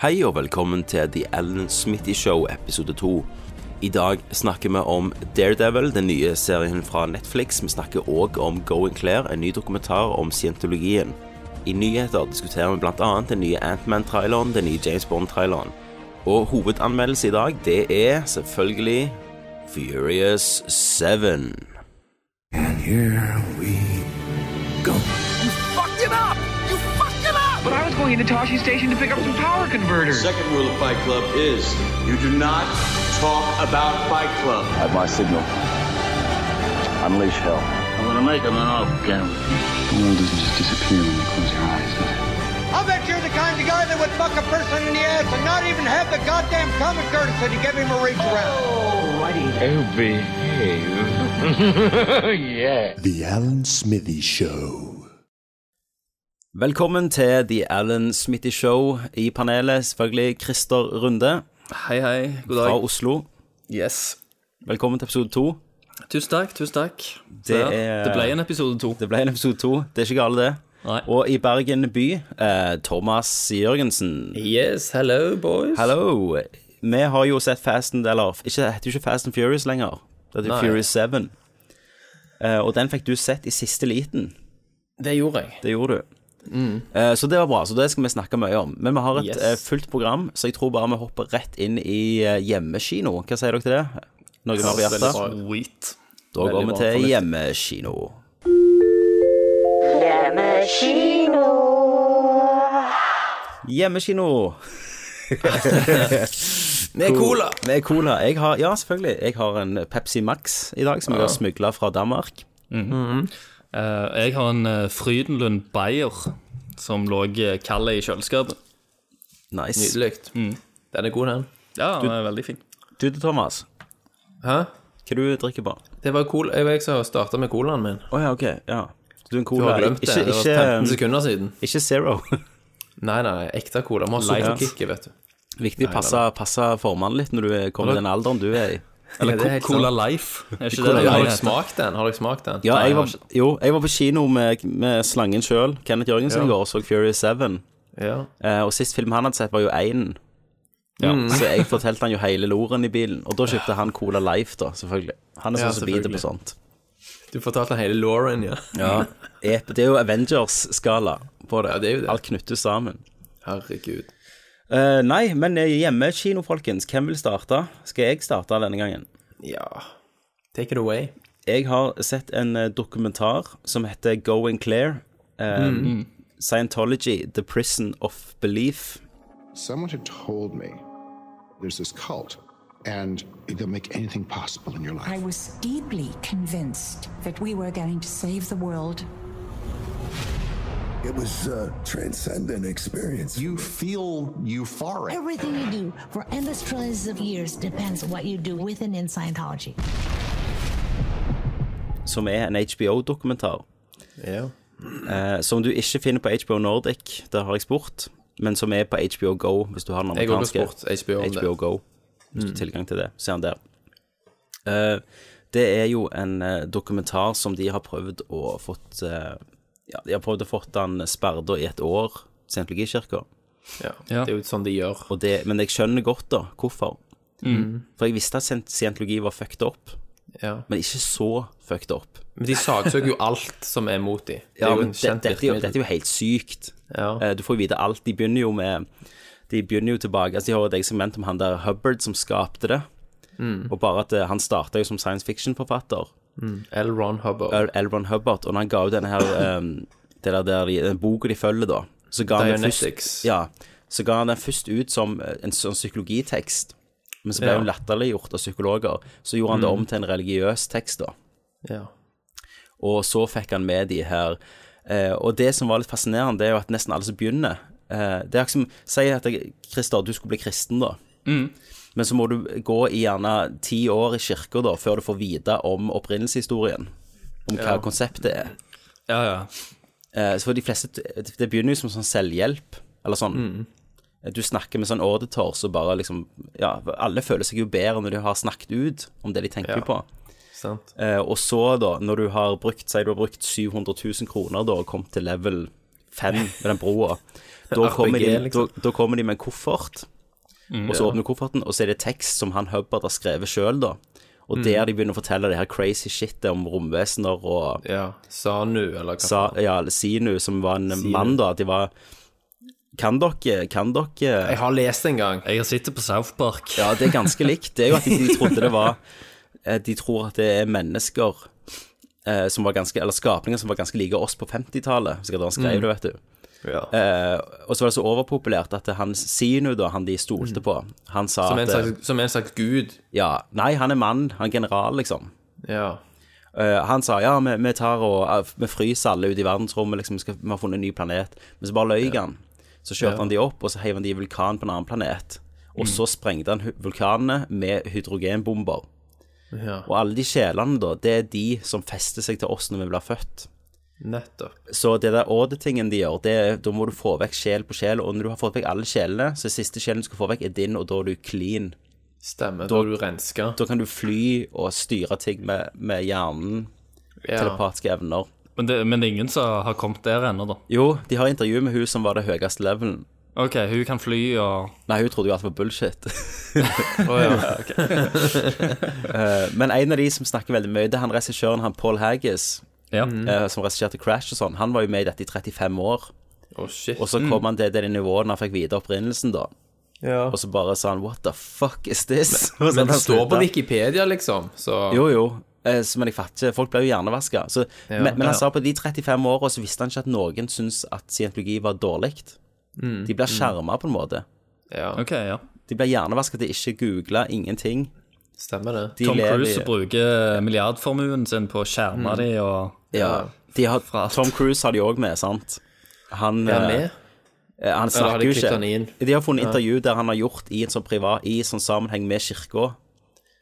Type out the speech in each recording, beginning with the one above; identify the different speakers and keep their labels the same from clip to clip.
Speaker 1: Hei og velkommen til The Ellen Smitty Show episode 2. I dag snakker vi om Daredevil, den nye serien fra Netflix. Vi snakker òg om Going Clear, en ny dokumentar om scientologien. I nyheter diskuterer vi bl.a. den nye Antman-traileren, den nye James Bond-traileren. Og hovedanmeldelse i dag, det er selvfølgelig Furious 7.
Speaker 2: fucked it up! You fucked it up!
Speaker 3: But I was going into Toshi Station to pick up some power converters.
Speaker 4: Second rule of Fight Club is you do not talk about Fight Club.
Speaker 5: At my signal, unleash hell.
Speaker 6: I'm gonna make him an off camera.
Speaker 5: The world doesn't just disappear when you close your eyes, does it?
Speaker 7: I bet you're the kind of guy that would fuck a person in the ass and not even have the goddamn common courtesy to give him a reach around.
Speaker 6: Oh, behave. yeah.
Speaker 8: The Alan Smithy Show.
Speaker 1: Velkommen til The Alan Smitty Show. I panelet selvfølgelig Christer Runde
Speaker 9: Hei, hei. God dag.
Speaker 1: fra Oslo.
Speaker 9: Yes.
Speaker 1: Velkommen til episode 2.
Speaker 9: Tusen takk, tusen takk.
Speaker 1: Det
Speaker 9: Ja,
Speaker 1: er-
Speaker 9: det ble en episode to.
Speaker 1: Det ble en episode 2. Det er ikke galt, det.
Speaker 9: Nei.
Speaker 1: Og i Bergen by, eh, Thomas Jørgensen.
Speaker 9: Yes, hello, boys.
Speaker 1: Hallo. Vi har jo sett Fast and Eller ikke, det heter jo ikke Fast and Furious lenger. Det heter
Speaker 9: Nei.
Speaker 1: Furious 7. Eh, og den fikk du sett i siste liten.
Speaker 9: Det gjorde jeg.
Speaker 1: Det gjorde du. Eh, så det var bra. Så det skal vi snakke mye om. Men vi har et
Speaker 9: Mm. Yes.
Speaker 1: eh, fullt program, så jeg tror bare vi hopper rett inn i eh, hjemmekino. Hva sier dere til det? Noen har
Speaker 9: Veldig
Speaker 1: hjertet?
Speaker 9: Sweet.
Speaker 1: Da går
Speaker 9: Veldig
Speaker 1: vi
Speaker 9: bra,
Speaker 1: til
Speaker 9: fornuftig.
Speaker 1: hjemmekino. Hjemmekino.
Speaker 9: Med cola.
Speaker 1: Med cola. Jeg har, ja, selvfølgelig. Jeg har en Pepsi Max i dag, som jeg har smugla fra Danmark.
Speaker 10: Eh, Jeg har en eh, Frydenlund Bayer som lå eh, kald i kjøleskapet. Mm.
Speaker 1: Nice.
Speaker 9: Nydelig. Den er god, den.
Speaker 10: Ja, den er veldig fin.
Speaker 1: Du til Thomas,
Speaker 9: Hæ?
Speaker 1: hva du drikker på?
Speaker 9: Det var cool. Jeg var jeg som starta med colaen min.
Speaker 1: Å ja, ok. Ja. Så du er en
Speaker 9: Du
Speaker 1: cola
Speaker 9: har glemt det.
Speaker 1: ikke,
Speaker 9: Det var 15
Speaker 1: ikke,
Speaker 9: sekunder siden.
Speaker 1: ikke zero.
Speaker 9: Nei, nei, nei, ekte cola. Vi har sukkerkicket, vet du.
Speaker 1: Viktig å passe, passe formannen litt når du er- kommer i den alderen du er i.
Speaker 9: Eller det er helt
Speaker 10: Cola
Speaker 9: sant.
Speaker 10: Life, er ikke det
Speaker 9: Har
Speaker 10: det
Speaker 9: dere
Speaker 10: heter?
Speaker 9: smakt den? Har dere smakt den?
Speaker 1: Ja,
Speaker 9: Nei,
Speaker 1: jeg
Speaker 9: har
Speaker 1: var, jo, jeg var på kino med, med slangen sjøl, Kenneth Jørgensen, i går og så Furious 7.
Speaker 9: ikke- Ja.
Speaker 1: Eh, og sist film han hadde sett, var jo Einen. Så jeg fortalte han jo hele loren i bilen. Og da kjøpte han Cola Life, da, selvfølgelig. Han er
Speaker 9: Ja,
Speaker 1: sånn som biter
Speaker 9: selvfølgelig.
Speaker 1: på sånt.
Speaker 9: Du fortalte hele Lauren, ja.
Speaker 1: Ep- Det er jo Avengers-skala på det.
Speaker 9: Ja, det er jo det.
Speaker 1: Alt knyttes sammen.
Speaker 9: Herregud.
Speaker 1: Eh, nei, men eh, hjemmekino, folkens. Hvem vil starte? Skal jeg starte denne gangen?
Speaker 9: Ja. Take it away.
Speaker 1: Jeg har sett en eh, dokumentar som heter Going Clear. eh,
Speaker 9: Mm.
Speaker 1: Scientology, The Prison of Belief.
Speaker 8: Someone had told me there's this cult, and they'll make anything possible in your life.
Speaker 11: I was deeply convinced that we were going to save the world.
Speaker 8: It was a transcendent experience. You feel euphoric.
Speaker 11: Everything you do for endless trillions of years depends what you do with and in Scientology.
Speaker 1: som er en HBO-dokumentar.
Speaker 9: Ja.
Speaker 1: eh, Som du ikke finner på HBO Nordic, der har jeg spurt, men som er på HBO Go, hvis du har den
Speaker 9: Jeg går på
Speaker 1: amerikanske.
Speaker 9: sport. HBO om det. Mm.
Speaker 1: HBO Go. Hvis du har tilgang til det, så er han der. Eh, det er jo en eh, dokumentar som de har prøvd å fått eh, Ja, de har prøvd å fått den sperda i et år, Scientologikirka.
Speaker 9: Ja. Det er jo sånn de gjør.
Speaker 1: Og det- Men jeg skjønner godt, da, hvorfor.
Speaker 9: Mm.
Speaker 1: For jeg visste at scient- scientologi var fucked up,
Speaker 9: Ja.
Speaker 1: men ikke så fucked up.
Speaker 9: Men de saksøker jo alt som er mot dem. Det
Speaker 1: Ja,
Speaker 9: er jo
Speaker 1: men
Speaker 9: en
Speaker 1: det,
Speaker 9: kjent
Speaker 1: dette, er jo,
Speaker 9: virkemiddel.
Speaker 1: dette er jo helt sykt.
Speaker 9: Ja.
Speaker 1: Eh, Du får jo vite alt. De begynner jo med De begynner jo tilbake altså De har jo et eget segment om han der Hubbard som skapte det.
Speaker 9: Mm.
Speaker 1: Og bare at eh, han starta jo som science fiction-forfatter.
Speaker 9: L. Ron Hubbard.
Speaker 1: Earl- L. Ron Hubbard. Og når han ga ut denne her eh, det der, der, de- den boka de følger, da så ga, han den først,
Speaker 9: Dianetics.
Speaker 1: ja, så ga han den først ut som eh, en sånn psykologitekst. Men så ble
Speaker 9: Ja. Mm.
Speaker 1: hun latterliggjort av psykologer. Så gjorde han det om til en religiøs tekst, da.
Speaker 9: Ja.
Speaker 1: Og så fikk han med de her. Eh, og det som var litt fascinerende, det er jo at nesten alle som begynner eh, Det er akkurat som Si at jeg- Christer, du skulle bli kristen, da. Men så må du gå i gjerne ti år i kirka da, før du får vite om opprinnelseshistorien. Om hva konseptet er.
Speaker 10: Ja, ja.
Speaker 1: Eh, så for de fleste Det begynner jo som sånn selvhjelp, eller sånn. Du snakker med sånn auditors og bare liksom Ja, alle føler seg jo bedre når de har snakket ut om det de tenker
Speaker 9: Ja.
Speaker 1: på.
Speaker 9: Sant.
Speaker 1: Eh, og så, da, når du har brukt Si du har brukt 700 000 kroner da, og kommet til level 5 med den broa, Da kommer, de,
Speaker 9: RPG, liksom. Mm.
Speaker 1: da, da kommer de med en koffert, og så
Speaker 9: ja.
Speaker 1: åpner du kofferten, og så er det tekst som han Hubbard har skrevet sjøl, da. Og
Speaker 9: Mm.
Speaker 1: der de begynner å fortelle det her crazy shitet om romvesener og
Speaker 9: Ja. Sanu, eller hva?
Speaker 1: sa, ja, eller Sinu, som var en mann, da. At de var Kan dere, kan dere
Speaker 9: Jeg har lest det en gang.
Speaker 10: Jeg har sittet på South Park.
Speaker 1: Ja, det er ganske likt. Det er jo at de, de trodde det var eh, De tror at det er mennesker eh, som var ganske Eller skapninger som var ganske like oss på 50-tallet. Sikkert han
Speaker 9: Mm.
Speaker 1: skrev det, vet du.
Speaker 9: Ja.
Speaker 1: Eh, og så var det så overpopulært at han Sinu, da, han de stolte på, han sa
Speaker 9: Mm. Som en
Speaker 1: at eh,
Speaker 9: slags, som en slags gud.
Speaker 1: ja, Nei, han er mann, han er general, liksom.
Speaker 9: Ja.
Speaker 1: Eh, han sa ja, vi, vi tar og eh, Vi fryser alle ut i verdensrommet, liksom, vi, skal, vi har funnet en ny planet. Men så bare løy han. Så kjørte han de opp, og så heiv han de i vulkan på en annen planet.
Speaker 9: Mm.
Speaker 1: Og så sprengte han hu- vulkanene med hydrogenbomber.
Speaker 9: ja.
Speaker 1: Og alle de sjelene, da, det er de som fester seg til oss når vi blir født.
Speaker 9: Nettopp.
Speaker 1: Så det der auditingen de gjør, det er, da må du få vekk sjel på sjel. Og når du har fått vekk alle sjelene, så siste sjelen du skal få vekk, er din, og da er du clean.
Speaker 9: Stemmer. Da er du renska.
Speaker 1: Da kan du fly og styre ting med, med hjernen,
Speaker 9: Ja.
Speaker 1: telepatiske evner.
Speaker 10: Men, det, men det er ingen som har kommet der ennå, da.
Speaker 1: Jo, de har intervju med hun som var det høyeste levelen.
Speaker 10: OK, hun kan fly og
Speaker 1: Nei, hun trodde jo alt var bullshit.
Speaker 9: Å, ja.
Speaker 1: Eh, Men en av de som snakker veldig mye, det er han regissøren, han Paul Haggis,
Speaker 10: Ja.
Speaker 9: Mm.
Speaker 1: eh, som regisserte Crash og sånn. Han var jo med i dette i 35 år.
Speaker 9: Å, shit.
Speaker 1: Og så kom han til det nivået når han fikk vite opprinnelsen, da.
Speaker 9: Ja.
Speaker 1: Og så bare sa han 'what the fuck is this?' Og så
Speaker 9: Men
Speaker 1: bare
Speaker 9: det står
Speaker 1: slutta.
Speaker 9: på Wikipedia, liksom. Så
Speaker 1: Jo, jo. Eh, så- Men jeg fatter ikke. Folk ble jo hjernevaska. Så, men, men han
Speaker 9: ja.
Speaker 1: sa på de 35 åra så visste han ikke at noen syntes at scientologi var dårlig.
Speaker 9: Mm,
Speaker 1: De blir skjerma på en måte.
Speaker 9: ja.
Speaker 10: OK, ja.
Speaker 1: De blir hjernevaska til ikke google ingenting.
Speaker 9: Stemmer det.
Speaker 1: De
Speaker 10: Tom
Speaker 1: lever i- Mm.
Speaker 10: Cruise bruker milliardformuen sin på å skjerme de og
Speaker 1: Ja. De har,
Speaker 10: alt.
Speaker 1: Tom Cruise har de òg med, sant? Han,
Speaker 9: Er
Speaker 1: eh,
Speaker 9: han med?
Speaker 1: eh, han
Speaker 9: Eller har
Speaker 1: snakker
Speaker 9: de
Speaker 1: jo
Speaker 9: klippet han
Speaker 1: ikke.
Speaker 9: inn?
Speaker 1: De har funnet intervju der han har gjort i en sånn privat I sånn sammenheng med kirka.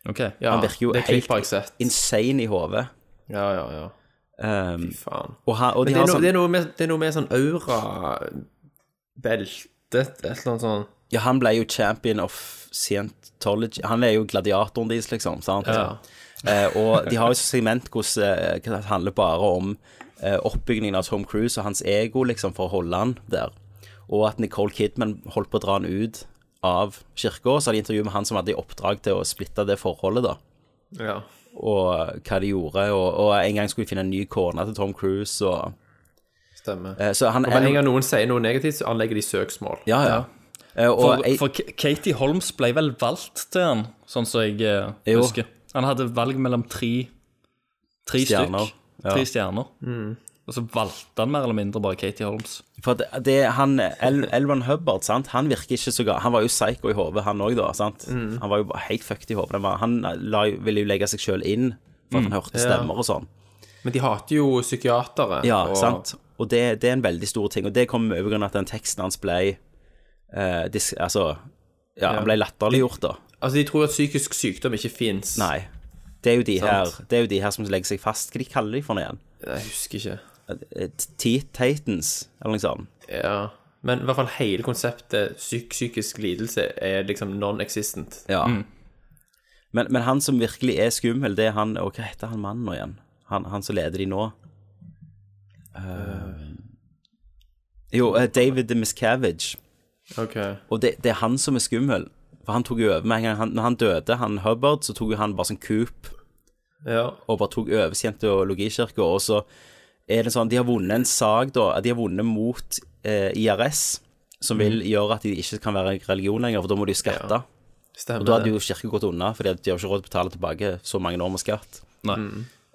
Speaker 10: OK.
Speaker 9: Ja,
Speaker 1: Han virker jo
Speaker 9: det
Speaker 1: helt
Speaker 9: klippet har jeg sett.
Speaker 1: insane i hodet.
Speaker 9: Ja, ja, ja.
Speaker 1: Um,
Speaker 9: Faen.
Speaker 1: og, han- og de
Speaker 9: Men det er,
Speaker 1: har
Speaker 9: noe,
Speaker 1: sånn
Speaker 9: det, er noe med, det er noe med sånn aura Belte Et eller annet sånn
Speaker 1: Ja, han ble jo champion of Scientology. Han er jo gladiatoren deres, liksom. sant? Eh, og de har jo et segment hvordan eh, hva det handler bare om eh, oppbyggingen av Tom Cruise og hans ego, liksom, for å holde han der. Og at Nicole Kidman holdt på å dra han ut av kirka. Så hadde de intervju med han som hadde i oppdrag til å splitte det forholdet, da.
Speaker 9: Ja.
Speaker 1: Og eh, hva de gjorde. Og, og en gang skulle de finne en ny kone til Tom Cruise, og
Speaker 9: Stemmer.
Speaker 1: eh, Så han
Speaker 9: og med en gang noen sier noe negativt, så anlegger de søksmål.
Speaker 1: Ja, ja. Eh, og
Speaker 10: For,
Speaker 1: jeg-
Speaker 10: for K- Katie Holmes ble vel valgt til han, sånn som jeg eh,
Speaker 1: Jo.
Speaker 10: husker. Han hadde valg mellom tre, tre
Speaker 1: Stjerner,
Speaker 10: stjerner.
Speaker 1: ja. Mm.
Speaker 10: Tre stjerner. Og så valgte han mer eller mindre bare Katie Holmes.
Speaker 1: For det, det han, El, Elron Hubbard, sant? han virker ikke så gal. Han var jo psycho i hodet, han òg, da. sant? Han var jo bare helt fucked i hodet. Han var- Han la, jo- ville jo legge seg sjøl inn for at han hørte stemmer og sånn.
Speaker 9: Men de hater jo psykiatere.
Speaker 1: Ja,
Speaker 9: og,
Speaker 1: sant? Og det, det er en veldig stor ting. Og det kom over grunn av at den teksten hans ble eh, dis, Altså, ja, han ble latterliggjort, da.
Speaker 9: Altså, de tror at psykisk sykdom ikke fins.
Speaker 1: Nei. Det er jo de, her,
Speaker 9: Sant.
Speaker 1: det er jo de her som legger seg fast. Hva de kaller de for noe igjen?
Speaker 9: Jeg husker ikke.
Speaker 1: Eh, T- Titans, eller noe sånt.
Speaker 9: Ja. Men i hvert fall hele konseptet psyk psykisk lidelse er liksom non-existent.
Speaker 1: Ja. Men, men han som virkelig er skummel, det er han Og hva heter han mannen nå igjen? Han, han som leder de nå? Eh, jo, eh, David Miscavige.
Speaker 9: Ok.
Speaker 1: Og det, det er han som er skummel. For han tok jo over med en gang han, Når han døde, han Hubbard, så tok jo han bare sånn coop
Speaker 9: Ja.
Speaker 1: og bare tok over scientologikirka. Og så er det sånn De har vunnet en sak, da. De har vunnet mot eh, IRS, som vil gjøre at de ikke kan være religion lenger, for da må de skatte.
Speaker 9: Stemmer.
Speaker 1: Og da hadde jo kirka gått unna, fordi at de har ikke råd til å betale tilbake så mange år med skatt.
Speaker 10: Nei.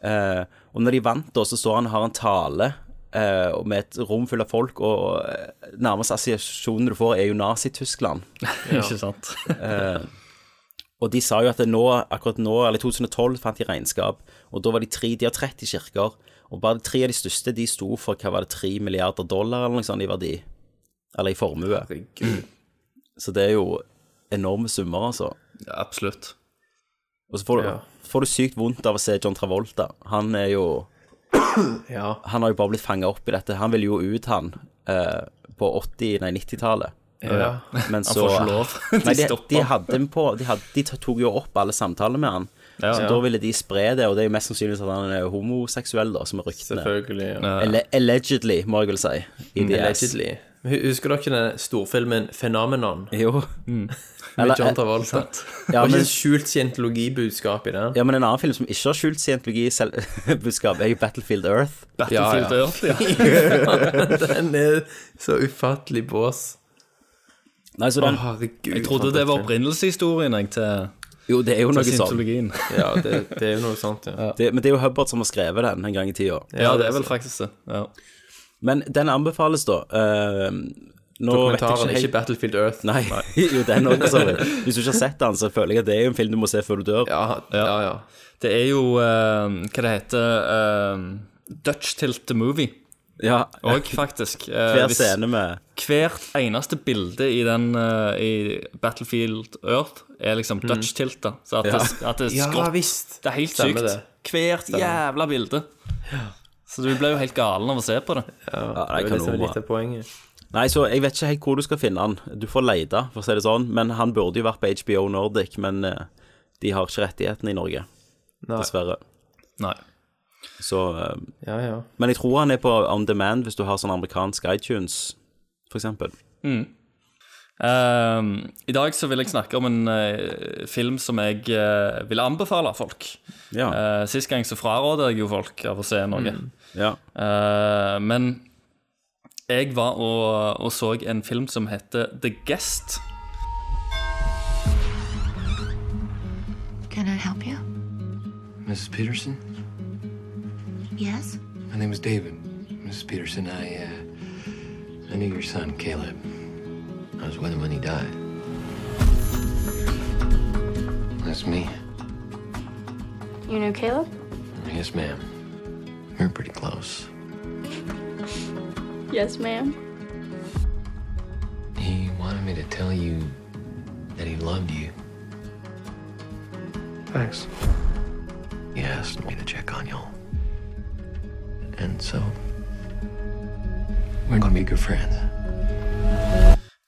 Speaker 1: Eh, og når de vant, da, så står han og har en tale eh, og med et rom fullt av folk, og eh, nærmeste assosiasjonen du får, er jo Nazi-Tyskland. Eh,
Speaker 10: Ikke sant?
Speaker 1: Og de sa jo at det nå, akkurat nå, eller i 2012, fant de regnskap, og da var de tre, de har 30 kirker, og bare tre av de største, de sto for hva var det, 3 milliarder dollar eller noe sånt i verdi, eller i formue.
Speaker 9: Herregud.
Speaker 1: Så det er jo enorme summer, altså.
Speaker 10: Ja, absolutt.
Speaker 1: Og så får du,
Speaker 9: Ja.
Speaker 1: får du sykt vondt av å se John Travolta. Han er jo
Speaker 9: Ja.
Speaker 1: han har jo bare blitt fanga opp i dette. Han ville jo ut, han, eh, på 80-, nei, 90-tallet.
Speaker 9: ja.
Speaker 1: Men
Speaker 10: Han
Speaker 1: så
Speaker 10: får ikke lov. De
Speaker 1: Nei, de,
Speaker 10: stopper
Speaker 1: de
Speaker 10: han.
Speaker 1: hadde ham på de, hadde, de tok jo opp alle samtaler med han.
Speaker 10: Ja,
Speaker 1: så
Speaker 10: ja.
Speaker 1: da ville de spre det, og det er jo mest sannsynlig at han er homoseksuell, da, som er ryktene.
Speaker 9: Selvfølgelig. Ja.
Speaker 10: Mm,
Speaker 1: Alle- allegedly, må jeg vel si. I
Speaker 9: Allegedly. Husker dere den storfilmen 'Phenomenon'?
Speaker 1: Jo.
Speaker 9: Med
Speaker 1: Mm.
Speaker 10: Mm.
Speaker 1: Eller-
Speaker 9: John Travolta.
Speaker 1: Ja,
Speaker 9: Var ikke
Speaker 1: men-
Speaker 9: det skjult scientologibudskap i den?
Speaker 1: Ja, men en annen film som ikke har skjult scientologibudskap, er jo Battlefield Earth.
Speaker 10: Battlefield
Speaker 9: Ja, ja.
Speaker 10: Earth, ja.
Speaker 9: den er så ufattelig bås.
Speaker 1: Nei, så
Speaker 9: Å,
Speaker 1: den,
Speaker 9: herregud.
Speaker 10: Jeg trodde
Speaker 9: for
Speaker 10: det var
Speaker 9: dette.
Speaker 10: opprinnelseshistorien jeg, til,
Speaker 1: jo, det er jo noe sånn.
Speaker 10: til
Speaker 1: sånt.
Speaker 10: syntologien.
Speaker 9: Ja, det, det er jo noe sånt, ja.
Speaker 1: Det, men det er jo Hubbard som har skrevet den en gang i tida.
Speaker 10: Ja, det er vel faktisk det. Ja.
Speaker 1: Men den anbefales, da. eh, nå vet jeg
Speaker 9: Dokumentaren,
Speaker 1: ikke
Speaker 9: ikke,
Speaker 1: helt
Speaker 9: Battlefield Earth.
Speaker 1: Nei, jo, den også, sorry. Hvis du ikke har sett den, så føler jeg at det er jo en film du må se før du dør.
Speaker 9: Ja, ja, ja.
Speaker 10: Det er jo eh, hva det heter eh, Dutch Tilt the Movie
Speaker 1: Ja,
Speaker 10: òg, faktisk. Eh,
Speaker 1: Hver
Speaker 10: hvis-
Speaker 1: scene med
Speaker 10: Hvert eneste bilde i, den, eh, i Battlefield Earth er liksom Dutch Tilt. da Så at, det, at det er
Speaker 9: Ja,
Speaker 10: skrått.
Speaker 9: visst.
Speaker 10: det er helt
Speaker 9: Stemmer
Speaker 10: sykt. Hvert jævla bilde. Så du ble jo helt galen av å se på det.
Speaker 1: ja,
Speaker 9: Det
Speaker 1: nei,
Speaker 9: er det som er litt
Speaker 1: kanonbra.
Speaker 9: av poenget.
Speaker 1: Nei, så jeg vet ikke helt hvor du skal finne han. Du får leide, for å si det sånn. Men han burde jo vært på HBO Nordic, men eh, de har ikke rettighetene i Norge,
Speaker 9: Nei.
Speaker 1: dessverre.
Speaker 10: Nei.
Speaker 1: Så eh,
Speaker 9: Ja, ja.
Speaker 1: Men jeg tror han er på on demand hvis du har sånn amerikansk iTunes, for eksempel.
Speaker 10: Ehm, I dag så vil jeg snakke om en eh, film som jeg eh, vil anbefale folk.
Speaker 1: Ja.
Speaker 10: Eh, sist gang så frarådet jeg jo folk av å se noe.
Speaker 1: ja.
Speaker 10: Eh, men jeg var og, og så en film som heter The Guest.
Speaker 11: Can I help you?
Speaker 5: Mrs. Peterson?
Speaker 11: Yes?
Speaker 5: My name is David. Mrs. Peterson, I, uh, I knew your son, Caleb. I was with him when he died. That's me.
Speaker 12: You know Caleb?
Speaker 5: Yes, ma'am. We're pretty close.
Speaker 12: Yes, ma'am.
Speaker 5: He wanted me to tell you that he loved you. Thanks. He asked me to check on y'all. And so, we're gonna be good friends.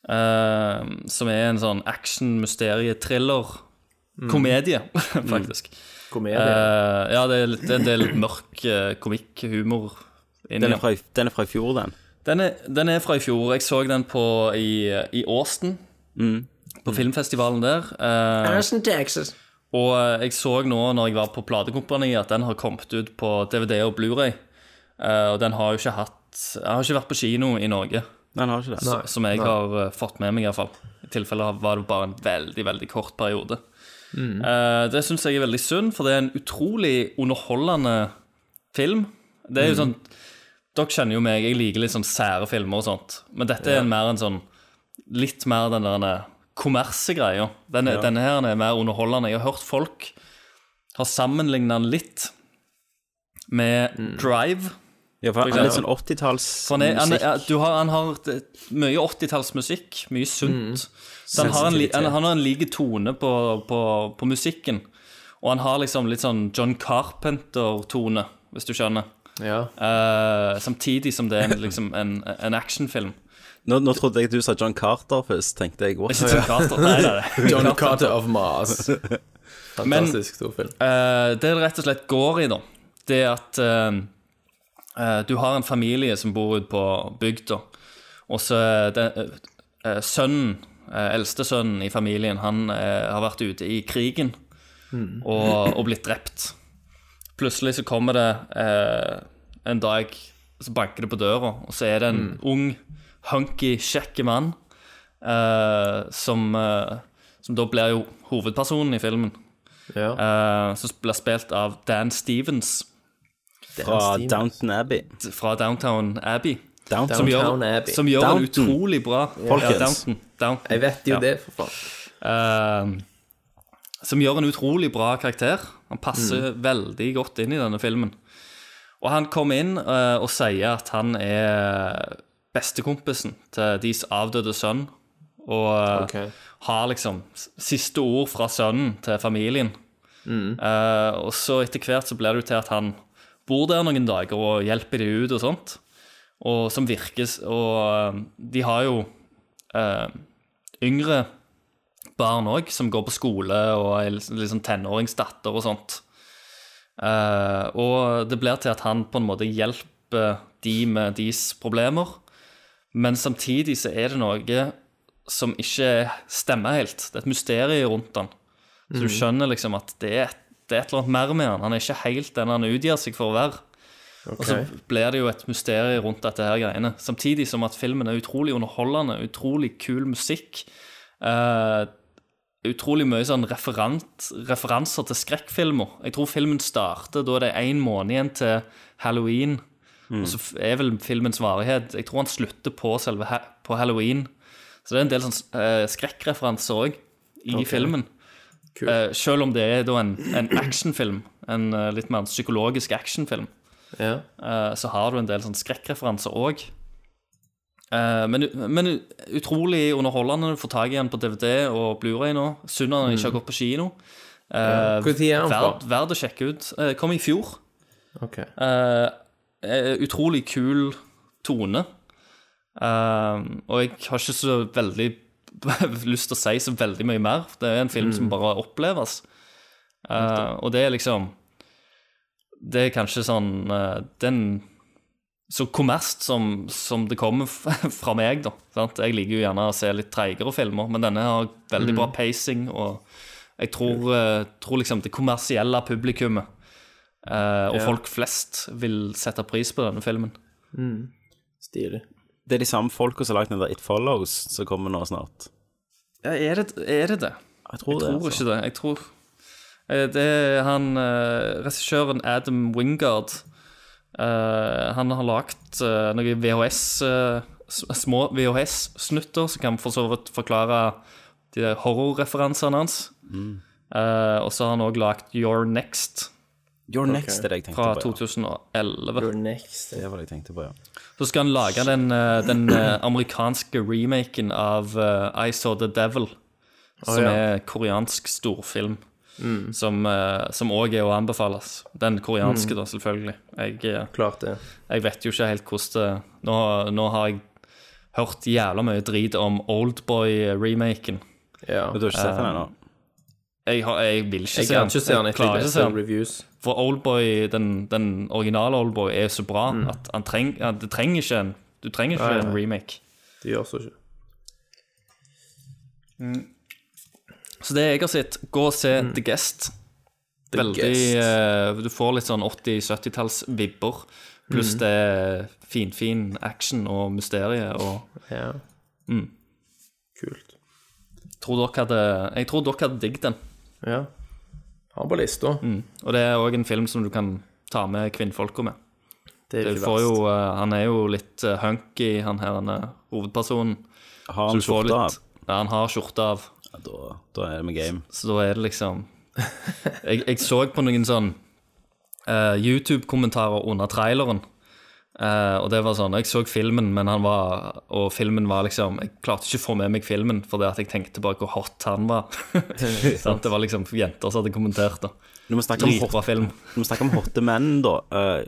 Speaker 10: eh, som er en sånn action-mysterie-thriller-komedie, faktisk.
Speaker 9: Komedie.
Speaker 10: Eh, ja, det er litt, det er litt mørk uh, komikk-humor. inni
Speaker 1: Den,
Speaker 10: den.
Speaker 1: er fra, i- den er fra i fjor, den.
Speaker 10: Den er, den er fra i fjor. Jeg så den på i, i Austin. På filmfestivalen der. Eh, og eh, jeg så nå når jeg var på platekompaniet, at den har kommet ut på DVD og Blu-ray. Eh, og den har jo ikke hatt Den har ikke vært på kino i Norge,
Speaker 1: Nei, den har ikke det.
Speaker 10: som jeg har eh, fått med meg, iallfall. I tilfelle var det bare en veldig, veldig kort periode. Eh, det syns jeg er veldig synd, for det er en utrolig underholdende film. Det er jo sånn Dere kjenner jo meg, jeg liker litt sånn sære filmer og sånt. Men dette er en mer en sånn Litt mer den der eh, kommersegreia. Denne, denne her er mer underholdende. Jeg har hørt folk har sammenligna den litt med Drive.
Speaker 1: Ja, for han er
Speaker 10: For
Speaker 1: litt
Speaker 10: eksempel.
Speaker 1: sånn 80-talls
Speaker 10: For han, er, han, er,
Speaker 1: musikk.
Speaker 10: du har, han har det- mye 80-tallsmusikk,
Speaker 9: Mm.
Speaker 10: mye sunt. Så han har en, li- han, han har en like tone på, på, på musikken. Og han har liksom litt sånn John Carpenter-tone, hvis du skjønner.
Speaker 9: Ja.
Speaker 10: Eh, samtidig som det er en, liksom en, en actionfilm.
Speaker 1: Nå, nå trodde jeg du sa John Carter først, tenkte jeg. What?
Speaker 10: Ikke John Carter, nei, nei, nei.
Speaker 9: John Carter of Mars. Fantastisk stor film.
Speaker 10: Eh, det det rett og slett går i, da, det er at eh, eh, du har en familie som bor ute på bygda, og så er det, eh, eh, sønnen, eh, eldste sønnen i familien, han eh, har vært ute i krigen og, og blitt drept. Plutselig så kommer det eh, en dag, så banker det på døra, og så er det en ung, hunky, kjekke mann eh, som, eh, som da blir jo hovedpersonen i filmen.
Speaker 9: Ja.
Speaker 10: Eh, som ble spilt av Dan Stevens
Speaker 1: Fra Downton Abbey.
Speaker 10: fra Downtown Abbey.
Speaker 1: Downton.
Speaker 10: Som gjør,
Speaker 9: Downton Abbey.
Speaker 10: Som gjør det
Speaker 1: Downton.
Speaker 10: utrolig bra.
Speaker 1: Folkens.
Speaker 10: Downton. Downton.
Speaker 9: Jeg vet jo
Speaker 10: Ja.
Speaker 9: det, for faen.
Speaker 10: Eh, som gjør en utrolig bra karakter. Han passer
Speaker 9: Mm.
Speaker 10: veldig godt inn i denne filmen. Og han kommer inn eh, og sier at han er bestekompisen til deres avdøde sønn. Og eh,
Speaker 9: Ok.
Speaker 10: har liksom s- siste ord fra sønnen til familien. Eh, og så etter hvert så blir det jo til at han bor der noen dager og hjelper de ut og sånt. Og som virkes Og eh, de har jo eh, yngre barn òg, som går på skole og er liksom liksom tenåringsdatter og sånt. Eh, og det blir til at han på en måte hjelper de med deres problemer, Men samtidig så er det noe som ikke stemmer helt. Det er et mysterium rundt den. Så du
Speaker 9: Mhm.
Speaker 10: skjønner liksom at det er, det er et eller annet mer med han. Han er ikke helt den han utgir seg for å være.
Speaker 9: Ok.
Speaker 10: Og så blir det jo et mysterium rundt dette her greiene. Samtidig som at filmen er utrolig underholdende, utrolig kul musikk. eh, utrolig mye sånn referant, referanser til skrekkfilmer. Jeg tror filmen starter da det er én måned igjen til halloween.
Speaker 1: Mm.
Speaker 10: Og så f- er vel filmens varighet Jeg tror han slutter på selve ha på halloween. Så det er en del sånn eh, skrekkreferanser òg i
Speaker 9: Ok.
Speaker 10: filmen. Eh, selv om det er da en, en actionfilm, en eh, litt mer psykologisk actionfilm, eh, så har du en del sånn skrekkreferanser òg. Eh, men, men utrolig underholdende. Du får tak i den på DVD og Blu-ray nå. Synd at den ikke har gått på kino.
Speaker 9: Mm. Ja.
Speaker 10: Eh,
Speaker 9: Hvor tid er den fra?
Speaker 10: verd, verd å sjekke ut. Eh, kom i fjor.
Speaker 9: Ok.
Speaker 10: Eh, eh, utrolig kul tone. Eh, og jeg har ikke så veldig lyst til å si så veldig mye mer. Det er en film som
Speaker 9: Mm.
Speaker 10: bare oppleves. Eh, og det er liksom Det er kanskje sånn eh, Den så kommerst som, som det kommer f- fra meg, da. Sant? Jeg liker jo gjerne å se litt treigere filmer, men denne har veldig bra
Speaker 9: Mm.
Speaker 10: pacing, og jeg tror, eh, tror liksom det kommersielle publikummet eh, og
Speaker 9: Ja.
Speaker 10: folk flest vil sette pris på denne filmen.
Speaker 9: Mm. Stilig.
Speaker 1: Det er de samme folka som har lagd den der It Follows, som kommer nå snart.
Speaker 10: Ja, er det er det? det? Jeg
Speaker 1: tror det, altså.
Speaker 10: ikke det. Jeg tror eh, Det er han eh, regissøren Adam Wingard eh, Han har lagd eh, noen VHS eh, s- Små VHS-snutter som kan for så vidt forklare de der horrorreferansene hans.
Speaker 1: Mm.
Speaker 10: Eh, og så har han òg lagd Your Next.
Speaker 1: Your Next er det jeg tenkte
Speaker 10: Fra
Speaker 1: på, ja.
Speaker 10: 2011.
Speaker 1: Det var det jeg tenkte på, ja.
Speaker 10: Så skal han lage den, eh, den eh, amerikanske remaken av eh, I Saw The Devil, som
Speaker 9: ja.
Speaker 10: er koreansk storfilm. Som, eh, som også er å anbefales. Den koreanske,
Speaker 9: Mm.
Speaker 10: da, selvfølgelig. Jeg, eh,
Speaker 9: Klart det.
Speaker 10: jeg vet jo ikke helt hvordan det Nå, nå har jeg hørt jævla mye drit om eh, Oldboy-remaken.
Speaker 9: Ja.
Speaker 1: Men du har ikke sett den ennå?
Speaker 10: Jeg, har, jeg vil ikke
Speaker 9: Jeg
Speaker 10: se
Speaker 9: kan
Speaker 10: den.
Speaker 9: ikke se den
Speaker 10: Jeg
Speaker 9: etter
Speaker 10: klarer
Speaker 9: jeg
Speaker 10: ikke
Speaker 9: leser
Speaker 10: se den.
Speaker 9: reviews.
Speaker 10: For Oldboy, den, den originale Oldboy, er så bra at han treng, ja, det trenger ikke en, du trenger ikke
Speaker 9: Nei, nei.
Speaker 10: en remake.
Speaker 9: Det gjør så ikke.
Speaker 10: Så det jeg har sett, gå og se The Guest.
Speaker 9: Mm. The
Speaker 10: Veldig,
Speaker 9: Guest.
Speaker 10: eh, Du får litt sånn 80-70-talls-vibber. Pluss
Speaker 9: Mm.
Speaker 10: det er finfin action og mysterie og
Speaker 9: Ja.
Speaker 10: mm.
Speaker 9: Kult.
Speaker 10: Tror dere hadde, jeg tror dere hadde digget den.
Speaker 9: Ja. Har på lista.
Speaker 10: Mm. Og det er òg en film som du kan ta med kvinnfolka med.
Speaker 9: Det er
Speaker 10: Du
Speaker 9: ikke
Speaker 10: får
Speaker 9: verst.
Speaker 10: jo, eh, han er jo litt eh, hunky, han her han er hovedpersonen.
Speaker 1: Har han
Speaker 10: Så du
Speaker 1: skjorte
Speaker 10: får litt-
Speaker 1: av?
Speaker 10: Ja, han har skjorte av.
Speaker 1: ja da, da er det med game.
Speaker 10: Så da er det liksom Jeg, jeg så på noen sånn eh, YouTube-kommentarer under traileren. Eh, og det var sånn Jeg så filmen, men han var Og filmen var liksom Jeg klarte ikke å få med meg filmen fordi at jeg tenkte bare hvor hot han var. Sant? det var liksom jenter som hadde kommentert, da.
Speaker 1: Du må snakke om
Speaker 10: Dritbra
Speaker 1: hot-
Speaker 10: film.
Speaker 1: Du må snakke om hotte menn, da. Eh,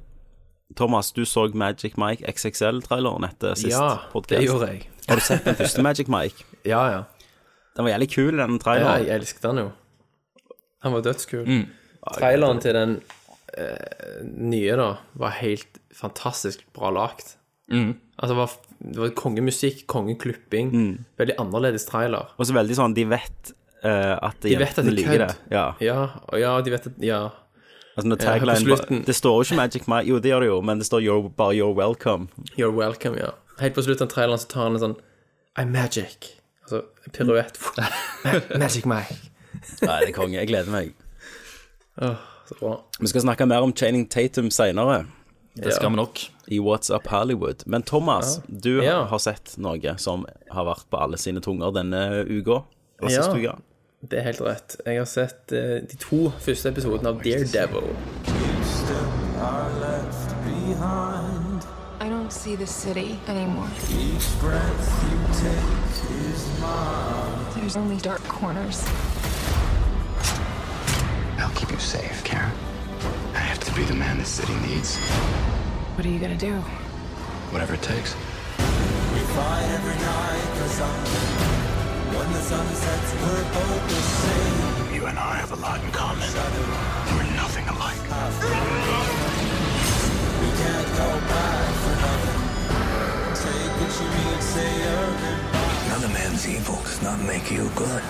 Speaker 1: Thomas, du så Magic Mike XXL-traileren etter sist
Speaker 9: Ja,
Speaker 1: podcast.
Speaker 9: det gjorde jeg.
Speaker 1: Har du sett den første Magic Mike?
Speaker 9: Ja, ja.
Speaker 1: Den var jævlig kul, den
Speaker 9: Ja,
Speaker 1: traileren.
Speaker 9: jeg elsket han jo. Han var dødskul.
Speaker 10: Mm.
Speaker 9: Traileren til den eh, nye, da, var helt fantastisk bra lagt.
Speaker 10: Mm.
Speaker 9: Altså, det var, det var kongemusikk, kongeklipping. Veldig annerledes trailer.
Speaker 1: Og så veldig sånn, de vet eh, at
Speaker 9: De vet at
Speaker 1: jentene
Speaker 9: det er
Speaker 1: liker
Speaker 9: kødd.
Speaker 1: det. Ja.
Speaker 9: Ja, og ja, de vet at Ja.
Speaker 1: Altså når
Speaker 9: Ja, på
Speaker 1: tagline
Speaker 9: slutten.
Speaker 1: bare, Det står jo ikke Magic Mike, jo det gjør det jo, men det står you're, bare You're welcome.
Speaker 9: You're welcome, ja. Helt på slutten av traileren så tar han en sånn I'm magic. Altså piruett. magic Mike.
Speaker 1: Nei, det er konge. Jeg gleder meg.
Speaker 9: Åh, så bra.
Speaker 1: Vi skal snakke mer om Channing Tatum seinere.
Speaker 10: Det skal vi nok.
Speaker 1: I What's Up Hollywood. Men Thomas,
Speaker 9: Ja.
Speaker 1: du
Speaker 9: Ja.
Speaker 1: har sett noe som har vært på alle sine tunger denne uka. Eller
Speaker 9: Ja.
Speaker 1: sist uke.
Speaker 9: Det er helt rett. Jeg har sett eh, de to første episodene av Daredevil.
Speaker 13: I don't see the city anymore. There's only dark corners.
Speaker 2: I'll keep you safe, Karen. I have to be the man this city needs,
Speaker 13: What are you gonna do?
Speaker 2: whatever it takes. You and I have a lot in common. We're nothing alike. We can't go back for nothing. Take a
Speaker 14: Another man's evil does not make you good.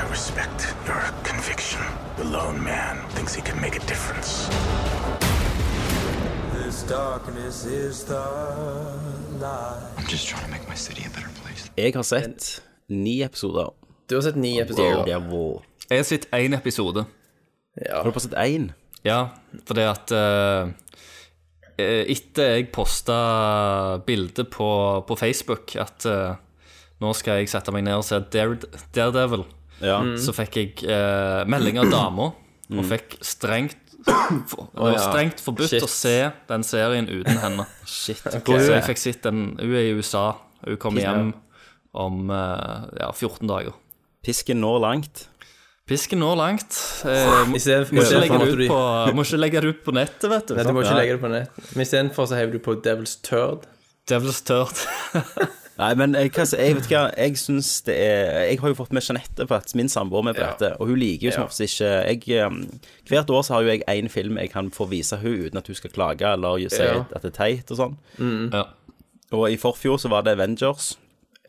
Speaker 14: I respect your conviction. The lone man thinks he can make a difference.
Speaker 15: This darkness is the light.
Speaker 2: I'm just trying to make my city a better place.
Speaker 1: Jeg har sett ni episoder.
Speaker 9: Du har sett ni episoder.
Speaker 1: Ja, wow.
Speaker 10: Jeg har sett én episode.
Speaker 1: Har du bare sett én?
Speaker 10: Ja, fordi at eh, eh, Etter jeg posta bilde på, på Facebook at eh, nå skal jeg sette meg ned og se Dare, Daredevil,
Speaker 1: Ja.
Speaker 9: Mm.
Speaker 10: så fikk jeg eh, melding av dama og
Speaker 1: Mm.
Speaker 10: fikk strengt for, det var
Speaker 1: Å, ja.
Speaker 10: strengt forbudt
Speaker 1: Shit.
Speaker 10: å se den serien uten henne. Shit.
Speaker 1: Ok.
Speaker 10: Så jeg fikk sett den. Hun er i USA. Hun kommer
Speaker 1: Ja.
Speaker 10: hjem om eh, ja, 14 dager.
Speaker 1: Pisken når langt.
Speaker 10: Pisken når langt. Eh, må,
Speaker 9: I stedet for-
Speaker 10: må, ikke legge det
Speaker 9: måtte
Speaker 10: ut
Speaker 9: du-
Speaker 10: på, må ikke legge det ut på nettet, vet du.
Speaker 9: Nei, du må ikke
Speaker 10: Ja.
Speaker 9: legge det på nett. Men istedenfor så heiver du på Devil's Turd.
Speaker 10: Devil's Turd.
Speaker 1: Nei, men jeg, hva- jeg vet ikke, jeg syns det er Jeg har jo fått med Jeanette på at min samboer med på
Speaker 9: Ja.
Speaker 1: dette, og hun liker jo som
Speaker 9: Ja.
Speaker 1: oftest ikke jeg, um, Hvert år så har jo jeg én film jeg kan få vise hun uten at hun skal klage eller si
Speaker 9: Ja.
Speaker 1: at det er teit og sånn.
Speaker 9: Mm.
Speaker 10: Ja.
Speaker 1: Og i forfjor så var det Avengers.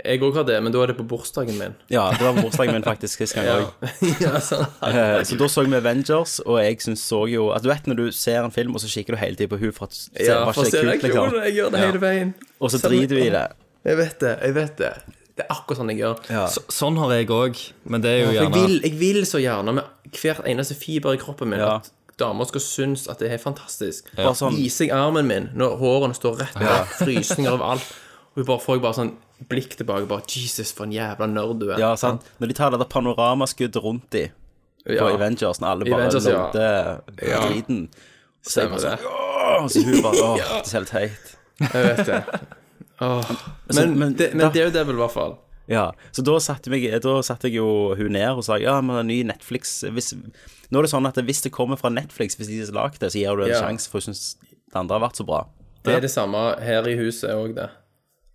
Speaker 9: Jeg òg har det, men da er det på bursdagen min.
Speaker 1: Ja, det var på bursdagen min faktisk sist gang
Speaker 9: Ja.
Speaker 1: òg.
Speaker 9: ja, sant.
Speaker 1: Eh, Så da så vi Avengers, og jeg syns så jo At du vet når du ser en film, og så kikker du hele tiden på hun for at se,
Speaker 9: Ja,
Speaker 1: var
Speaker 9: for å
Speaker 1: ikke
Speaker 9: se
Speaker 1: det kult, liksom.
Speaker 9: reaksjonen. Jeg gjør det
Speaker 1: Ja.
Speaker 9: hele veien.
Speaker 1: Og så
Speaker 9: Selv-
Speaker 1: driter du i det.
Speaker 9: Jeg vet det. Jeg vet det. Det er akkurat sånn jeg gjør.
Speaker 10: Så, sånn har jeg òg, men det er jo
Speaker 9: Ja, for
Speaker 10: gjerne
Speaker 9: jeg, vil, jeg vil så gjerne med hvert eneste fiber i kroppen min at damer skal synes at det er fantastisk.
Speaker 1: Ja. Bare sånn-
Speaker 9: Viser jeg armen min når hårene står rett
Speaker 1: Ja.
Speaker 9: opp, frysninger overalt, og bare får jeg bare sånn blikk tilbake, bare Jesus, for en jævla nerd du er.
Speaker 1: Ja, sant. Når de tar det der panoramaskuddet rundt de på
Speaker 9: Ja.
Speaker 1: Avengers, når alle bare
Speaker 9: Avengers, ja.
Speaker 1: låter
Speaker 9: Ja.
Speaker 1: driten Så jeg
Speaker 9: Stemmer
Speaker 1: bare sånn
Speaker 9: det.
Speaker 1: «Åh!» Så hun bare Åh,
Speaker 9: Ja.
Speaker 1: det er så helt teit.
Speaker 9: Jeg vet det. Åh.
Speaker 1: Så-
Speaker 9: Men, men, det,
Speaker 1: da-
Speaker 9: men Daredevil, i hvert fall.
Speaker 1: Ja, så da satte, meg, da satte jeg jo hun ned og sa ja, men en ny Netflix hvis, Nå er det sånn at hvis det kommer fra Netflix, hvis de har lagd det, så gir du det en
Speaker 9: Ja.
Speaker 1: sjanse, for hun syns det andre har vært så bra.
Speaker 9: Det er det samme her i huset òg, det.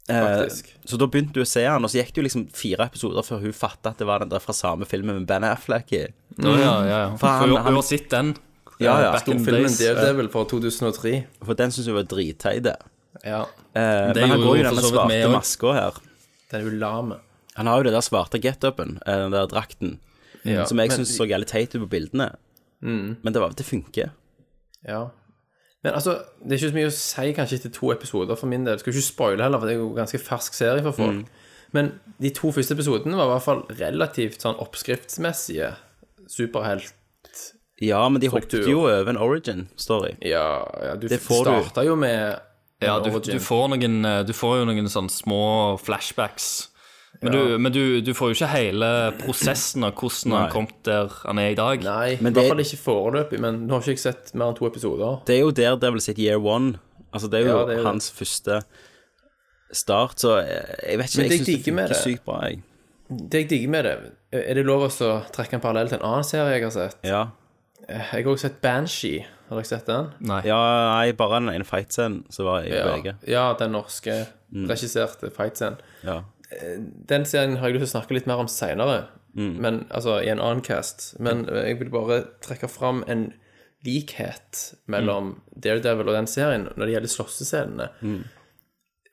Speaker 1: Eh,
Speaker 9: Faktisk.
Speaker 1: så da begynte du å se han, og så gikk det jo liksom fire episoder før hun fattet at det var den der fra samme filmen med Ben Affleck i.
Speaker 10: Ja, ja, ja. For
Speaker 1: For
Speaker 10: hun,
Speaker 1: han-
Speaker 10: hun har sett den.
Speaker 1: Ja, ja.
Speaker 10: Back in the days.
Speaker 9: vel fra 2003.
Speaker 1: For den syns jeg var dritteit.
Speaker 9: Ja.
Speaker 1: Eh,
Speaker 10: Det
Speaker 1: men han
Speaker 10: gjorde
Speaker 1: går jo
Speaker 10: jo for
Speaker 1: denne
Speaker 10: så vidt vi
Speaker 1: svarte
Speaker 10: også.
Speaker 1: maska her.
Speaker 9: Den er jo lame.
Speaker 1: Han har jo det der svarte get-upen, eh, den der drakten,
Speaker 9: Ja,
Speaker 1: som jeg
Speaker 9: men-
Speaker 1: syns så jævlig teit ut på bildene.
Speaker 9: Mm.
Speaker 1: Men det, var, det funker.
Speaker 9: Ja. Men altså, det er ikke så mye å si kanskje etter to episoder for min del. Skal ikke spoile heller, for det er jo en ganske fersk serie for folk. Men de to første episodene var i hvert fall relativt sånn oppskriftsmessige superhelt.
Speaker 1: Ja, men de
Speaker 9: Struktur.
Speaker 1: hoppet jo over en origin story.
Speaker 9: Ja, ja du
Speaker 1: Det får du.
Speaker 9: starta jo med
Speaker 10: Ja,
Speaker 9: med
Speaker 10: du,
Speaker 9: Origin.
Speaker 10: du, får noen, eh, du får jo noen sånne små flashbacks. Men,
Speaker 9: Ja.
Speaker 10: du, men du, du får jo ikke hele prosessen av hvordan han
Speaker 9: Nei.
Speaker 10: kom der han er i dag.
Speaker 9: Nei, i hvert fall ikke foreløpig, men nå har ikke jeg sett mer enn to episoder.
Speaker 1: Det er jo der det er vel sitt year one. Altså, det er jo
Speaker 9: Ja, det er jo
Speaker 1: hans første start, så eh, jeg vet ikke.
Speaker 9: Men det
Speaker 1: jeg
Speaker 9: jeg
Speaker 1: syns det
Speaker 9: digger
Speaker 1: funker
Speaker 9: med det-
Speaker 1: sykt bra, jeg.
Speaker 9: Det jeg digger med det, er det lov også å trekke en parallell til en annen serie jeg har sett?
Speaker 1: Ja.
Speaker 9: Eh, Jeg har også sett Banshee. Har dere sett den?
Speaker 10: Nei.
Speaker 1: Ja, nei, bare den ene fight-scenen, så var jeg på
Speaker 9: Ja,
Speaker 1: eget.
Speaker 9: ja den norske regisserte fight-scenen.
Speaker 1: Ja.
Speaker 9: Eh, Den serien har jeg lyst til å snakke litt mer om seinere,
Speaker 1: Mm.
Speaker 9: men altså i en annen cast. Men eh, jeg vil bare trekke fram en likhet mellom Daredevil og den serien når det gjelder slåssescenene.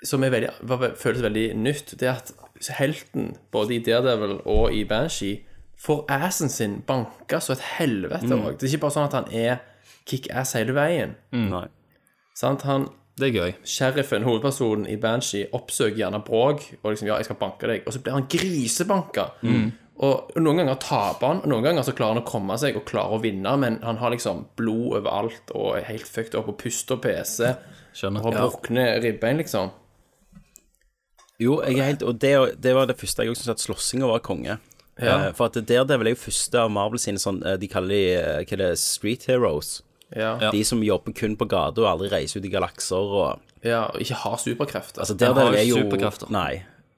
Speaker 9: som er veldig, var, ve- føles veldig nytt, det er at helten, både i Daredevil og i Banshee, får assen sin banka så et helvete
Speaker 10: Mm.
Speaker 9: også. Det er ikke bare sånn at han er kick-ass hele veien.
Speaker 1: Nei.
Speaker 9: Sant? Han,
Speaker 10: det er gøy.
Speaker 9: Sheriffen, hovedpersonen i Banshee, oppsøker gjerne Bråk og liksom 'Ja, jeg skal banke deg', og så blir han grisebanka.
Speaker 10: Mm.
Speaker 9: Og noen ganger taper han, og noen ganger så klarer han å komme seg og klarer å vinne, men han har liksom blod overalt og er helt fucked opp og puster og peser.
Speaker 10: Skjønner.
Speaker 9: Og har
Speaker 1: Ja.
Speaker 9: brukne ribbein, liksom.
Speaker 1: Jo, jeg er helt, og det, det var det første jeg også syntes at slåssinga var konge.
Speaker 9: Ja.
Speaker 1: Eh, for at Daredevil er jo første av Marvel sine sånn eh, De kaller de eh, hva er det, street heroes.
Speaker 9: Ja. Ja.
Speaker 1: De som jobber kun på gata og aldri reiser ut i galakser og
Speaker 9: Ja, og ikke har superkrefter.
Speaker 1: Altså,
Speaker 9: Han har
Speaker 1: Daredevil
Speaker 9: jo
Speaker 1: er jo
Speaker 9: superkrefter.
Speaker 1: Nei.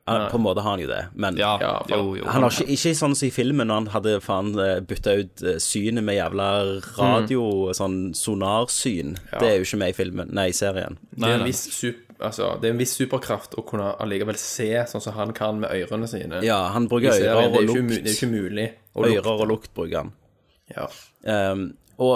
Speaker 1: Han,
Speaker 9: Nei.
Speaker 1: På en måte har han jo det, men
Speaker 9: Ja, jo, jo.
Speaker 1: han har ikke, ikke sånn som i filmen, når han hadde faen bytta ut eh, synet med jævla radio, sånn sonarsyn.
Speaker 9: Mm. Ja.
Speaker 1: Det er jo ikke med i filmen, nei, i serien.
Speaker 9: det, er en viss sup- altså, det er en viss superkraft å kunne allikevel se sånn som han kan med ørene sine.
Speaker 1: Ja, han bruker
Speaker 9: I serien,
Speaker 1: ører og
Speaker 9: det er jo ikke
Speaker 1: lukt.
Speaker 9: mu- Det er jo ikke mulig.
Speaker 1: Ører og lukt bruker han.
Speaker 9: Ja.
Speaker 1: Ehm, og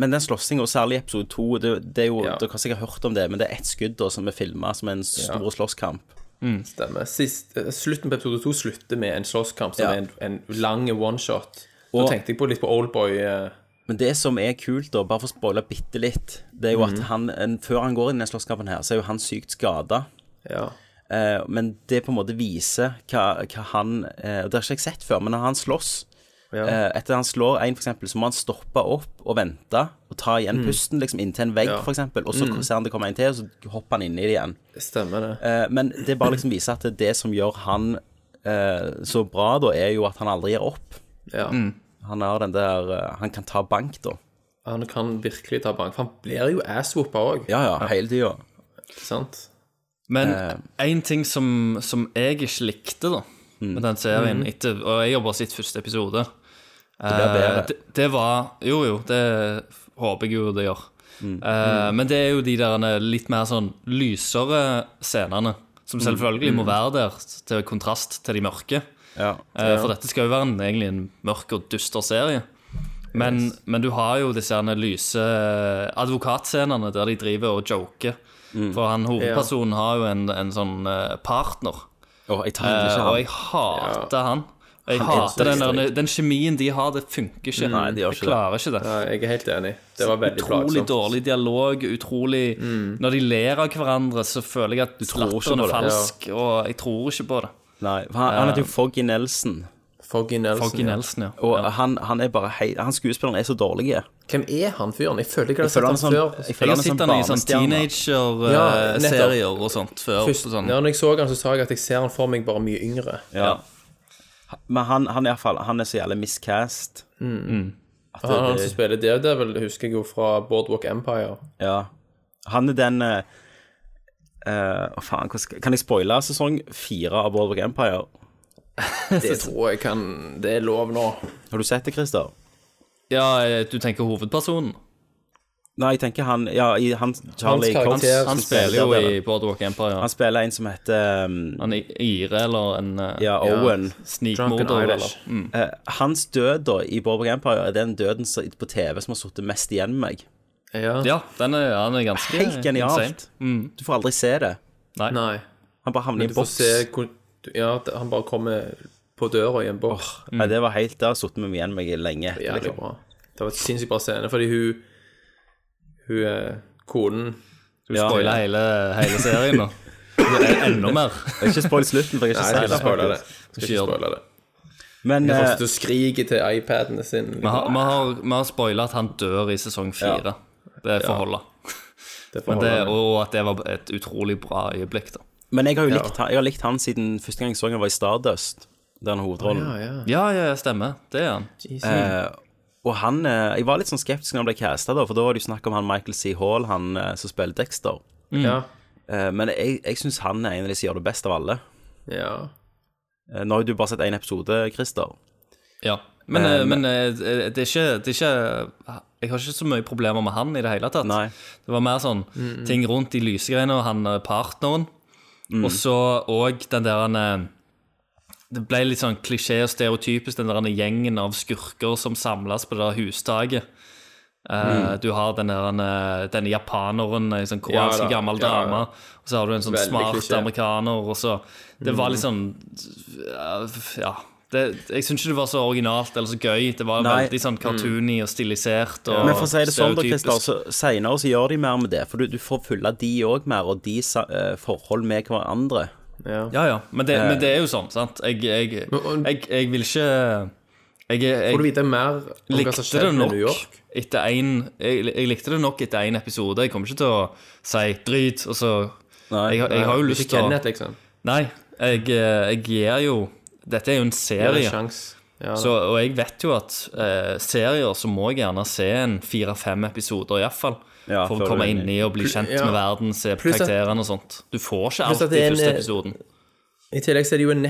Speaker 1: Men den slåssinga, særlig i episode to, det, det er jo, dere har sikkert hørt om det, men det er ett skudd da, som er filma som en stor slåsskamp.
Speaker 9: Stemmer. Sist, eh, slutten på episode to slutter med en slåsskamp som
Speaker 1: Ja.
Speaker 9: er en, en lang one-shot. Da
Speaker 1: Og-
Speaker 9: tenkte jeg på litt på Oldboy. eh,
Speaker 1: Men det som er kult, da, bare for å spoile bitte litt, det er jo at
Speaker 9: Mhm.
Speaker 1: han, en, før han går inn i den slåsskampen her, så er jo han sykt skada. Eh, men det på en måte viser hva, hva han eh, og Det har ikke jeg sett før, men når han slåss
Speaker 9: Ja.
Speaker 1: eh, Etter han slår en, for eksempel, så må han stoppe opp og vente og ta igjen
Speaker 9: Mhm.
Speaker 1: pusten liksom inntil en vegg,
Speaker 9: Ja.
Speaker 1: for eksempel, og så
Speaker 9: Mhm.
Speaker 1: ser han det kommer en til, og så hopper han inni det igjen.
Speaker 9: Stemmer det.
Speaker 1: Eh, men det bare liksom viser at det, det som gjør han eh, så bra, da, er jo at han aldri gir opp.
Speaker 9: Ja.
Speaker 1: Han har den der eh, Han kan ta bank, da.
Speaker 9: Han kan virkelig ta bank. For han blir jo ass-whoppa òg.
Speaker 1: Ja, ja, hele tida.
Speaker 9: Sant?
Speaker 10: Men
Speaker 9: Eh.
Speaker 10: én ting som, som jeg ikke likte da, med den serien,
Speaker 9: Mhm.
Speaker 10: etter, og jeg har bare sett første episode
Speaker 9: Det blir bedre.
Speaker 10: eh, det, det var Jo, jo, det håper jeg jo det gjør.
Speaker 9: Mm.
Speaker 10: Eh, Men det er jo de der litt mer sånn lysere scenene, som
Speaker 9: Mm.
Speaker 10: selvfølgelig må
Speaker 9: Mm.
Speaker 10: være der til kontrast til de mørke. Eh,
Speaker 9: Ja.
Speaker 10: For dette skal jo være en, egentlig en mørk og dyster serie. Men, men du har jo disse herne lyse eh, advokatscenene der de driver og joker.
Speaker 1: Mm.
Speaker 10: For han hovedpersonen har jo en, en sånn eh, partner.
Speaker 1: jeg tar egentlig ikke han.
Speaker 10: Eh, og jeg hater han. Og jeg
Speaker 9: Han er så
Speaker 10: hater den, der,
Speaker 9: ekstremt.
Speaker 10: den kjemien de har, det funker ikke.
Speaker 9: Nei, de gjør
Speaker 10: jeg
Speaker 9: ikke det.
Speaker 10: klarer ikke det.
Speaker 9: Nei, jeg er helt enig. Det var veldig
Speaker 10: Utrolig
Speaker 9: plagsomt. Mm.
Speaker 10: dårlig dialog, utrolig Når de ler av hverandre, så føler jeg at
Speaker 1: tror ikke på
Speaker 10: latteren er
Speaker 1: det.
Speaker 10: falsk, og jeg tror ikke på det.
Speaker 1: Nei, for han, han heter
Speaker 10: Eh.
Speaker 1: jo Foggy Nelson.
Speaker 9: Foggy Nelson.
Speaker 10: Foggy Nelson, ja.
Speaker 1: Og Han, han er bare hei, Han skuespilleren er så dårlig.
Speaker 9: Hvem er han fyren? Jeg føler ikke jeg har
Speaker 1: Jeg føler
Speaker 9: sett
Speaker 1: han
Speaker 9: han,
Speaker 1: er sånn-
Speaker 9: før.
Speaker 1: jeg føler Jeg har han er sett sånn han i sånn barnestjerne.
Speaker 9: Ja, nettopp.
Speaker 10: teenager-serier og sånt før.
Speaker 9: Først,
Speaker 10: på sånn.
Speaker 9: ja, når jeg så han, så sa jeg at jeg ser han for meg bare mye yngre.
Speaker 1: Ja. Men han, han, er i hvert fall, han er så jævlig miscast.
Speaker 9: Mm.
Speaker 1: At
Speaker 9: Han, han
Speaker 1: det-
Speaker 9: som spiller Daredevil, det husker jeg jo fra Boardwalk Empire.
Speaker 1: Ja. Han er den eh, eh, å faen, hvordan skal- Kan jeg spoile sesong fire av Boardwalk Empire?
Speaker 9: Det tror jeg kan Det er lov nå.
Speaker 1: Har du sett det, Christer?
Speaker 10: Ja, eh, du tenker hovedpersonen?
Speaker 1: Nei, jeg tenker han Ja, i, han Charlie
Speaker 10: han,
Speaker 1: Cox.
Speaker 10: han,
Speaker 1: som
Speaker 10: spiller jo
Speaker 1: der,
Speaker 10: i Boardwalk Empire. Ja.
Speaker 1: Han spiller en som heter um,
Speaker 10: Han er ire eller en eh,
Speaker 1: Ja, Owen.
Speaker 10: Snikmorder eller mm.
Speaker 1: Eh, hans død da i Boardwalk Empire er den døden som- på TV som har sittet mest igjen med meg.
Speaker 9: Ja,
Speaker 10: ja den er, han er ganske
Speaker 1: Helt genialt.
Speaker 10: insane. Mm.
Speaker 1: Du får aldri se det.
Speaker 10: Nei.
Speaker 1: Han bare havner i
Speaker 9: Men
Speaker 1: en
Speaker 9: du får
Speaker 1: boks.
Speaker 9: se hvor Ja, det- han bare kommer på døra i en boks.
Speaker 1: Ja,
Speaker 10: Mm.
Speaker 1: det var helt, det har sittet med meg igjen meg lenge.
Speaker 9: Det var jævlig bra. Det var et sinnssykt bra scene, fordi hun Hun eh, konen
Speaker 10: Du spoiler hele, hele serien nå. Enda mer.
Speaker 1: Ikke spoil slutten, for jeg har ikke
Speaker 9: Nei, jeg
Speaker 1: sett
Speaker 9: skal
Speaker 1: det.
Speaker 9: ikke spoile det.
Speaker 1: faktisk.
Speaker 9: Jeg Skal ikke spoile det.
Speaker 10: Eh,
Speaker 1: Men,
Speaker 9: Men,
Speaker 1: eh,
Speaker 9: du skriker til iPadene sine. liksom.
Speaker 10: Vi har, vi har, vi har spoilet at han dør i sesong fire. Det får
Speaker 9: Ja.
Speaker 10: holde.
Speaker 9: Det får
Speaker 10: Men det-
Speaker 9: holde.
Speaker 10: Og at det var et utrolig bra øyeblikk, da.
Speaker 1: men jeg har jo
Speaker 10: Ja.
Speaker 1: likt, han- jeg har likt han siden første gang jeg så han var i Stardust, der han har hovedrollen.
Speaker 10: Å, Ja, ja, stemmer. Det er han.
Speaker 1: Eh, og han eh, Jeg var litt sånn skeptisk når han ble casta, da, for da var det jo snakk om han Michael C. Hall, han eh, som spiller Dexter.
Speaker 10: Mm. Ja.
Speaker 1: Eh, men jeg, jeg syns han er en av de som gjør det best av alle.
Speaker 9: Ja.
Speaker 1: Eh, nå har jo du bare sett én episode, Christer.
Speaker 10: Ja. Men,
Speaker 1: Eh,
Speaker 10: eh, men eh, det, er ikke, det er ikke Jeg har ikke så mye problemer med han i det hele tatt. Det var mer sånn
Speaker 9: Mm, mm.
Speaker 10: ting rundt de lysegreiene og han eh, partneren.
Speaker 9: Mm.
Speaker 10: Og så òg den der han eh, Det ble litt sånn klisjé og stereotypisk, den der han gjengen av skurker som samles på det der hustaket. Eh,
Speaker 9: Mm.
Speaker 10: Du har den der, han, eh, denne japaneren, ei sånn
Speaker 9: Ja
Speaker 10: koreansk
Speaker 9: da,
Speaker 10: gammel
Speaker 9: ja, ja.
Speaker 10: dame. Og så har du en sånn
Speaker 9: Veldig
Speaker 10: smart
Speaker 9: klisjé.
Speaker 10: amerikaner, og så Det var
Speaker 9: Mm.
Speaker 10: litt sånn Eh, Ja. Det, jeg syns ikke det var så originalt eller så gøy. Det var
Speaker 1: Nei.
Speaker 10: veldig sånn cartoony og stilisert. Og
Speaker 1: Men for å si det sånn, da,
Speaker 10: stereotypisk.
Speaker 1: Christer, så senere så gjør de mer med det. For du, du får fylle de òg mer, og de sa- eh, forhold med hverandre.
Speaker 10: Ja, ja. Men det,
Speaker 1: Eh.
Speaker 10: men det er jo sånn, sant. Jeg, jeg, jeg, jeg vil ikke jeg, jeg,
Speaker 9: Får du vite mer om hva som
Speaker 10: likte
Speaker 9: skjedde
Speaker 10: det
Speaker 9: i New
Speaker 10: nok
Speaker 9: York?
Speaker 10: etter en, jeg, jeg likte det nok etter én episode. Jeg kommer ikke til å si drit, og så jeg, jeg har jo
Speaker 9: Nei,
Speaker 10: lyst
Speaker 9: ikke
Speaker 10: til å
Speaker 9: Kenneth, liksom.
Speaker 10: Nei, jeg, eh, jeg gir jo Dette er jo en serie.
Speaker 9: en sjans. Ja, da.
Speaker 10: så, og jeg vet jo at eh, serier så må jeg gjerne se en fire-fem episoder, iallfall.
Speaker 1: Ja,
Speaker 10: for
Speaker 1: før
Speaker 10: å
Speaker 1: du
Speaker 10: komme
Speaker 1: er
Speaker 10: inn i og bli
Speaker 9: Pl-
Speaker 10: kjent
Speaker 9: ja.
Speaker 10: med verden, se
Speaker 9: Pluss at-
Speaker 10: karakterene og sånt. Du får ikke
Speaker 9: Pluss at
Speaker 10: alt
Speaker 9: det
Speaker 10: i
Speaker 9: er en,
Speaker 10: første
Speaker 9: eh,
Speaker 10: episoden.
Speaker 9: I tillegg så er det jo en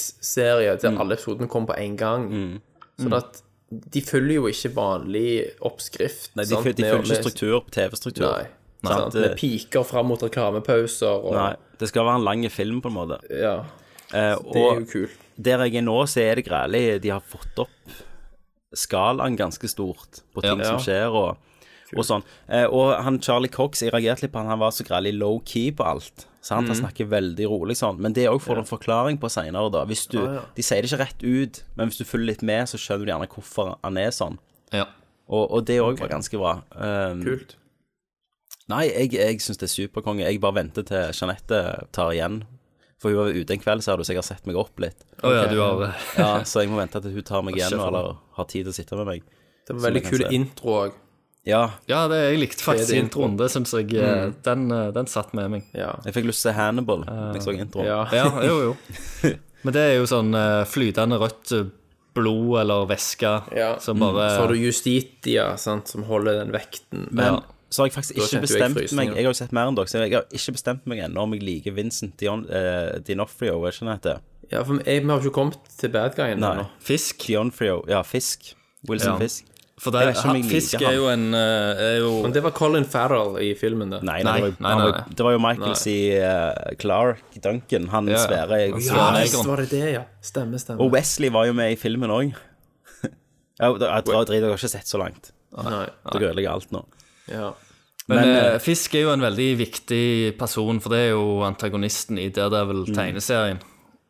Speaker 9: Netflix-serie
Speaker 1: Mm.
Speaker 9: der alle episodene kommer på én gang. Sånn at de følger jo ikke vanlig oppskrift.
Speaker 1: Nei, de
Speaker 9: sant?
Speaker 1: føl- de
Speaker 9: Med-
Speaker 1: følger ikke
Speaker 9: med-
Speaker 1: struktur, TV-struktur.
Speaker 9: Nei.
Speaker 1: Nei.
Speaker 9: sant?
Speaker 1: Det-
Speaker 9: Med piker fram mot reklamepauser og
Speaker 1: Nei, det skal være en lang film, på en måte.
Speaker 9: Ja.
Speaker 1: Eh,
Speaker 9: Det er
Speaker 1: og
Speaker 9: jo kult.
Speaker 1: der jeg er nå, så er det grælig. De har fått opp skalaen ganske stort på ting
Speaker 9: Ja.
Speaker 1: som skjer, og, og sånn. Eh, og han Charlie Cox, jeg reagerte litt på han, han var så grellig low-key på alt. Sant? Han
Speaker 9: Mhm.
Speaker 1: snakker veldig rolig sånn. Men det òg får du en forklaring på seinere, da. Hvis du,
Speaker 9: Ja, ja.
Speaker 1: De sier det ikke rett ut, men hvis du følger litt med, så skjønner du gjerne hvorfor han er sånn. Og, og det òg var ganske bra. Um,
Speaker 9: Kult.
Speaker 1: Nei, jeg, jeg syns det er superkonge. Jeg bare venter til Jeanette tar igjen. For hun var ute en kveld, så har du sikkert sett meg opp litt.
Speaker 10: Å ja, du har eh, det.
Speaker 1: ja, Så jeg må vente til hun tar meg
Speaker 10: Ikke
Speaker 1: igjen,
Speaker 10: for-
Speaker 1: eller har tid til å sitte med meg.
Speaker 9: Det var veldig kul intro òg.
Speaker 1: Ja.
Speaker 10: Ja, det, jeg likte faktisk
Speaker 9: Fede intro.
Speaker 10: introen. Det syns jeg eh,
Speaker 9: Mm.
Speaker 10: den, eh, den satt med meg.
Speaker 1: Jeg fikk lyst til å se Hannibal
Speaker 9: Eh,
Speaker 1: når jeg så introen.
Speaker 10: Ja. jo, jo. Men det er jo sånn eh, flytende rødt eh, blod eller væske som bare
Speaker 9: Så har Mm. du Justitia, sant, som holder den vekten.
Speaker 1: Men så har jeg faktisk
Speaker 9: Da
Speaker 1: ikke
Speaker 9: kjente jo
Speaker 1: bestemt
Speaker 9: frysninger.
Speaker 1: meg Jeg har jo sett mer enn dere, så jeg har ikke bestemt meg ennå om jeg liker Vincent Dion, eh, Dinofrio, er ikke det han heter?
Speaker 9: Ja, for jeg, vi har jo ikke kommet til bad guyen
Speaker 1: Nei.
Speaker 9: ennå.
Speaker 10: Fisk?
Speaker 1: Dionfrio. Ja, Fisk. Wilson
Speaker 9: Ja.
Speaker 1: Fisk.
Speaker 10: For
Speaker 1: Jeg
Speaker 10: der,
Speaker 1: vet ikke om
Speaker 10: han,
Speaker 1: jeg liker
Speaker 10: fisk
Speaker 1: han.
Speaker 10: er jo en eh, er jo,
Speaker 9: Men det var Colin Farrell i filmen, det.
Speaker 1: Nei, nei, det, var, jo- han var, det var jo Michael C. eh, Clark Duncan, han
Speaker 9: Ja, ja.
Speaker 1: svære
Speaker 9: Å,
Speaker 1: svære
Speaker 9: Ja,
Speaker 1: negeren.
Speaker 9: visst var det det, ja. Stemmer, stemmer.
Speaker 1: Og Wesley var jo med i filmen òg. Jeg drar drit, dere har ikke sett så langt.
Speaker 9: Nei.
Speaker 1: Dere ødelegger alt nå.
Speaker 9: Ja.
Speaker 10: Men,
Speaker 1: Men, eh,
Speaker 10: eh, Fisk er jo en veldig viktig person, for det er jo antagonisten i
Speaker 1: Mm.
Speaker 10: Daredevil-tegneserien.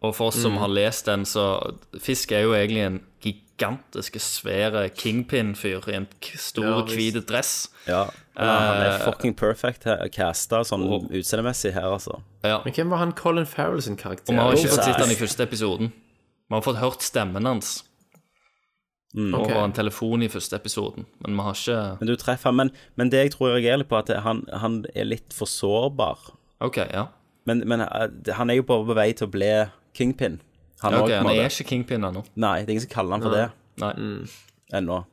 Speaker 10: Og for oss som
Speaker 9: Mm.
Speaker 10: har lest den, så Fisk er jo egentlig en gigantisk svære kingpin-fyr i en k-
Speaker 1: Ja,
Speaker 10: stor,
Speaker 1: visst.
Speaker 10: hvit dress.
Speaker 1: Ja. han er
Speaker 10: Eh,
Speaker 1: fucking perfect her- casta sånn utseendemessig her, altså.
Speaker 9: Men hvem var han Colin Farrell sin karakter?
Speaker 10: Og vi har ikke
Speaker 1: Bullseye.
Speaker 10: fått sett han i første episoden. Vi har fått hørt stemmen hans
Speaker 1: Mm.
Speaker 10: over
Speaker 1: Ok.
Speaker 10: en telefon i første episoden, men vi har ikke
Speaker 1: Men du treffer han. Men, men det jeg tror jeg reagerer litt på, er at han, han er litt for sårbar.
Speaker 10: Ok, ja.
Speaker 1: Men, men eh, han er jo bare på vei til å bli kingpin.
Speaker 10: Ja,
Speaker 1: også,
Speaker 10: ok,
Speaker 1: på en
Speaker 10: han
Speaker 1: måte.
Speaker 10: er ikke kingpin ennå.
Speaker 1: Nei, det er ingen som kaller han for
Speaker 10: Nei.
Speaker 1: det. Ennå.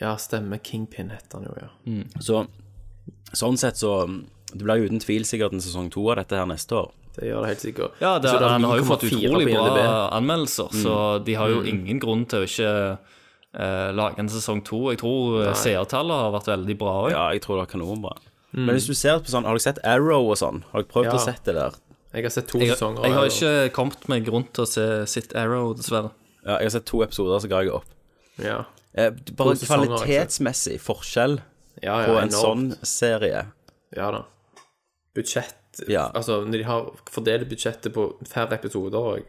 Speaker 9: Ja, stemmer. Kingpin heter han jo, ja.
Speaker 10: Mm.
Speaker 1: Så sånn sett så Det blir jo uten tvil sikkert en sesong to av dette her neste år.
Speaker 9: Det gjør det helt sikkert.
Speaker 10: Ja, det,
Speaker 9: Så det er
Speaker 10: han har jo fått
Speaker 9: 9,4
Speaker 10: utrolig
Speaker 9: på IMDb.
Speaker 10: bra anmeldelser, så de har jo
Speaker 9: Mm.
Speaker 10: ingen grunn til å ikke eh, lage en sesong to. Jeg tror eh,
Speaker 1: Nei.
Speaker 10: seertallet har vært veldig bra òg.
Speaker 1: Ja, jeg tror det er kanonbra.
Speaker 10: Mm.
Speaker 1: Men hvis du ser på sånn, har dere sett Arrow og sånn? Har dere prøvd
Speaker 10: Ja.
Speaker 1: å sett det der?
Speaker 9: Jeg har sett to
Speaker 10: Jeg,
Speaker 9: sesonger.
Speaker 10: jeg har
Speaker 9: eller-
Speaker 10: ikke kommet meg rundt til å se Sit Arrow, dessverre.
Speaker 1: Ja, jeg har sett to episoder, så ga jeg opp.
Speaker 9: Ja.
Speaker 1: Eh, bare
Speaker 9: To sesonger, ikke
Speaker 1: kvalitetsmessig forskjell
Speaker 9: Ja, ja,
Speaker 1: på en
Speaker 9: Eh, enormt.
Speaker 1: sånn serie.
Speaker 9: Ja da. Budsjett
Speaker 1: Ja.
Speaker 9: Altså, når de har fordelt budsjettet på færre episoder òg.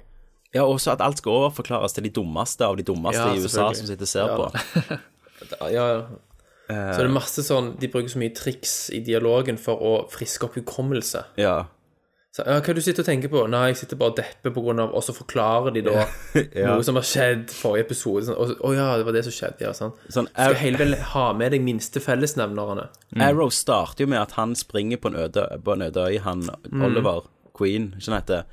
Speaker 1: Ja, også at alt skal overforklares til de dummeste av de dummeste
Speaker 9: Ja,
Speaker 1: i USA
Speaker 9: selvfølgelig.
Speaker 1: som sitter og ser
Speaker 9: Ja,
Speaker 1: på.
Speaker 9: Ja, ja. Så det er masse sånn De bruker så mye triks i dialogen for å friske opp hukommelse.
Speaker 1: Ja.
Speaker 9: Så, ja, hva er det du sitter og tenker på? Nei, jeg sitter bare og depper på grunn av Og så forklarer de da
Speaker 1: Ja.
Speaker 9: noe som har skjedd forrige episode. Sånn, og, så- å ja, det var det som skjedde, ja. Sånn.
Speaker 1: Sånn,
Speaker 9: Skal
Speaker 1: er-
Speaker 9: hele vel ha med deg minste fellesnevnerne.
Speaker 10: Mm.
Speaker 1: Arrow starter jo med at han springer på en øde, på en øde øy, han
Speaker 9: Mm.
Speaker 1: Oliver Queen, ikke han heter,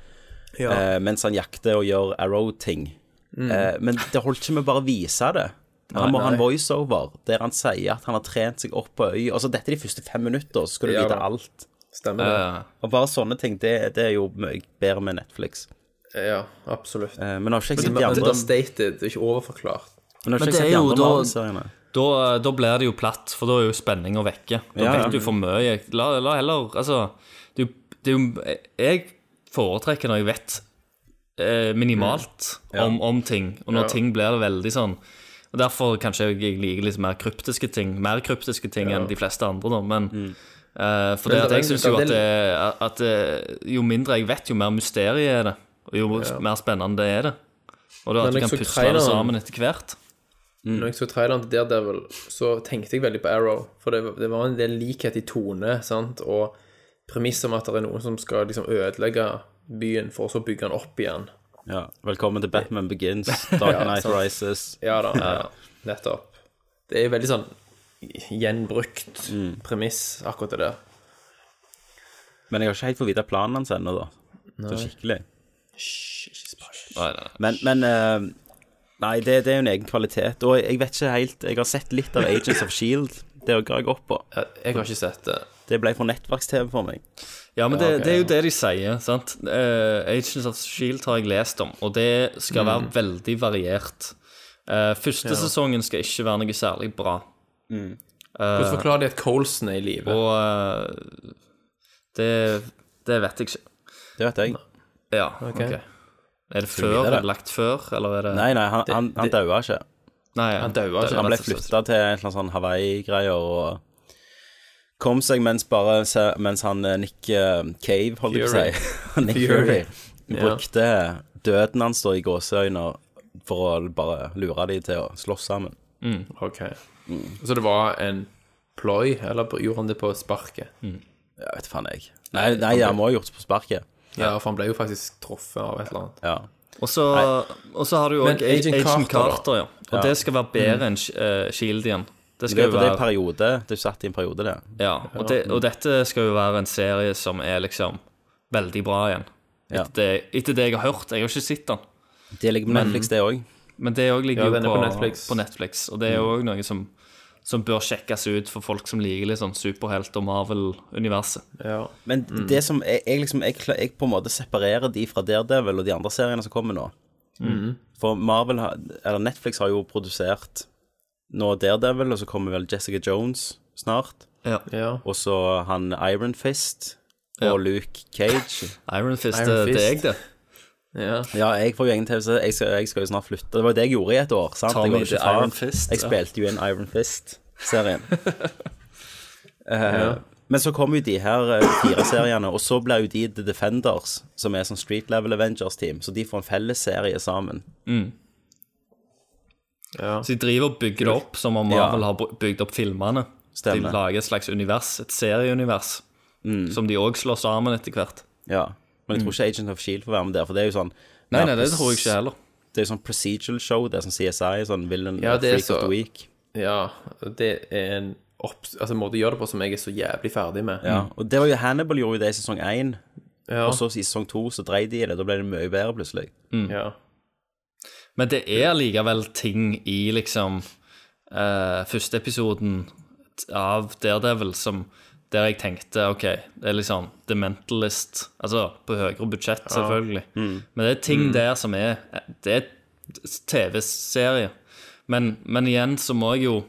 Speaker 9: Ja.
Speaker 1: eh, mens han jakter og gjør Arrow-ting.
Speaker 9: Mm.
Speaker 1: Eh, men det holdt ikke med bare å vise det.
Speaker 9: Nei,
Speaker 1: Han må ha en
Speaker 9: nei.
Speaker 1: voiceover der han sier at han har trent seg opp på øy. Altså, dette er de første fem minutter, så skal du
Speaker 9: Ja,
Speaker 1: vite
Speaker 9: da.
Speaker 1: alt.
Speaker 9: Stemmer det.
Speaker 10: Eh,
Speaker 9: Ja,
Speaker 1: Og bare sånne ting, det, det er jo mye bedre med Netflix.
Speaker 9: Ja, absolutt.
Speaker 1: Eh, men har ikke jeg sett
Speaker 9: det
Speaker 1: de
Speaker 9: er
Speaker 1: andre
Speaker 9: understated, ikke overforklart.
Speaker 1: Men har
Speaker 10: Men
Speaker 1: ikke jeg
Speaker 10: det
Speaker 1: sett de
Speaker 10: er jo
Speaker 1: andre
Speaker 10: da-
Speaker 1: Marvel-seriene.
Speaker 10: Da, da blir det jo platt, for da er jo spenninga vekke.
Speaker 1: Ja,
Speaker 10: Da
Speaker 1: ja.
Speaker 10: vet du for mye. La, la heller Altså, det, er jo- det er jo Jeg foretrekker når jeg vet eh, minimalt
Speaker 9: Mm. Ja.
Speaker 10: om, om ting, og når
Speaker 9: Ja.
Speaker 10: ting blir det veldig sånn og Derfor kanskje jeg, jeg liker litt mer kryptiske ting, mer kryptiske ting enn de fleste andre, da, men eh, For
Speaker 9: Mm. Men det
Speaker 10: det
Speaker 9: er
Speaker 10: at jeg
Speaker 9: jo-
Speaker 10: syns jo
Speaker 9: det er
Speaker 10: at, det, at det, jo mindre jeg vet, jo mer mysterium er det, og jo mer spennende det er det. Og da
Speaker 9: Men
Speaker 10: at du
Speaker 9: jeg
Speaker 10: kan
Speaker 9: så
Speaker 10: putte
Speaker 9: traileren-
Speaker 10: det sammen etter hvert.
Speaker 1: Mm.
Speaker 9: Når jeg så traileren til Daredevil, så tenkte jeg veldig på Arrow. For det, det var en del likhet i tone sant? og premiss om at det er noen som skal liksom, ødelegge byen, for så å bygge den opp igjen.
Speaker 1: Ja, velkommen til Batman Begins, Dark
Speaker 9: Ja,
Speaker 1: Knight
Speaker 9: sant.
Speaker 1: Rises.
Speaker 9: Ja da, ja, nettopp. Det er jo veldig sånn gjenbrukt premiss, akkurat det der.
Speaker 1: Men jeg har ikke helt fått vite planen hans ennå, da.
Speaker 9: Nei.
Speaker 1: Så skikkelig.
Speaker 10: Nei, nei.
Speaker 1: Men, men eh, Nei, det, det er jo en egen kvalitet. Og jeg vet ikke helt Jeg har sett litt av Agents of Shield. E Det ga jeg opp på.
Speaker 9: Jeg har ikke sett det.
Speaker 1: Det ble for nettverks-TV for meg.
Speaker 10: Ja, men det,
Speaker 1: Ja, ok,
Speaker 10: det er jo det de sier, sant. Eh, Agents of Shield har jeg lest om, og det skal være
Speaker 1: Mm.
Speaker 10: veldig variert. Eh, første
Speaker 9: Ja.
Speaker 10: sesongen skal ikke være noe særlig bra. Eh,
Speaker 1: Mm.
Speaker 9: Hvordan forklarer de at Colson er i live?
Speaker 10: Og eh, det, det vet jeg ikke.
Speaker 1: Det vet jeg.
Speaker 10: Ja, ok.
Speaker 1: Ok.
Speaker 10: Er det
Speaker 1: Skal vi
Speaker 10: før?
Speaker 1: vite det?
Speaker 10: Er det lagt før, eller er det
Speaker 1: Nei, nei, han, han, han
Speaker 10: Det-
Speaker 1: daua ikke.
Speaker 10: Nei, ja.
Speaker 1: Han ble
Speaker 10: rett og slett.
Speaker 1: flytta til en eller annen sånn Hawaii-greier og kom seg mens, bare, se- mens han eh, Nick eh, Cave, holdt jeg på å
Speaker 9: Fury.
Speaker 1: si. Nick
Speaker 9: Fury.
Speaker 1: Fury.
Speaker 9: Ja.
Speaker 1: Brukte døden hans da i gåseøyne for å bare lure de til å slåss sammen.
Speaker 9: Mm, ok. Så det var en ploy, eller på- gjorde han det på sparket?
Speaker 1: Jeg vet faen, jeg. Nei, nei han må ha gjort det på sparket.
Speaker 9: Ja, for han ble jo faktisk truffet av et eller annet.
Speaker 1: Ja.
Speaker 10: Og så, og så har du jo
Speaker 9: Men
Speaker 10: også Agent,
Speaker 9: Agent
Speaker 10: Carter,
Speaker 9: Carter, da.
Speaker 10: ja. Og
Speaker 1: Ja.
Speaker 10: det skal være bedre
Speaker 1: Mm.
Speaker 10: enn Sh- eh, Shield igjen. Det
Speaker 1: Det,
Speaker 10: skal
Speaker 1: er
Speaker 10: jo
Speaker 1: på det
Speaker 10: være
Speaker 1: periode, det er satt i en periode, det.
Speaker 10: Ja, og, det, og dette skal jo være en serie som er liksom veldig bra igjen. Etter,
Speaker 1: Ja.
Speaker 10: det, etter det jeg har hørt. Jeg har ikke sett den.
Speaker 1: Det ligger på
Speaker 10: Men-
Speaker 1: Netflix, det òg.
Speaker 10: Men det òg ligger
Speaker 9: Ja,
Speaker 10: jo
Speaker 9: den er
Speaker 10: på,
Speaker 9: på
Speaker 10: på, Netflix.
Speaker 9: Netflix.
Speaker 10: Og det er
Speaker 9: Mm.
Speaker 10: òg noe som, som bør sjekkes ut for folk som liker litt sånn superhelt- og Marvel-universet.
Speaker 1: Men det som jeg, jeg liksom jeg, kla- jeg på en måte separerer de fra Daredevil og de andre seriene som kommer nå.
Speaker 10: Mhm.
Speaker 1: For Marvel har, eller Netflix har jo produsert nå Daredevil, og så kommer vel Jessica Jones snart. Og så han Iron Fist og
Speaker 10: Ja.
Speaker 1: Luke Cage.
Speaker 10: Iron Fist Iron er Fist. deg, det.
Speaker 9: Ja.
Speaker 1: jeg får jo egen TV, så jeg skal, jeg skal jo snart flytte. Det var jo det jeg gjorde i et år. sant?
Speaker 10: Tommy
Speaker 1: jeg, var jo ikke
Speaker 10: the
Speaker 1: far.
Speaker 10: Iron Fist,
Speaker 1: jeg
Speaker 10: ja.
Speaker 1: spilte jo i en Iron Fist-serien. Eh,
Speaker 10: Ja.
Speaker 1: Men så kom jo de her eh, fire seriene, og så blir jo de The Defenders, som er sånn Street Level Avengers-team, så de får en felles serie sammen.
Speaker 10: Mm. Så de driver og bygger det opp som om
Speaker 1: Ja.
Speaker 10: Marvel har bygd opp filmene.
Speaker 1: Stemmer.
Speaker 10: De lager et slags univers, et serieunivers, som de òg slår sammen etter hvert.
Speaker 1: Ja. Men jeg tror ikke Agent of Shield E får være med der, for det er jo sånn
Speaker 10: Nei, nei, det tror jeg ikke heller.
Speaker 1: Det er jo sånn procedural show, det er sånn CSI, sånn villain
Speaker 9: Ja, det er
Speaker 1: freak
Speaker 9: så-
Speaker 1: of the week.
Speaker 9: Ja, det er en opp... Altså, en måte å gjøre det på som jeg er så jævlig ferdig med.
Speaker 1: Ja, og det var jo Hannibal gjorde jo det i sesong 1
Speaker 9: Ja.
Speaker 1: Og så i sesong 2 så dreide de i det Da ble det mye bedre plutselig
Speaker 9: Ja.
Speaker 10: Men det er likevel ting i liksom eh, første episoden t- av Daredevil som der jeg tenkte OK, det er liksom The Mentalist. Altså på høyere budsjett,
Speaker 9: Ja.
Speaker 10: selvfølgelig.
Speaker 9: Mm.
Speaker 10: Men det er ting
Speaker 9: Mm.
Speaker 10: der som er Det er TV-serie. Men, men igjen så må jeg jo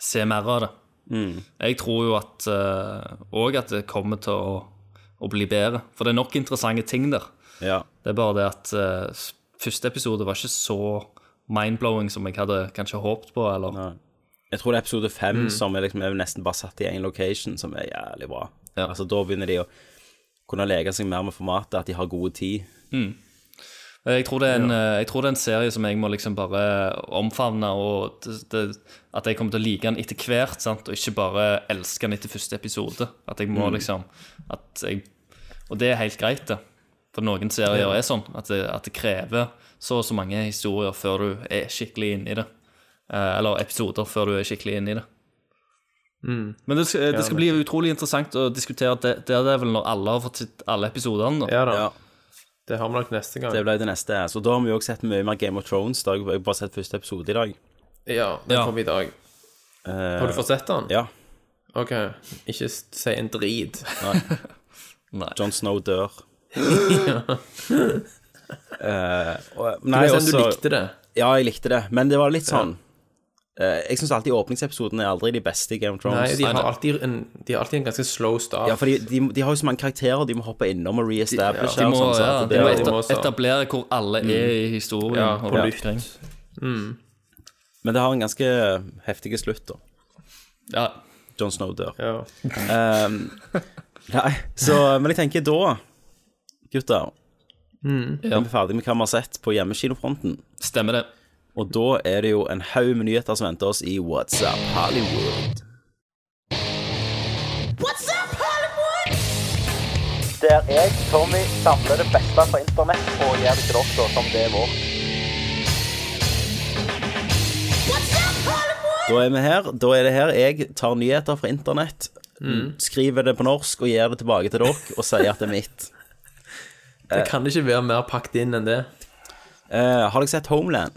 Speaker 10: se mer av det.
Speaker 9: Mm.
Speaker 10: Jeg tror jo at òg at det kommer til å, å bli bedre. For det er nok interessante ting der.
Speaker 1: Ja.
Speaker 10: Det er bare det at eh, s- første episode var ikke så mindblowing som jeg hadde kanskje håpet på, eller
Speaker 1: Jeg tror det er episode 5
Speaker 10: Mm.
Speaker 1: som er, liksom, er nesten bare satt i en location Som er jævlig bra Altså da begynner de å kunne lege seg mer med formatet At de har god tid
Speaker 10: Mm. Jeg tror, det er en, eh, jeg tror det er en serie som jeg må liksom bare omfavne, og det, det, at jeg kommer til å like den etter hvert, sant? og ikke bare elske den etter første episode. At jeg må
Speaker 1: Mm.
Speaker 10: liksom at jeg, Og det er helt greit, det. For noen serier
Speaker 9: Ja.
Speaker 10: er sånn at det, at det krever så og så mange historier før du er skikkelig inne i det. Eh, eller episoder før du er skikkelig inne i det.
Speaker 9: Mm.
Speaker 10: Men det skal,
Speaker 9: Ja,
Speaker 10: det skal bli utrolig interessant å diskutere det, det er det vel når alle har fått sett alle episodene.
Speaker 9: Ja da. Det har vi nok neste gang.
Speaker 1: Det ble det neste Så da har vi jo også sett mye mer Game of Thrones da. Jeg har bare sett første episode i dag
Speaker 9: Ja, den kommer i dag.
Speaker 1: Eh,
Speaker 9: Har du fått sett den?
Speaker 1: Ja
Speaker 9: OK. Ikke s- si en drit.
Speaker 1: Nei.
Speaker 10: Nei.
Speaker 1: Jon Snow dør Eh, og-
Speaker 9: Du kan si at du likte det.
Speaker 1: Ja, jeg likte det, men det var litt sånn eh, Jeg syns alltid åpningsepisodene er aldri de beste i Game of Thrones.
Speaker 9: Nei, de har, alltid en, de har alltid en ganske slow start.
Speaker 1: Ja, for de, de, de har jo så mange karakterer de må hoppe innom og reestablishe.
Speaker 10: De må,
Speaker 1: og sånn, så
Speaker 10: ja,
Speaker 1: at
Speaker 10: de
Speaker 1: det
Speaker 10: må
Speaker 1: er jo-
Speaker 10: eta- etablere hvor alle er i historien.
Speaker 1: Ja,
Speaker 10: og
Speaker 1: på
Speaker 10: rundt
Speaker 1: lytt.
Speaker 10: omkring.
Speaker 1: Men det har en ganske heftig slutt, da.
Speaker 10: Ja.
Speaker 1: John Snow dør.
Speaker 9: Ja.
Speaker 1: Ehm, nei, så eh, Men jeg tenker da, gutter
Speaker 9: Mm.
Speaker 1: Er vi ferdig med hva vi har sett på hjemmekinofronten?
Speaker 10: Stemmer det.
Speaker 1: Og da er det jo en haug med nyheter som venter oss i What's Up Hollywood.
Speaker 16: What's up, Hollywood?
Speaker 1: Der jeg, Tommy, samler det beste fra internett og gjør det til dere som det er vårt. Da er vi her. Da er det her jeg tar nyheter fra internett,
Speaker 9: Mm.
Speaker 1: skriver det på norsk og gir det tilbake til dere og sier at det er mitt.
Speaker 9: Det kan ikke være mer pakket inn enn det.
Speaker 1: Eh, har dere sett Homeland?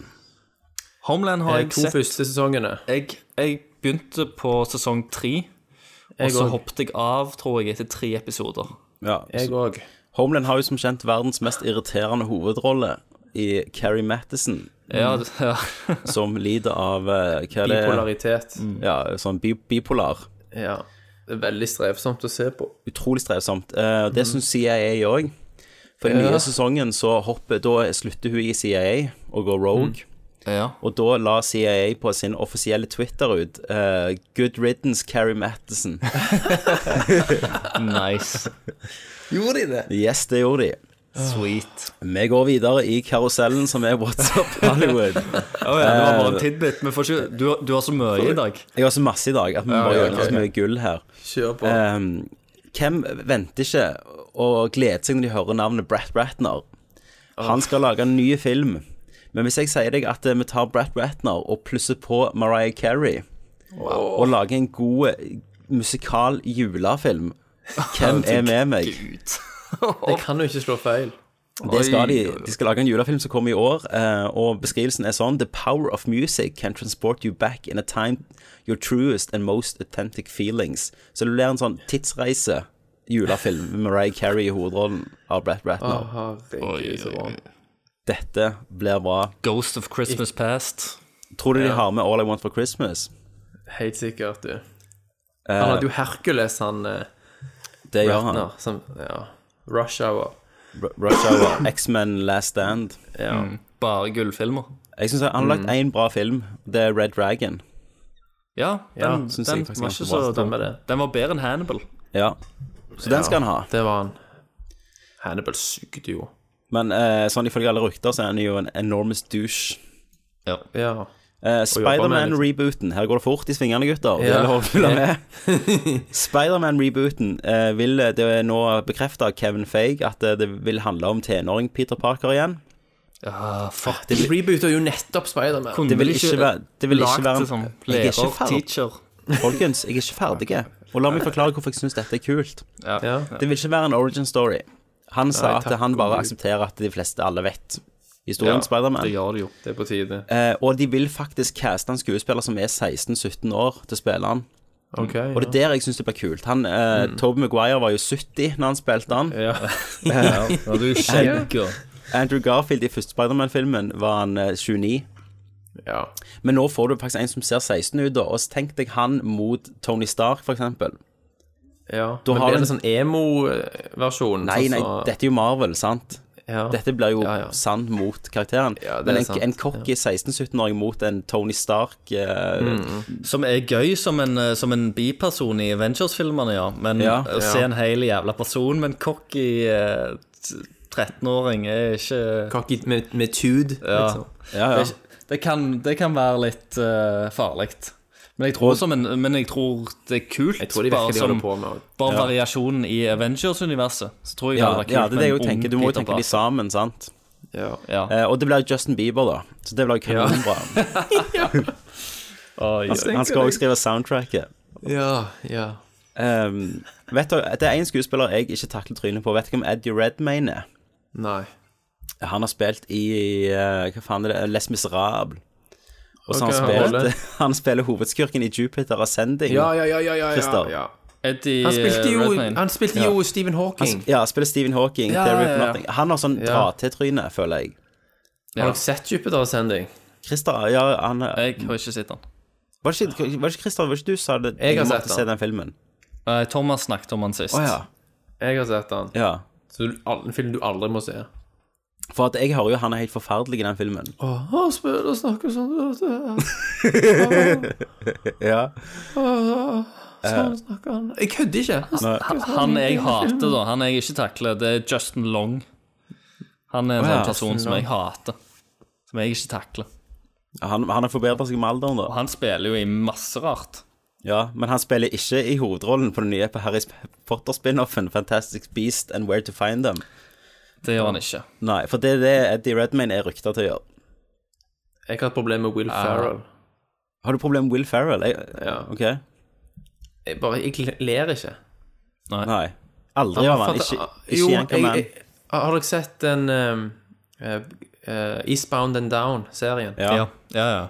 Speaker 10: Homeland har
Speaker 9: Eh,
Speaker 10: jeg
Speaker 9: to
Speaker 10: sett.
Speaker 9: første sesongene.
Speaker 10: Jeg, jeg begynte på sesong tre, og
Speaker 1: Jeg
Speaker 10: så
Speaker 1: òg.
Speaker 10: hoppet jeg av, tror jeg, etter tre episoder.
Speaker 1: Ja,
Speaker 10: Jeg
Speaker 1: så-
Speaker 9: òg.
Speaker 1: Homeland har jo som kjent verdens mest irriterende hovedrolle i Carrie Mattison.
Speaker 10: Ja, det- ja.
Speaker 1: som lider av eh, hva er det?
Speaker 9: Bipolaritet.
Speaker 1: Ja, sånn bi bipolar.
Speaker 9: Ja. Det er veldig strevsomt å se på.
Speaker 1: Utrolig strevsomt. Eh,
Speaker 10: Mhm.
Speaker 1: det syns CIA òg. For i den
Speaker 9: Ja.
Speaker 10: Mhm.
Speaker 1: nye sesongen så hopper Da slutter hun i CIA og går rogue.
Speaker 10: Ja.
Speaker 1: Og da la CIA på sin offisielle Twitter ut eh, Good riddance, Carrie Mattison.
Speaker 10: nice.
Speaker 9: Gjorde de det?
Speaker 1: Yes, det gjorde de.
Speaker 10: Sweet.
Speaker 1: Vi går videre i karusellen som er What's Up Hollywood.
Speaker 10: Å ja, det var bare en tidbit. Men får ikke, du, du har så mye i dag.
Speaker 1: Jeg har så masse i dag at vi
Speaker 10: Ja,
Speaker 1: bare
Speaker 10: ja,
Speaker 1: gjør
Speaker 10: ok.
Speaker 1: så mye gull her.
Speaker 9: Kjør på.
Speaker 1: Ehm, hvem venter ikke og gleder seg når de hører navnet Brett Ratner? Han skal lage en ny film. Men hvis jeg sier deg at eh, vi tar Brett Ratner og plusser på Mariah Carey og lager en god eh, musikal julefilm, hvem er med meg?
Speaker 9: Det kan jo ikke slå feil.
Speaker 1: Det skal de. De skal lage en julefilm som kommer i år, eh, og beskrivelsen er sånn The power of music can transport you back in a time your truest and most authentic feelings. Så det blir en sånn tidsreise julefilm med Mariah Carey i hovedrollen av Brett
Speaker 9: Å,
Speaker 1: Ratner.
Speaker 9: herregud, så bra.
Speaker 1: Dette blir bra.
Speaker 10: Ghost of Christmas Past.
Speaker 1: Tror du de
Speaker 9: Ja.
Speaker 1: har med All I Want for Christmas?
Speaker 9: Helt sikkert, du. Han hadde jo Hercules, han eh,
Speaker 1: Eh, Det gjør han.
Speaker 9: Ratner, Som, ja. Rush Hour.
Speaker 1: R- Rush Hour, X-Men, Last Stand.
Speaker 9: Ja.
Speaker 10: Bare gullfilmer.
Speaker 1: Jeg syns han har
Speaker 9: Mm.
Speaker 1: lagt én bra film. Det er Red Dragon.
Speaker 10: Ja, den,
Speaker 1: Ja,
Speaker 10: den,
Speaker 1: synes jeg faktisk
Speaker 10: var
Speaker 1: ganske
Speaker 10: ikke
Speaker 1: bra.
Speaker 10: så dum.
Speaker 9: Stemmer det.
Speaker 10: Den var bedre enn Hannibal.
Speaker 1: Ja. Så den skal han ha.
Speaker 9: Det var han. Hannibal sugde jo.
Speaker 1: Men eh, sånn ifølge alle rykter, så er han jo en enormous douche.
Speaker 10: Ja.
Speaker 9: Ja.
Speaker 1: Eh,
Speaker 9: med litt.
Speaker 1: Spiderman-rebooten. Her går det fort i svingene, gutter. Det
Speaker 9: Ja.
Speaker 1: gjelder å følge med. Spiderman-rebooten eh, vil det er nå bekrefte av Kevin Feig at eh, det vil handle om tenåring Peter Parker igjen.
Speaker 10: Ja, fuck.
Speaker 9: De rebooter jo nettopp Spiderman.
Speaker 10: Kunne
Speaker 1: Det vil
Speaker 10: de
Speaker 1: ikke eh, være Det vil ikke
Speaker 10: lagt
Speaker 1: være sånn-
Speaker 9: sånn
Speaker 10: det som
Speaker 1: Jeg er ikke
Speaker 10: lærer,
Speaker 1: ferdig.
Speaker 10: teacher.
Speaker 1: Folkens, jeg er ikke ferdig. Og la meg forklare hvorfor jeg syns dette er kult.
Speaker 10: Ja.
Speaker 9: Ja.
Speaker 1: Det vil ikke være en origin story. Han sa
Speaker 9: Nei,
Speaker 1: at
Speaker 9: takk
Speaker 1: han
Speaker 9: og
Speaker 1: bare
Speaker 9: Gud.
Speaker 1: aksepterer at de fleste alle vet historien om Spiderman.
Speaker 10: Det gjør det jo.
Speaker 9: Det er på tide.
Speaker 1: Eh, og de vil faktisk caste en skuespiller som er 16-17 år til å spille han.
Speaker 9: Ok,
Speaker 1: Og det er der jeg syns det blir kult. Han, eh, Toby Maguire var jo 70 når han spilte han.
Speaker 9: Ja.
Speaker 1: Eh,
Speaker 10: Ja, du er skjegg og
Speaker 1: Andrew Garfield i første Spiderman-filmen var han eh, 29.
Speaker 9: Ja.
Speaker 1: Men nå får du faktisk en som ser 16 ut, da. Og så tenk deg han mot Tony Stark, for eksempel.
Speaker 9: ja.
Speaker 1: Du
Speaker 9: Men
Speaker 1: har
Speaker 9: blir
Speaker 1: en-
Speaker 9: det sånn emo-versjon?
Speaker 1: Nei,
Speaker 9: sånn
Speaker 1: nei,
Speaker 9: som-
Speaker 1: dette er jo Marvel, sant?
Speaker 9: Ja.
Speaker 1: Dette blir jo
Speaker 9: Ja, ja.
Speaker 1: sann mot karakteren.
Speaker 9: Ja, det
Speaker 1: Men
Speaker 9: er
Speaker 1: en,
Speaker 9: sant.
Speaker 1: en cocky 16-17-åring mot en Tony Stark eh,
Speaker 10: Som er gøy som en, eh, som en biperson i Avengers-filmerne, ja. Men
Speaker 1: Ja.
Speaker 10: å se en hel jævla person med en cocky eh, t- 13-åring er ikke
Speaker 9: Cocky med, med tude,
Speaker 10: Ja.
Speaker 9: liksom.
Speaker 1: Ja, ja.
Speaker 10: Det, er ikke- det, kan, det kan være litt uh, farlig. Men jeg, tror som en, men jeg tror det er kult.
Speaker 9: Jeg tror de
Speaker 10: bare
Speaker 9: virkelig holder på med
Speaker 10: bare
Speaker 1: Ja.
Speaker 10: variasjonen i Avengers-universet. Så tror jeg
Speaker 1: Ja,
Speaker 10: det
Speaker 1: ja,
Speaker 10: hadde vært
Speaker 1: det er
Speaker 10: kult
Speaker 1: det jeg
Speaker 10: med en
Speaker 1: tenker.
Speaker 10: ung
Speaker 1: Du må jo
Speaker 10: Peter
Speaker 1: tenke de
Speaker 10: Parker.
Speaker 1: sammen, sant?
Speaker 9: Ja.
Speaker 10: Ja.
Speaker 1: Eh, og det blir Justin Bieber, da. Så det blir jo kanonbra.
Speaker 10: Oi,
Speaker 1: Han, han skal også skrive soundtracket.
Speaker 9: Ja, ja.
Speaker 1: Ehm, vet du, Det er en skuespiller jeg ikke takler trynet på. Vet du hvem Eddie Redmayne er?
Speaker 9: Nei.
Speaker 1: Han har spilt i eh, Hva faen er det? Les Miserable. Og så han,
Speaker 9: Ok, han
Speaker 1: spilte,
Speaker 9: rolle.
Speaker 1: han spiller hovedskurken i Jupiter Ascending.
Speaker 9: Ja, ja, ja, ja, ja, ja,
Speaker 1: Christer.
Speaker 9: ja. uh,
Speaker 10: Eddie
Speaker 9: Han spilte jo,
Speaker 10: Redmayne.
Speaker 9: han spilte jo Stephen
Speaker 1: Han,
Speaker 9: Hawking.
Speaker 1: sp- ja, spiller Stephen Hawking.
Speaker 10: Ja,
Speaker 1: Theory of
Speaker 10: ja, ja.
Speaker 1: Nothing. Han har sånn dra-til-tryne, føler jeg.
Speaker 9: Har dere sett Jupiter Ascending?
Speaker 1: Christer, ja, han
Speaker 10: Jeg har ikke sett den.
Speaker 1: Var det ikke, var det ikke Christer, var det ikke du sa det?
Speaker 9: Jeg har
Speaker 1: du måtte
Speaker 9: sett den.
Speaker 1: se den filmen.
Speaker 10: Nei, Eh, Thomas snakket om han sist.
Speaker 1: Å ja.
Speaker 9: Jeg har sett den.
Speaker 1: ja.
Speaker 9: Så du- all- en film du aldri må se.
Speaker 1: For at jeg hører jo han er helt forferdelig i den filmen.
Speaker 9: Han spør og snakker sånn
Speaker 1: Ja.
Speaker 9: Sånn snakker han. Jeg kødder ikke.
Speaker 10: Han, han jeg hater, da, han jeg ikke takler, det er Justin Long. Han er
Speaker 1: Å,
Speaker 10: en
Speaker 1: ja.
Speaker 10: sånn person
Speaker 1: Justin
Speaker 10: som
Speaker 1: Long.
Speaker 10: jeg hater. Som jeg ikke takler.
Speaker 1: Han, han har forbedra seg med alderen,
Speaker 10: Og
Speaker 1: da.
Speaker 10: han spiller jo i masse rart.
Speaker 1: Ja, Men han spiller ikke i hovedrollen på den nye på Harry Potter-spin-offen, Fantastic Beast and Where to Find Them.
Speaker 10: Det gjør han ikke.
Speaker 1: Nei, for det er det Eddie Redmayne er rykta til å gjøre.
Speaker 9: Jeg har et problem med Will Ferrell.
Speaker 1: Har du problem med Will Ferrell? Jeg,
Speaker 9: Ja.
Speaker 1: OK?
Speaker 9: Jeg bare Jeg ler ikke. Ah,
Speaker 1: Nei. Aldri gjør han Ikke, ikke
Speaker 9: Jo,
Speaker 1: i Anchorman.
Speaker 9: jeg- jeg- Har dere sett den um, eh, eh, Eastbound and Down-serien?
Speaker 1: Ja.
Speaker 10: Ja, ja, ja.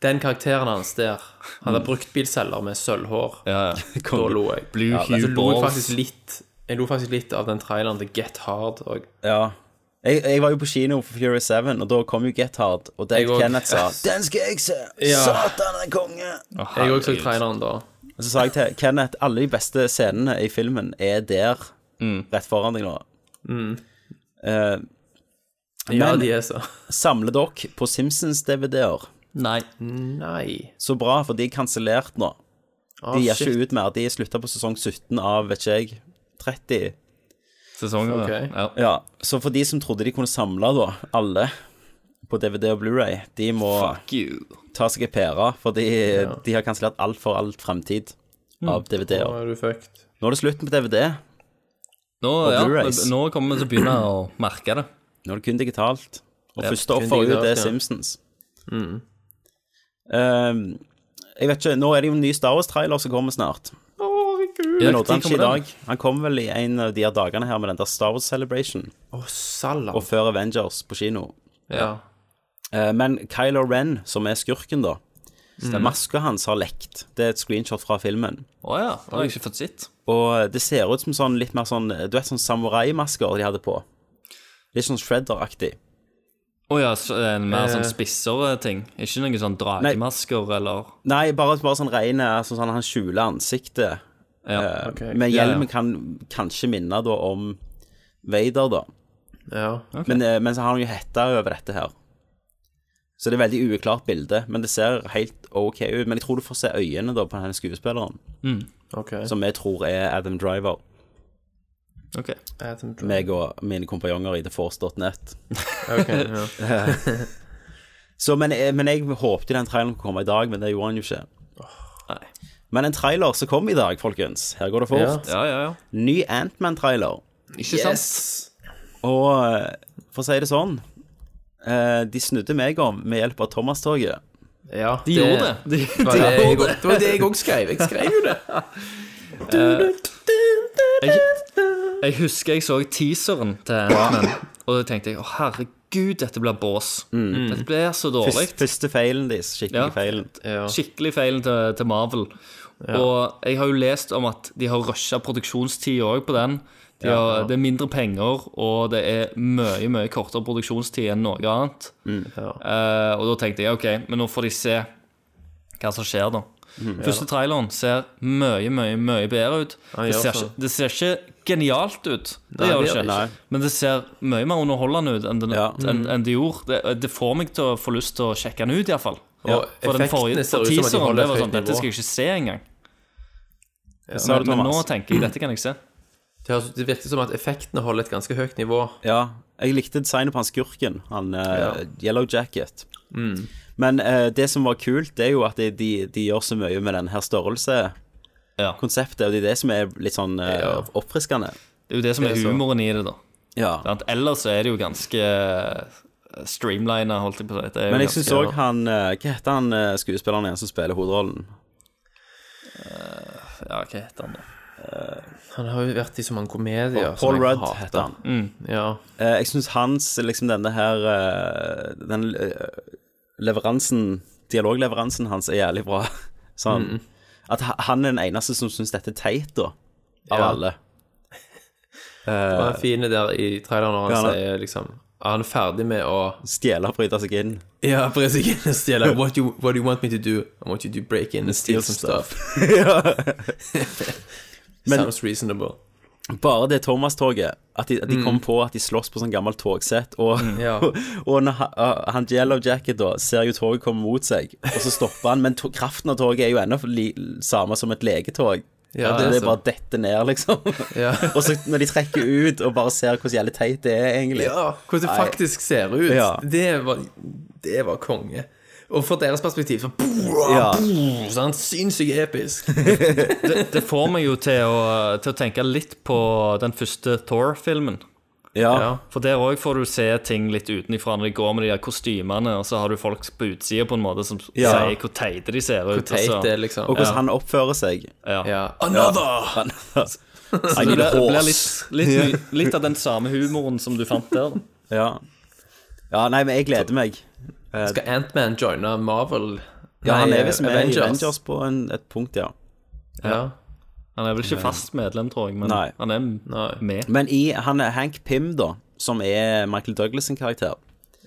Speaker 9: Den karakteren hans der Han
Speaker 1: Mm.
Speaker 9: er bruktbilselger med sølvhår.
Speaker 10: ja, ja.
Speaker 9: Da lo jeg.
Speaker 10: Blue
Speaker 1: altså,
Speaker 9: Ja, men så
Speaker 10: Hue
Speaker 9: lo jeg
Speaker 10: Balls.
Speaker 9: faktisk litt Jeg lo faktisk litt av den traileren til Get Hard òg.
Speaker 1: Ja. Jeg, jeg var jo på kino for Fury 7, og da kom jo Get Hard, og Dave
Speaker 9: Jeg òg.
Speaker 1: Kenneth sa Den skal jeg se!
Speaker 9: Ja.
Speaker 1: Satan er konge!
Speaker 9: Jeg òg så traileren da.
Speaker 1: Og så sa jeg til Kenneth alle de beste scenene i
Speaker 9: Mm.
Speaker 1: filmen er der, rett foran deg nå. Eh,
Speaker 9: Ja,
Speaker 1: Men
Speaker 9: de er så.
Speaker 1: samler dere på Simpsons-DVD-er?
Speaker 10: Nei.
Speaker 9: Nei.
Speaker 1: Så bra, for de er kansellert nå.
Speaker 9: Ah,
Speaker 1: De gir
Speaker 9: shit.
Speaker 1: ikke ut mer. De slutta på sesong 17 av, vet ikke jeg, 30.
Speaker 10: Sesonger,
Speaker 9: Ok.
Speaker 10: ja.
Speaker 1: Ja, Så for de som trodde de kunne samle da, alle på DVD og Blu-ray, de må
Speaker 10: Fuck you.
Speaker 1: ta seg en pære, for de, de har kansellert alt for alt fremtid
Speaker 9: Mm.
Speaker 1: av
Speaker 9: Nå
Speaker 1: DVD-er.
Speaker 9: er du fucked.
Speaker 1: Nå er det slutten på DVD.
Speaker 10: Nå,
Speaker 1: Og
Speaker 10: ja,
Speaker 1: Blu-rays.
Speaker 10: nå kommer vi til å begynne å merke det.
Speaker 1: Nå er det kun digitalt. Og
Speaker 10: Ja,
Speaker 1: første
Speaker 9: kun
Speaker 1: offer ut
Speaker 9: digitalt,
Speaker 1: er
Speaker 9: ja. Mm.
Speaker 1: Simpsons. Ehm, jeg vet ikke, Nå er det jo en ny Star Wars-trailer som kommer snart.
Speaker 9: Herregud.
Speaker 1: Jeg nådde han ikke i
Speaker 10: kommer den?
Speaker 1: dag. Han kom vel i en av de her dagene her med den der Star Wars Celebration.
Speaker 9: Å, salam.
Speaker 1: Og før Avengers på kino.
Speaker 9: ja.
Speaker 1: Eh, Men Kylo Ren, som er skurken, da Maska hans har lekt. Det er et screenshot fra filmen.
Speaker 10: Å ja, det har jeg ikke fått sett.
Speaker 1: Og det ser ut som sånn litt mer sånn Du vet sånn samuraimasker de hadde på? Litt sånn Shredder-aktig.
Speaker 10: Å ja, så, en mer sånn
Speaker 1: Eh.
Speaker 10: spissere ting. Ikke noen sånn dragemasker eller
Speaker 1: Nei, bare, bare sånn rene altså sånn Han skjuler ansiktet. Eh,
Speaker 10: ok.
Speaker 1: Men
Speaker 10: Ja, ja.
Speaker 1: hjelmen kan kanskje minne da om Vader, da.
Speaker 9: ja.
Speaker 1: Men, eh, men så har han jo hetta over dette her. Så det er veldig uklart bilde, men det ser helt OK ut. Men jeg tror du får se øynene da på denne skuespilleren,
Speaker 9: OK.
Speaker 1: som jeg tror er Adam Driver.
Speaker 10: Ok.
Speaker 9: Adam Driver.
Speaker 1: Meg og mine kompanjonger i TheForce.net.
Speaker 9: Ok, ja.
Speaker 1: Så, men, jeg- men jeg håpte den traileren kunne komme i dag, men det gjorde han jo ikke. Men en trailer som kom i dag, folkens. Her går det fort.
Speaker 10: Ja, ja, ja.
Speaker 1: Ny Antman-trailer.
Speaker 10: Ikke
Speaker 9: Yes.
Speaker 1: Og eh, for å si det sånn eh, De snudde meg om med hjelp av Thomas-toget.
Speaker 9: Ja,
Speaker 10: De gjorde det. De-
Speaker 9: Det var
Speaker 10: de
Speaker 9: det jeg-
Speaker 10: gjorde det.
Speaker 9: det var det jeg òg skrev. Jeg skrev jo det.
Speaker 10: Jeg husker jeg så teaseren til Ant-Man, og da tenkte jeg å herregud, dette blir bås. Dette blir så dårlig.
Speaker 1: Først, første feilen deres. Skikkelig
Speaker 10: Ja.
Speaker 1: feilen.
Speaker 10: Skikkelig feilen til, til Marvel. Og jeg har jo lest om at de har rusha produksjonstida òg på den. De
Speaker 1: Ja.
Speaker 10: har, Det er mindre penger, og det er mye mye kortere produksjonstid enn noe annet. Eh, og da tenkte jeg OK, men nå får de se hva som skjer, da.
Speaker 9: Mhm.
Speaker 10: Første traileren ser mye, mye mye bedre ut.
Speaker 9: Han
Speaker 10: det,
Speaker 9: gjør
Speaker 10: ser
Speaker 9: så.
Speaker 10: ikke, det ser ikke genialt ut, det
Speaker 9: Nei, det
Speaker 10: gjør det
Speaker 9: gjør
Speaker 10: ikke.
Speaker 9: det ikke. Mhm.
Speaker 10: Men det ser mye mer underholdende ut enn det,
Speaker 1: Ja.
Speaker 10: enn- enn det gjorde. Det, det får meg til å få lyst til å sjekke den ut, iallfall.
Speaker 9: Ja,
Speaker 10: For den
Speaker 9: effektene
Speaker 10: forrige
Speaker 9: ser ut som at
Speaker 10: for
Speaker 9: de
Speaker 10: teaseren
Speaker 9: holder
Speaker 10: det var
Speaker 9: et
Speaker 10: sånn
Speaker 9: høyt
Speaker 10: Dette skal
Speaker 9: nivå."
Speaker 10: jeg ikke se engang.
Speaker 9: Ja.
Speaker 1: Sa du,
Speaker 10: Men, men nå
Speaker 1: Thomas?
Speaker 10: tenker jeg dette kan jeg se.
Speaker 9: Det, høres- det virker som at effektene holder et ganske høyt nivå.
Speaker 1: Ja. Jeg likte designet på han skurken, han eh,
Speaker 9: Ja.
Speaker 1: Yellow Jacket.
Speaker 9: Mm.
Speaker 1: Men eh, det som var kult, det er jo at de, de, de gjør så mye med den her størrelse. Konseptet, og det er det som er litt sånn eh,
Speaker 10: Ja.
Speaker 1: oppfriskende.
Speaker 10: Det er jo det som
Speaker 1: Det er
Speaker 10: er
Speaker 1: så.
Speaker 10: humoren i det, da.
Speaker 1: Ja.
Speaker 10: Sant? Ellers så er det jo ganske streamlina, holdt jeg på å si. Det er jo
Speaker 1: Men jeg
Speaker 10: ganske-
Speaker 1: syns òg han eh, Hva heter han eh, skuespilleren igjen som spiller hovedrollen?
Speaker 10: Ja, hva heter han, da?
Speaker 9: Han har jo vært i så mange komedier.
Speaker 1: Paul
Speaker 9: som jeg
Speaker 1: Rudd
Speaker 9: hater. Mm.
Speaker 1: heter han.
Speaker 9: Ja.
Speaker 1: Eh, jeg syns hans liksom denne her eh, Den eh, leveransen Dialogleveransen hans er jævlig bra. Sånn. At ha- han er den eneste som syns dette er teit, da. Av
Speaker 9: Ja.
Speaker 1: alle.
Speaker 9: Og han fine der i traileren når han
Speaker 1: Ja, han-
Speaker 9: sier liksom Han er ferdig med å
Speaker 1: Stjele og bryte seg inn.
Speaker 9: Ja, presse ikke inn og stjele. What, you- what do you want me to do? I want you to break in and steal some stuff. Sounds reasonable.
Speaker 1: Bare det Thomas-toget. At de, at de kom på at de slåss på sånn gammelt togsett. Og,
Speaker 9: Ja.
Speaker 1: og når han, uh, han Yellow Jacket da ser jo toget komme mot seg, og så stopper han. Men to, kraften av toget er jo ennå li, samme som et leketog.
Speaker 9: Ja,
Speaker 1: det,
Speaker 9: det er
Speaker 1: det
Speaker 9: så.
Speaker 1: er bare dette ned, liksom.
Speaker 9: Ja.
Speaker 1: og så når de trekker ut og bare ser hvordan jævlig teit det er, egentlig.
Speaker 9: Ja, hvordan det
Speaker 1: Nei.
Speaker 9: faktisk ser ut.
Speaker 1: Ja.
Speaker 9: Det, var, det var konge. Og fra deres perspektiv sånn
Speaker 1: Ja.
Speaker 9: sånn, Sinnssykt episk.
Speaker 10: det, det får meg jo til å, til å tenke litt på den første Thor-filmen.
Speaker 1: Ja.
Speaker 10: For der òg får du se ting litt utenfra når de går med de der kostymene, og så har du folk på utsida på en måte som
Speaker 1: Ja.
Speaker 10: sier hvor teite de ser ut.
Speaker 9: Hvor teit
Speaker 10: altså.
Speaker 9: det er, liksom.
Speaker 1: Og hvordan
Speaker 10: Ja.
Speaker 1: han oppfører seg.
Speaker 10: Ja.
Speaker 9: Another!
Speaker 10: Så
Speaker 1: I
Speaker 10: det
Speaker 1: need a
Speaker 10: blir, blir litt,
Speaker 1: horse.
Speaker 10: litt, my- litt av den samme humoren som du fant der. da.
Speaker 1: Ja. ja, nei, men jeg gleder meg.
Speaker 9: Skal Ant-Man joine Marvel?
Speaker 1: Ja, han
Speaker 9: Nei,
Speaker 1: er visst med
Speaker 9: Avengers.
Speaker 1: i Avengers på en, et punkt, ja.
Speaker 9: Ja.
Speaker 10: Han er vel ikke fast medlem, tror jeg, men
Speaker 1: Nei.
Speaker 10: han er med.
Speaker 1: Men i, han er Hank Pym, da, som er Michael Douglas sin karakter.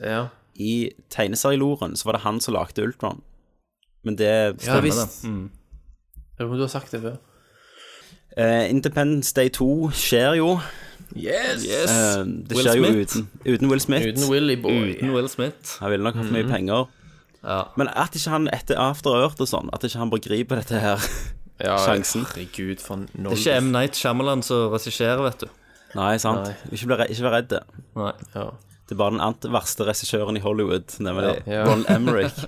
Speaker 9: ja.
Speaker 1: I tegneserieloren så var det han som lagde Ultron. Men det
Speaker 9: Ja
Speaker 1: stemmer, det.
Speaker 10: Mm.
Speaker 9: visst. Jeg vet ikke om du har sagt det før.
Speaker 1: Eh, Independence Day 2 skjer jo.
Speaker 9: Yes!
Speaker 1: Eh, mm, det skjer jo uten, uten Will Smith.
Speaker 9: Uten Willy Boy.
Speaker 10: Uten Will Smith.
Speaker 1: Han ville nok hatt mye
Speaker 9: Mhm.
Speaker 1: penger. Men at ikke han etter After Earth og sånn, at ikke han bare griper dette her mm, sjansen.
Speaker 9: Herregud, for
Speaker 10: Det er ikke M. Night Shyamalan som regisserer, vet du.
Speaker 1: Nei, sant.
Speaker 10: Nei.
Speaker 1: Ikke, bli, re- ikke vær redd det.
Speaker 10: Nei.
Speaker 1: Det er bare den ant verste regissøren i Hollywood, nemlig
Speaker 9: Ja.
Speaker 1: Ron Emmerich.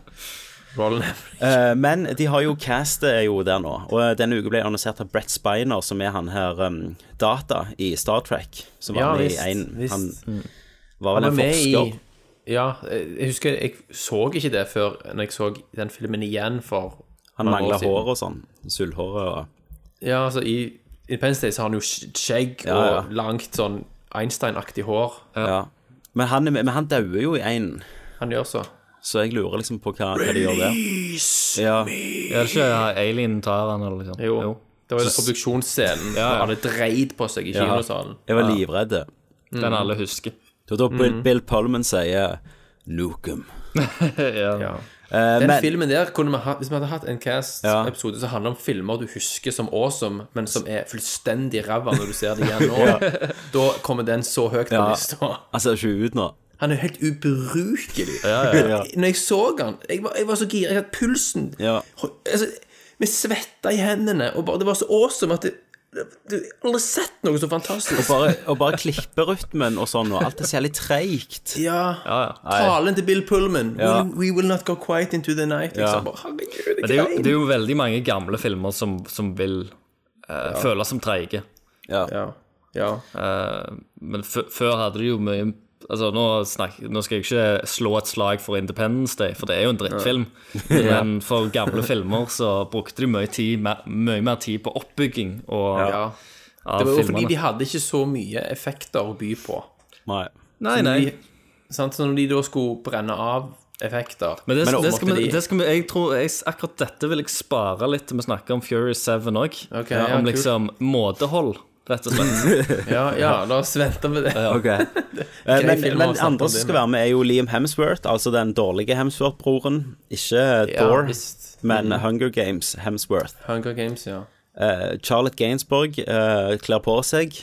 Speaker 9: Roland
Speaker 1: Eh, men de har jo castet er jo der nå, og eh, denne uka ble annonsert av Brett Spiner, som er han her um, Data i Star Trek, som var
Speaker 9: Ja,
Speaker 1: med
Speaker 9: visst,
Speaker 1: i en
Speaker 9: visst.
Speaker 1: Han
Speaker 9: Mm.
Speaker 1: var vel
Speaker 9: Han
Speaker 1: en
Speaker 9: med
Speaker 1: forsker.
Speaker 9: I, ja, jeg husker jeg så ikke det før når jeg så den filmen igjen for
Speaker 1: Han
Speaker 9: noen år
Speaker 1: mangla
Speaker 9: siden.
Speaker 1: hår og sånn. Sølvhåret og
Speaker 9: Ja, altså i Independence Day så har han jo sk- skjegg
Speaker 1: Ja, ja.
Speaker 9: og langt sånn Einstein-aktig hår.
Speaker 1: Ja. Men han, er med- men han dauer jo i én.
Speaker 9: Han gjør så.
Speaker 1: Så jeg lurer liksom på hva, hva de gjør der. Ja.
Speaker 10: Er det ikke Alien tar han, eller liksom?
Speaker 9: Jo. Det var den obduksjonsscenen.
Speaker 10: Ja, ja.
Speaker 9: Ja. Alle dreid på seg i
Speaker 1: Ja.
Speaker 9: kinosalen.
Speaker 1: Jeg var livredd.
Speaker 10: Den
Speaker 9: Mm.
Speaker 10: alle husker.
Speaker 1: Det var da Bill,
Speaker 9: Mhm.
Speaker 1: Bill Pullman sier 'Nukem'.
Speaker 10: ja.
Speaker 1: Eh,
Speaker 9: Den
Speaker 1: men-
Speaker 9: filmen der kunne vi hatt Hvis vi hadde hatt
Speaker 1: Ja.
Speaker 9: en cast-episode som handler om filmer du husker som awesome, men som er fullstendig ræva når du ser det igjen nå,
Speaker 1: Ja.
Speaker 9: da kommer den så høyt på
Speaker 1: Ja.
Speaker 9: lista.
Speaker 1: Han ser Altså, ikke ut nå.
Speaker 9: Han er helt ubrukelig.
Speaker 1: Ja, ja, ja.
Speaker 9: Når jeg så han Jeg var, jeg var så gira. Jeg hadde pulsen.
Speaker 1: Ja.
Speaker 9: Altså, vi svetta i hendene, og bare, det var så awesome at det, det, du jeg har aldri sett noe så
Speaker 1: Og
Speaker 9: fantastisk.
Speaker 1: bare, og bare klipperytmen og sånn, og alt er så jævlig treigt.
Speaker 9: Ja.
Speaker 1: Ja, ja.
Speaker 9: Talen til Bill Pullman.
Speaker 10: Ja.
Speaker 9: Will, we will not go quiet into the night.
Speaker 10: Ja.
Speaker 9: Liksom. Bare, herregud,
Speaker 10: Men det er, jo, det er jo veldig mange gamle filmer som, som vil eh, føles som treige.
Speaker 1: Ja.
Speaker 9: ja. ja.
Speaker 10: Eh, men fø- før hadde de jo mye Altså, nå, snak, nå skal jeg ikke slå et slag for Independence Day, for det er jo en drittfilm.
Speaker 9: Ja.
Speaker 10: Men for gamle filmer så brukte de mye, tid, mer, mye mer tid på oppbygging og
Speaker 9: Ja.
Speaker 10: av
Speaker 9: Det var jo
Speaker 10: filmene.
Speaker 9: fordi de hadde ikke så mye effekter å by på.
Speaker 1: Nei.
Speaker 10: Nei,
Speaker 9: Så når
Speaker 10: nei.
Speaker 9: De, sant? Så når de da skulle brenne av effekter
Speaker 10: Men det,
Speaker 9: så
Speaker 10: det skal
Speaker 9: måtte
Speaker 10: vi,
Speaker 9: de-
Speaker 10: det skal vi jeg tror, jeg, Akkurat dette vil jeg spare litt til vi snakker om Fury 7 òg.
Speaker 9: ja,
Speaker 10: om
Speaker 9: kult.
Speaker 10: liksom måtehold, rett og slett.
Speaker 9: Ja, ja, la oss vente med det.
Speaker 1: Ok. Eh,
Speaker 9: Grei
Speaker 1: Men,
Speaker 9: film å
Speaker 1: men
Speaker 9: snakke om
Speaker 1: andre som
Speaker 9: det
Speaker 1: skal
Speaker 9: med.
Speaker 1: være med, er jo Liam Hemsworth, altså den dårlige Hemsworth-broren. Ikke eh, Thor,
Speaker 9: visst.
Speaker 1: men
Speaker 9: Mhm.
Speaker 1: Hunger Games Hemsworth.
Speaker 9: Hunger Games, ja.
Speaker 1: Eh, Charlotte Gainsborg eh, kler på seg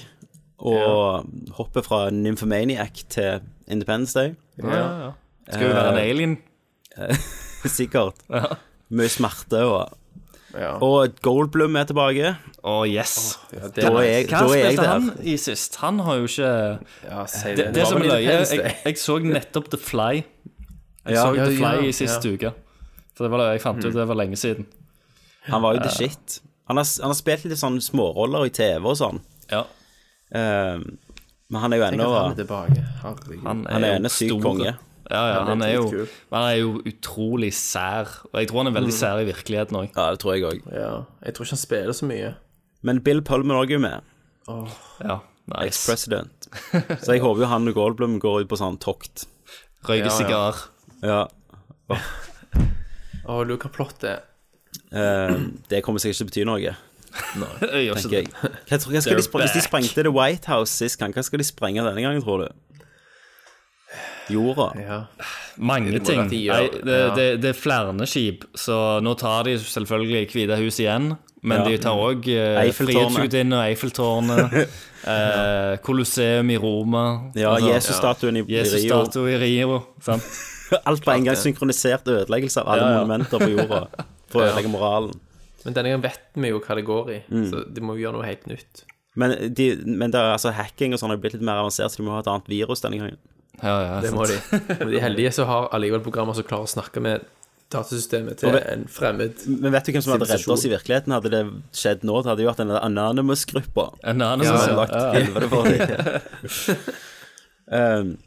Speaker 1: og hopper fra Nymphomaniac til Independence Day.
Speaker 10: Ja, ja, ja. Skal jo være en alien.
Speaker 1: Sikkert.
Speaker 10: Ja.
Speaker 1: Mye smerte og Og Goldblum er tilbake.
Speaker 10: Å, yes.
Speaker 1: da er jeg,
Speaker 10: Hva
Speaker 1: da er jeg
Speaker 10: spilte
Speaker 1: der.
Speaker 10: han i sist? Han har jo ikke
Speaker 9: si det.
Speaker 10: det, det,
Speaker 9: Det var
Speaker 10: som
Speaker 9: vel
Speaker 10: er løye
Speaker 9: Independence
Speaker 10: jeg, jeg så nettopp The Fly. Jeg
Speaker 1: Ja.
Speaker 10: så
Speaker 1: Ja,
Speaker 10: The Fly
Speaker 1: ja,
Speaker 10: i sist
Speaker 1: ja.
Speaker 10: uke. For det var løye. Jeg fant ut
Speaker 1: Mm.
Speaker 10: det var lenge siden.
Speaker 1: Han var jo the
Speaker 10: Eh.
Speaker 1: shit. Han har, han har spilt litt sånn småroller i TV og sånn.
Speaker 10: Ja.
Speaker 1: Eh, men han er jo
Speaker 9: Tenk
Speaker 1: ennå
Speaker 9: at han er tilbake. Herregud.
Speaker 1: Han er
Speaker 10: jo
Speaker 1: en syk
Speaker 10: stor.
Speaker 1: konge.
Speaker 10: Ja, ja,
Speaker 9: Han er
Speaker 10: han er, jo,
Speaker 9: dritkul.
Speaker 10: han er jo utrolig sær. Og jeg tror han er veldig
Speaker 9: Mm.
Speaker 10: sær i virkeligheten òg.
Speaker 1: Ja, det tror jeg òg.
Speaker 9: Ja, jeg tror ikke han spiller så mye.
Speaker 1: Men Bill Pullman òg er jo med.
Speaker 9: Åh.
Speaker 10: Ja, nice.
Speaker 1: Ex-president. Så jeg håper jo han og Goldblum går ut på sånn tokt.
Speaker 9: Ja,
Speaker 10: Røyker
Speaker 9: ja. sigar.
Speaker 1: Ja.
Speaker 9: Åh, lurer hva plott det er.
Speaker 1: Eh, det kommer sikkert ikke til å bety noe.
Speaker 9: Nei,
Speaker 10: jeg
Speaker 1: tenker
Speaker 10: gjør ikke det.
Speaker 1: jeg. Hva, tror- hva skal de
Speaker 10: They're
Speaker 1: spreng- hvis de
Speaker 10: back.
Speaker 1: sprengte The White House sist gang, hva skal de sprenge denne gangen, tror du? Jorda.
Speaker 10: Mange
Speaker 1: Det må
Speaker 10: ting.
Speaker 1: være ti år.
Speaker 10: Nei, det,
Speaker 1: Ja.
Speaker 10: det, det er flere skip, så nå tar de selvfølgelig Hvite hus igjen. Men
Speaker 1: Ja.
Speaker 10: de tar òg eh,
Speaker 1: Eiffeltårnet.
Speaker 10: Frihetsgudinnen og Eiffeltårnet. eh, Colosseum i Roma.
Speaker 1: Ja,
Speaker 10: Altså,
Speaker 1: Jesus-statuen i- i Rio.
Speaker 10: Jesus-statuen i Rio. Sant?
Speaker 1: Alt på en gang
Speaker 10: det.
Speaker 1: synkronisert ødeleggelse av alle
Speaker 10: Ja, ja.
Speaker 1: monumenter på jorda. For å
Speaker 9: Ja.
Speaker 1: ødelegge moralen.
Speaker 9: Men denne gangen vet vi jo hva det går i,
Speaker 1: Mm.
Speaker 9: så de må jo gjøre noe helt nytt.
Speaker 1: Men, de, men det er, altså, hacking og sånn har blitt litt mer avansert, så de må ha et annet virus denne gangen.
Speaker 9: det må de. Men de heldige så har allikevel programmer som klarer å snakke med datasystemet
Speaker 1: Og
Speaker 9: til
Speaker 1: vet-
Speaker 9: en fremmed
Speaker 1: Men vet du hvem som hadde reddet oss i
Speaker 9: sivilisasjon.
Speaker 1: virkeligheten? Hadde det skjedd nå, det hadde jo vært den Anonymous-gruppa.
Speaker 10: Anonymous,
Speaker 1: Som
Speaker 10: ja.
Speaker 1: hadde lagt
Speaker 10: Ja.
Speaker 1: helvete for dem. um,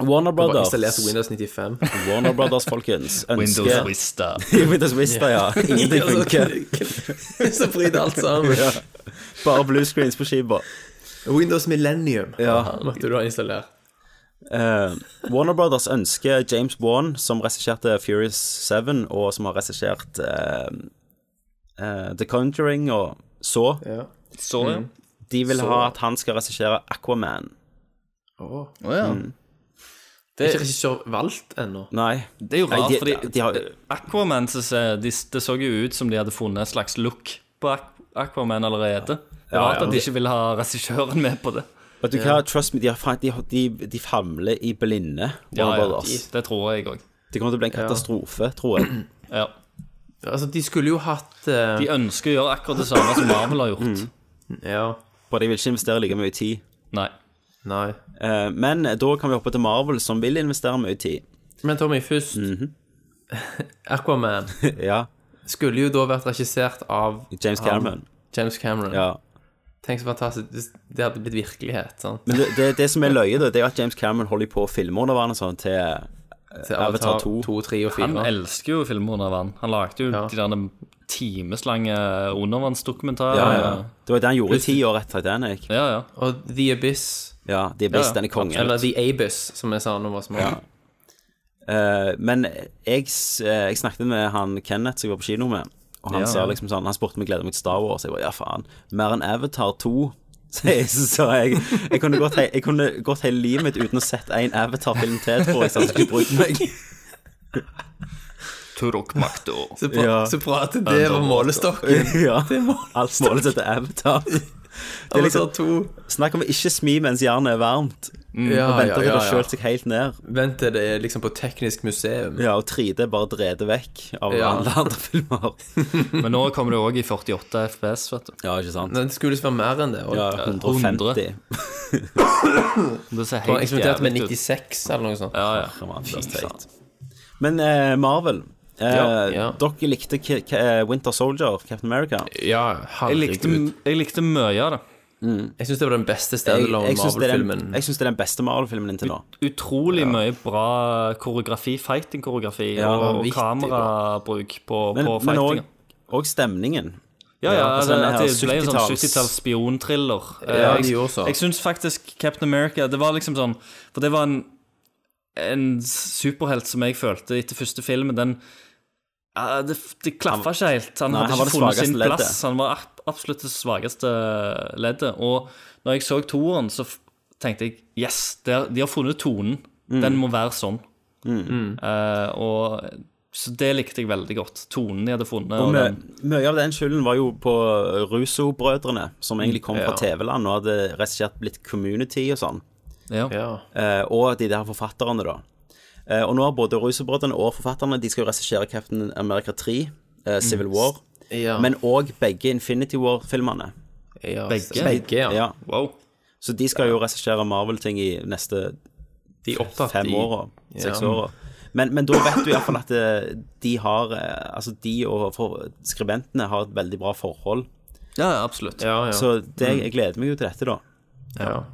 Speaker 1: Warner
Speaker 9: Det var
Speaker 1: Brothers
Speaker 9: installert Windows 95.
Speaker 1: Warner Brothers, folkens. Ønsker
Speaker 9: Windows Vista.
Speaker 1: Windows Vista, ja. Ingenting
Speaker 9: Ja, så-
Speaker 1: funker.
Speaker 9: Så bryter alt sammen.
Speaker 1: Ja. Bare blue screens på skiva.
Speaker 9: Windows Millennium
Speaker 1: Ja.
Speaker 9: måtte du ha installert.
Speaker 1: Eh, Warner Brothers ønsker James Wan, som regisserte Furious 7, og som har regissert eh, eh, The Conjuring og så.
Speaker 10: Så, ja. Mm.
Speaker 1: De vil
Speaker 10: Så.
Speaker 1: ha at han skal regissere Aquaman.
Speaker 9: Åh.
Speaker 10: ja.
Speaker 1: Mm.
Speaker 9: Det er ikke regissør valgt ennå.
Speaker 1: Nei.
Speaker 10: Det er jo
Speaker 1: Nei,
Speaker 10: rart,
Speaker 1: de-
Speaker 10: fordi
Speaker 1: de- de har-
Speaker 10: Aquaman så ser, de, Det så jo ut som de hadde funnet et slags look på Aqu- Aquaman allerede. Det er Rart at de ikke vil ha regissøren med på det.
Speaker 1: Vet du hva, trust me, de, har, fa- de, har- de, de famler i blinde.
Speaker 10: Ja, ja,
Speaker 1: Warner Brothers.
Speaker 10: de- det tror jeg òg.
Speaker 1: Det kommer til å bli en katastrofe, tror jeg.
Speaker 10: Ja.
Speaker 9: Altså, de skulle jo hatt eh,
Speaker 10: De ønsker å gjøre akkurat det samme som Marvel har gjort.
Speaker 9: Ja.
Speaker 1: Bare de vil ikke investere like mye tid.
Speaker 10: Nei.
Speaker 1: Eh, Men da kan vi hoppe til Marvel, som vil investere mye tid.
Speaker 9: Men Tommy, først Aquaman
Speaker 1: Ja.
Speaker 9: skulle jo da vært regissert av
Speaker 1: James
Speaker 9: han-
Speaker 1: Cameron.
Speaker 9: James Cameron.
Speaker 1: Ja.
Speaker 9: Tenk så fantastisk. Det- Det hadde blitt virkelighet. sant?
Speaker 1: Men det, det, det som er løye, da, det er jo at James Cameron holder på å filme undervannet sånn til eh,
Speaker 9: Til
Speaker 1: Avatar
Speaker 9: Avatar
Speaker 1: 2.
Speaker 9: 2, 3 og 4.
Speaker 10: Han elsker jo filmer under vann. Han lagde jo de der timeslange undervannsdokumentarer.
Speaker 1: Ja, ja. Det var det han gjorde i ti år etter Titanic.
Speaker 10: Ja, ja.
Speaker 9: Og The Abyss.
Speaker 1: Ja, The Abyss, den er kongen.
Speaker 9: Eller The Abyss, som jeg sa da vi var små.
Speaker 1: Ja. Eh, men jeg, s- eh, jeg snakket med han Kenneth som jeg var på kino med, og han
Speaker 9: Ja.
Speaker 1: sa liksom sånn Han spurte om jeg gleder meg til Star Wars. Jeg bare ja, faen. Mer enn Avatar 2. Så jeg, så sa jeg, jeg, kunne gått, he- jeg kunne gått hele livet mitt uten å sett en Avatar-film til, tror jeg. Så han skulle ikke brukt meg.
Speaker 10: Turok Makto.
Speaker 9: Så bra,
Speaker 1: Ja.
Speaker 9: så bra at det var målestokken.
Speaker 1: ja. Alt målet etter Avatar. Det er liksom Snakk om å ikke smi mens jernet er varmt.
Speaker 9: Mm. Ja,
Speaker 1: og vente
Speaker 9: ja,
Speaker 1: til det
Speaker 9: ja,
Speaker 1: har
Speaker 9: ja.
Speaker 1: kjølt seg helt ned.
Speaker 9: Vent til det er liksom på teknisk museum.
Speaker 1: Ja, og 3D bare drede vekk av
Speaker 9: Ja.
Speaker 1: alle andre filmer.
Speaker 10: Men nå kommer det òg i 48 FPS, vet du.
Speaker 1: Ja, ikke sant?
Speaker 9: Men det skulle visst være mer enn det. og-
Speaker 1: Ja, 150.
Speaker 10: Det ser
Speaker 9: Det var
Speaker 10: helt
Speaker 9: eksplodert med
Speaker 10: jævlig ut.
Speaker 9: 96 eller noe sånt.
Speaker 10: Ja, ja.
Speaker 1: Fy faen. Men eh, Marvel, eh,
Speaker 9: Ja, ja.
Speaker 1: dere likte K K eh, Winter Soldier, Captain America.
Speaker 10: Jeg likte, jeg likte mye av det.
Speaker 9: Jeg syns det var den beste
Speaker 1: Jeg, jeg
Speaker 9: standalone
Speaker 1: syns det, er den-
Speaker 9: Marvel-filmen.
Speaker 1: jeg syns det er den beste Marvel-filmen inntil nå.
Speaker 10: Utrolig mye bra koreografi, fighting-koreografi,
Speaker 1: Ja,
Speaker 10: og
Speaker 1: vanvittig bra.
Speaker 10: kamerabruk på,
Speaker 1: Men,
Speaker 10: på
Speaker 1: men
Speaker 10: fightinga.
Speaker 1: også- og stemningen.
Speaker 10: Ja, ja,
Speaker 1: altså
Speaker 10: det,
Speaker 1: denne
Speaker 10: at
Speaker 1: her
Speaker 10: det ble en sånn
Speaker 1: 70-talls
Speaker 10: 70-talls spionthriller. Eh,
Speaker 9: Ja,
Speaker 10: jeg
Speaker 9: de gjorde så.
Speaker 10: jeg syns faktisk Captain America Det var liksom sånn For det var en, en superhelt som jeg følte etter første filmen, den ja, det, det klaffa ikke helt. Han
Speaker 1: Nei,
Speaker 10: hadde
Speaker 1: han var
Speaker 10: ikke
Speaker 1: det
Speaker 10: funnet sin
Speaker 1: svakeste leddet.
Speaker 10: plass. Han var ab- absolutt det svakeste leddet. Og når jeg så toeren, så f- tenkte jeg Yes, det er- de har funnet tonen.
Speaker 1: Mm.
Speaker 10: Den må være sånn. Eh, og Så det likte jeg veldig godt. Tonen de hadde funnet.
Speaker 1: Og
Speaker 10: og
Speaker 1: mø-
Speaker 10: den-
Speaker 1: Mye av den skylden var jo på Russo-brødrene, som egentlig kom fra
Speaker 10: Ja.
Speaker 1: TV-land og hadde rett og slett blitt community og sånn.
Speaker 10: Ja.
Speaker 1: Eh, og de der forfatterne, da. Eh, og nå har både Russo-brødrene og forfatterne De skal jo regissere Captain America 3, eh, Civil War,
Speaker 9: Mm. Ja.
Speaker 1: men òg begge Infinity War-filmene.
Speaker 9: Ja, Begge? begge, ja.
Speaker 10: Wow.
Speaker 1: Så de skal jo regissere Marvel-ting i neste
Speaker 9: De er opptatt
Speaker 1: fem
Speaker 9: i-
Speaker 1: åra, seks
Speaker 9: Ja.
Speaker 1: åra. Men, men da vet du iallfall at eh, de har eh, Altså, de og for, skribentene har et veldig bra forhold.
Speaker 10: Ja, absolutt.
Speaker 9: Ja, Mm. ja.
Speaker 1: Så det, jeg gleder meg jo til dette, da.
Speaker 9: ja.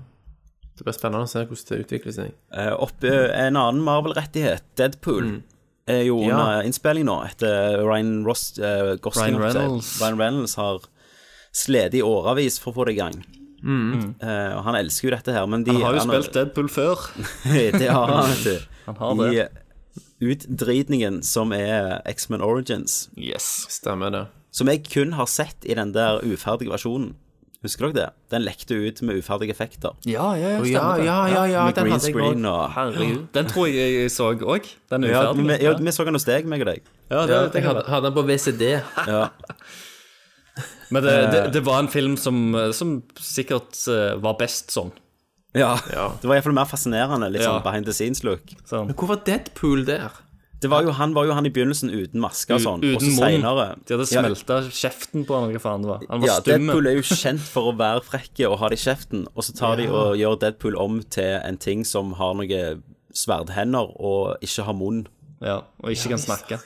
Speaker 9: Det blir spennende å se hvordan det utvikler seg.
Speaker 1: Eh, opp, eh, en annen Marvel-rettighet, Deadpool, er jo
Speaker 9: Mm. Ja.
Speaker 1: under innspilling nå, etter Ryan Ross eh, Gosling.
Speaker 10: Ryan
Speaker 1: holdt jeg på å si.
Speaker 10: Reynolds.
Speaker 1: Ryan Reynolds har slitt i årevis for å få det i gang.
Speaker 9: Mm.
Speaker 1: Eh, og han elsker jo dette her, men de
Speaker 10: Han har jo spilt Deadpool før.
Speaker 1: det har han, vet du.
Speaker 10: Han har det.
Speaker 1: I eh, utdritningen som er X-Men Origins.
Speaker 10: Yes.
Speaker 9: Stemmer det.
Speaker 1: Som jeg kun har sett i den der uferdige versjonen. Husker dere det? Den lekte ut med uferdige effekter.
Speaker 10: Ja, ja, ja,
Speaker 9: Å,
Speaker 10: stemmer det.
Speaker 9: ja, ja, ja,
Speaker 1: med
Speaker 9: den
Speaker 1: green
Speaker 9: hadde jeg
Speaker 1: screen
Speaker 9: også.
Speaker 1: og
Speaker 10: Herregud. Den tror jeg jeg så òg. Den er
Speaker 1: Ja,
Speaker 10: uferdig.
Speaker 1: vi, ja, vi så den hos deg, meg og deg.
Speaker 10: Ja, det,
Speaker 9: Ja,
Speaker 10: det
Speaker 9: jeg
Speaker 10: kan
Speaker 9: hadde,
Speaker 10: være.
Speaker 9: hadde den på VCD.
Speaker 1: Ja.
Speaker 10: Men det, det,
Speaker 1: eh,
Speaker 10: det var en film som, eh, som sikkert eh, var best sånn.
Speaker 1: Ja. Det var iallfall mer fascinerende. Litt
Speaker 10: Ja.
Speaker 1: sånn behind the scenes-look.
Speaker 10: sånn.
Speaker 9: Hvor var Deadpool der?
Speaker 1: Det var jo, han var jo han i begynnelsen uten maske og sånn. og så
Speaker 10: Uten munn.
Speaker 1: senere-
Speaker 10: De hadde
Speaker 1: Ja,
Speaker 10: smelta kjeften på han, eller hva faen det var. Han var
Speaker 1: ja,
Speaker 10: stum.
Speaker 1: Deadpool er jo kjent for å være frekke og ha det i kjeften, og så tar de
Speaker 10: Ja.
Speaker 1: og gjør Deadpool om til en ting som har noe sverdhender og ikke har munn.
Speaker 10: Ja, og ikke kan snakke.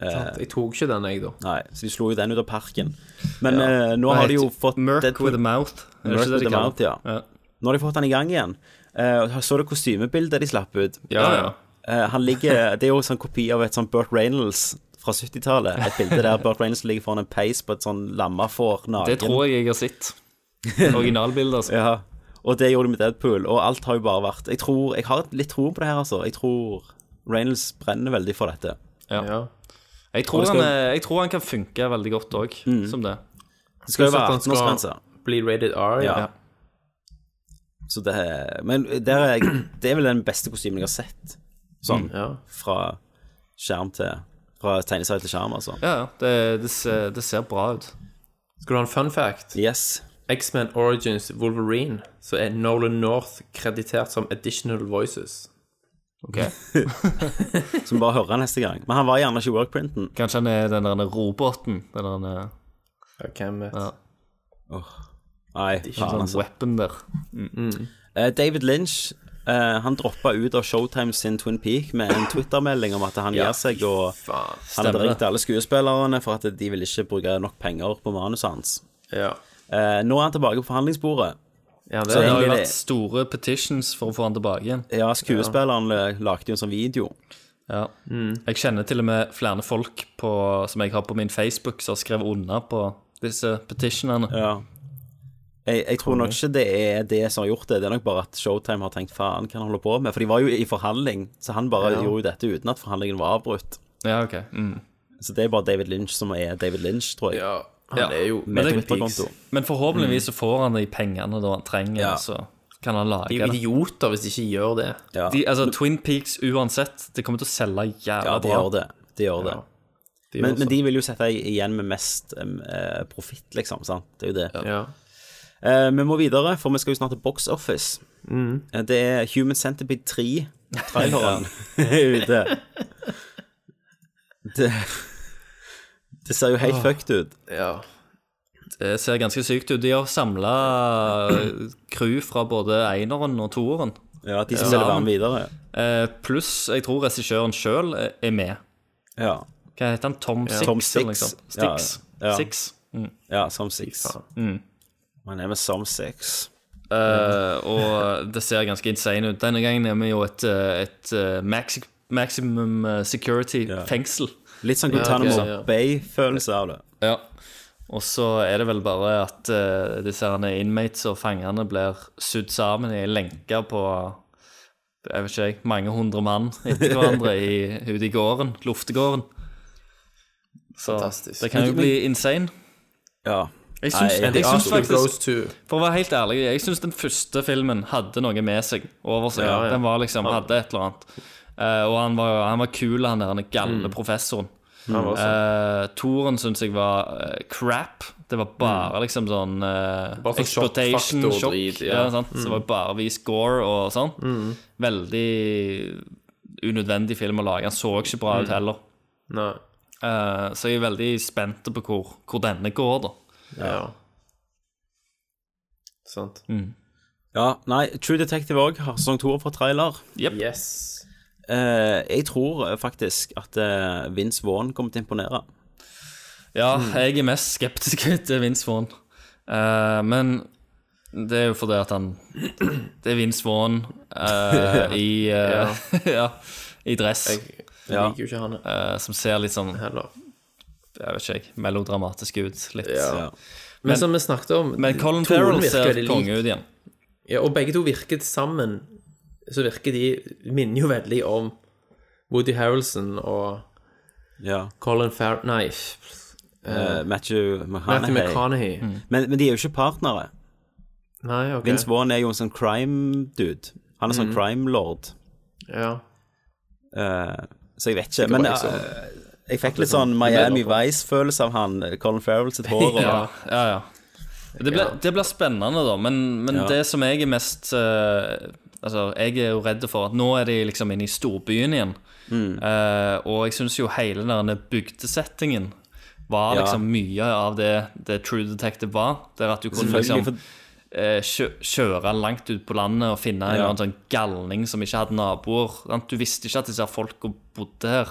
Speaker 1: Eh,
Speaker 9: Jeg tok ikke den, jeg, da.
Speaker 1: nei, så de slo jo den ut av parken. Men
Speaker 10: Ja.
Speaker 1: eh, nå
Speaker 10: Hva
Speaker 1: har de
Speaker 10: heter-
Speaker 1: jo fått
Speaker 10: Merc
Speaker 1: Deadpool-
Speaker 10: with a mouth. Er det
Speaker 1: Merc
Speaker 10: ikke det
Speaker 1: with
Speaker 10: de
Speaker 1: a
Speaker 10: kaller
Speaker 1: mouth,
Speaker 10: det?
Speaker 1: ja. Nå har de fått han i gang igjen. Eh, så du kostymebildet de slapp ut?
Speaker 10: Ja, ja.
Speaker 1: Eh, han ligger, Det er jo en sånn kopi av et sånt Burt Reynolds fra 70-tallet. Et bilde der Burt Reynolds ligger foran en peis på et sånn lammefår naken.
Speaker 10: Det tror jeg jeg har sett. Originalbildet, altså.
Speaker 1: Ja. Og det gjorde de med Deadpool, og alt har jo bare vært Jeg tror, jeg har litt troen på det her, altså. Jeg tror Reynolds brenner veldig for dette.
Speaker 10: Ja. Jeg,
Speaker 1: Og
Speaker 10: tror
Speaker 1: det
Speaker 10: han,
Speaker 1: skal- Mm.
Speaker 10: er- jeg tror han kan funke veldig godt òg, som det.
Speaker 1: Det skal jo
Speaker 9: Pluss at
Speaker 1: være
Speaker 9: han skal
Speaker 1: 18-årsgrense.
Speaker 9: Bli rated R, ja.
Speaker 1: Ja. Så det er Men det er, det er vel den beste kostymen jeg har sett. Sånn
Speaker 9: Ja.
Speaker 1: fra skjerm til Fra tegneserie til skjerm, altså.
Speaker 10: Ja, ja. Det, det, ser, det ser bra ut.
Speaker 9: Skal du ha en fun fact?
Speaker 1: Yes.
Speaker 9: X-Men Origins Wolverine, så er Nolan North kreditert som additional voices. Ok.
Speaker 1: Så vi bare hører han neste gang. Men han var gjerne ikke i workprinten.
Speaker 10: Kanskje han er den der roboten? Den der eh,
Speaker 9: Ja, hvem vet. Ja.
Speaker 1: Nei,
Speaker 10: Ikke
Speaker 1: faen,
Speaker 10: sånn
Speaker 1: altså.
Speaker 10: weapon der.
Speaker 1: Eh, David Lynch eh, han droppa ut av Showtime sin Twin Peak med en Twitter-melding om at han
Speaker 9: Ja,
Speaker 1: gir seg, og han
Speaker 10: Stemmer
Speaker 1: hadde
Speaker 10: det.
Speaker 1: ringt alle skuespillerne for at de ville ikke bruke nok penger på manuset hans.
Speaker 9: Ja.
Speaker 1: Eh, nå er han tilbake på forhandlingsbordet.
Speaker 10: det,
Speaker 1: Så
Speaker 10: har
Speaker 1: egentlig
Speaker 10: jo
Speaker 1: det-
Speaker 10: vært store petitions for å få han tilbake igjen.
Speaker 1: Ja, skuespilleren lagde jo en sånn video.
Speaker 10: Ja.
Speaker 1: Mm.
Speaker 10: Jeg kjenner til og med flere folk på, som jeg har på min Facebook, som har skrevet under på disse petitionene.
Speaker 1: Ja. Jeg, jeg tror nok ikke det er det som har gjort det, det er nok bare at Showtime har tenkt faen, hva han holder på med? For de var jo i forhandling, så han bare
Speaker 10: Ja.
Speaker 1: gjorde jo dette uten at forhandlingen var avbrutt.
Speaker 10: Ja, ok. Mm.
Speaker 1: Så det er bare David Lynch som er David Lynch, tror jeg.
Speaker 10: Ja.
Speaker 1: med
Speaker 10: men,
Speaker 1: Twitter-konto.
Speaker 10: det, men forhåpentligvis så får han de pengene da han
Speaker 1: Mm.
Speaker 10: trenger,
Speaker 1: Ja.
Speaker 10: så kan han lage
Speaker 9: De er jo idioter hvis de ikke gjør det.
Speaker 1: Ja.
Speaker 10: De, altså, Twin Peaks uansett, det kommer til å selge jævla
Speaker 1: Ja, de
Speaker 10: bra.
Speaker 1: gjør det. De gjør det.
Speaker 9: de
Speaker 1: men,
Speaker 9: gjør
Speaker 1: men
Speaker 9: så.
Speaker 1: de vil jo sette deg igjen med mest em, eh, profitt, liksom. sant? Det er jo det.
Speaker 9: Ja.
Speaker 1: Eh, vi må videre, for vi skal jo snart til Box Office.
Speaker 9: Mm.
Speaker 1: Eh, det er Human Centipede 3, traileren, ute. Det, det ser jo helt
Speaker 10: Åh.
Speaker 1: fucked ut.
Speaker 9: Ja.
Speaker 10: Det ser ganske sykt ut. De har samla crew fra både eneren og toeren.
Speaker 1: Ja, de som selger være med videre.
Speaker 10: Eh, Pluss, jeg tror regissøren sjøl er med.
Speaker 1: Ja.
Speaker 10: Hva heter han? Tom Six?
Speaker 1: Tom
Speaker 10: eller noe
Speaker 1: Six.
Speaker 10: sånt? Six.
Speaker 1: Ja, ja.
Speaker 10: Six. Mm.
Speaker 1: Ja, som six. Man er med som six.
Speaker 10: Eh, og det ser ganske insane ut. Denne gangen er vi jo et, eh, et eh, maxi maximum eh, security-fengsel.
Speaker 1: Litt sånn
Speaker 10: Ja,
Speaker 1: Guantanamo
Speaker 10: ok, ja.
Speaker 1: Bay-følelse av det.
Speaker 10: Ja. Og så er det vel bare at eh, disse herne inmates og fangene blir sydd sammen i lenker på jeg vet ikke, jeg, mange hundre mann etter hverandre i, ute i gården, luftegården. Så
Speaker 9: Fantastisk.
Speaker 10: det kan jo bli insane.
Speaker 1: Ja.
Speaker 10: Jeg syns,
Speaker 9: Nei,
Speaker 10: jeg syns
Speaker 9: Absolute Rose
Speaker 10: faktisk Mm.
Speaker 9: Two.
Speaker 10: For å være helt ærlig, jeg syns den første filmen hadde noe med seg over seg.
Speaker 9: Ja, ja.
Speaker 10: Den var liksom, hadde et eller annet. Eh, og han var, han var kul, han der den
Speaker 9: Mm.
Speaker 10: galne professoren.
Speaker 9: Han var
Speaker 10: Eh, Toren syns jeg var eh, crap. Det var bare liksom sånn eh,
Speaker 9: Mm. Bare sånn
Speaker 10: Exploitation,
Speaker 9: sjokkfaktor og
Speaker 10: sjokk.
Speaker 9: drit, ja.
Speaker 10: Ja. sant? Så
Speaker 9: Mm.
Speaker 10: det var bare vi score og sånn.
Speaker 9: Mm.
Speaker 10: Veldig unødvendig film å lage. Han så ikke bra ut
Speaker 9: Mm.
Speaker 10: heller.
Speaker 9: Nei.
Speaker 10: Eh, så jeg er veldig spent på hvor, hvor denne går, da.
Speaker 9: Ja. Sant.
Speaker 1: Ja, nei, True Detective òg har sesong to fra trailer.
Speaker 9: Yes.
Speaker 1: Eh, jeg tror faktisk at eh, Vince Vaughn kommer til å imponere.
Speaker 10: Ja,
Speaker 9: Mm.
Speaker 10: jeg er mest skeptisk til Vince Vaughn. Eh, men det er jo fordi at han Det er Vince Vaughn eh, i, eh, ja, i dress.
Speaker 9: Jeg
Speaker 10: Ja.
Speaker 9: liker jo ikke han.
Speaker 10: Eh, som ser litt sånn Jeg vet ikke, jeg, melodramatisk ut. Litt.
Speaker 9: Ja. Men,
Speaker 10: Men,
Speaker 9: som vi snakket om
Speaker 10: men Colin
Speaker 9: tonen
Speaker 10: Farrell
Speaker 9: virker
Speaker 10: ser
Speaker 9: veldig lik.
Speaker 10: konge ut igjen.
Speaker 9: Ja, og begge to virket sammen. Så virker de Minner jo veldig om Woody Harrelson og
Speaker 1: Ja.
Speaker 9: Colin Farrell Nei.
Speaker 1: Eh,
Speaker 9: eh,
Speaker 1: Matthew
Speaker 9: Matthew
Speaker 1: McConaughey.
Speaker 9: McConaughey.
Speaker 1: Men, men de er jo ikke partnere.
Speaker 9: Nei, ok.
Speaker 1: Mm. Vince Vaughn er jo en sånn crime-dude. Han er sånn
Speaker 9: Mhm.
Speaker 1: crime-lord.
Speaker 9: Ja.
Speaker 1: Eh, så jeg vet ikke.
Speaker 9: Sikkert
Speaker 1: Men
Speaker 9: bare
Speaker 1: eh,
Speaker 9: sånn.
Speaker 1: jeg fikk litt sånn Miami Vice-følelse av han eh, Colin Farrell sitt hår. Og,
Speaker 10: Ja, ja, ja. Det blir, det blir spennende, da. Men, men
Speaker 1: Ja.
Speaker 10: det som jeg er mest eh, Altså, jeg er jo redd for at nå er de liksom inne i storbyen igjen.
Speaker 1: Mm.
Speaker 10: Eh, og jeg syns jo hele den der bygdesettingen var
Speaker 1: Ja.
Speaker 10: liksom mye av det, det True Detective var. Der at du kunne
Speaker 1: Selvfølgelig,
Speaker 10: liksom eh, kjø kjøre langt ut på landet og finne en
Speaker 1: Ja.
Speaker 10: eller annen sånn galning som ikke hadde naboer. Sant? Du visste ikke at disse folka bodde her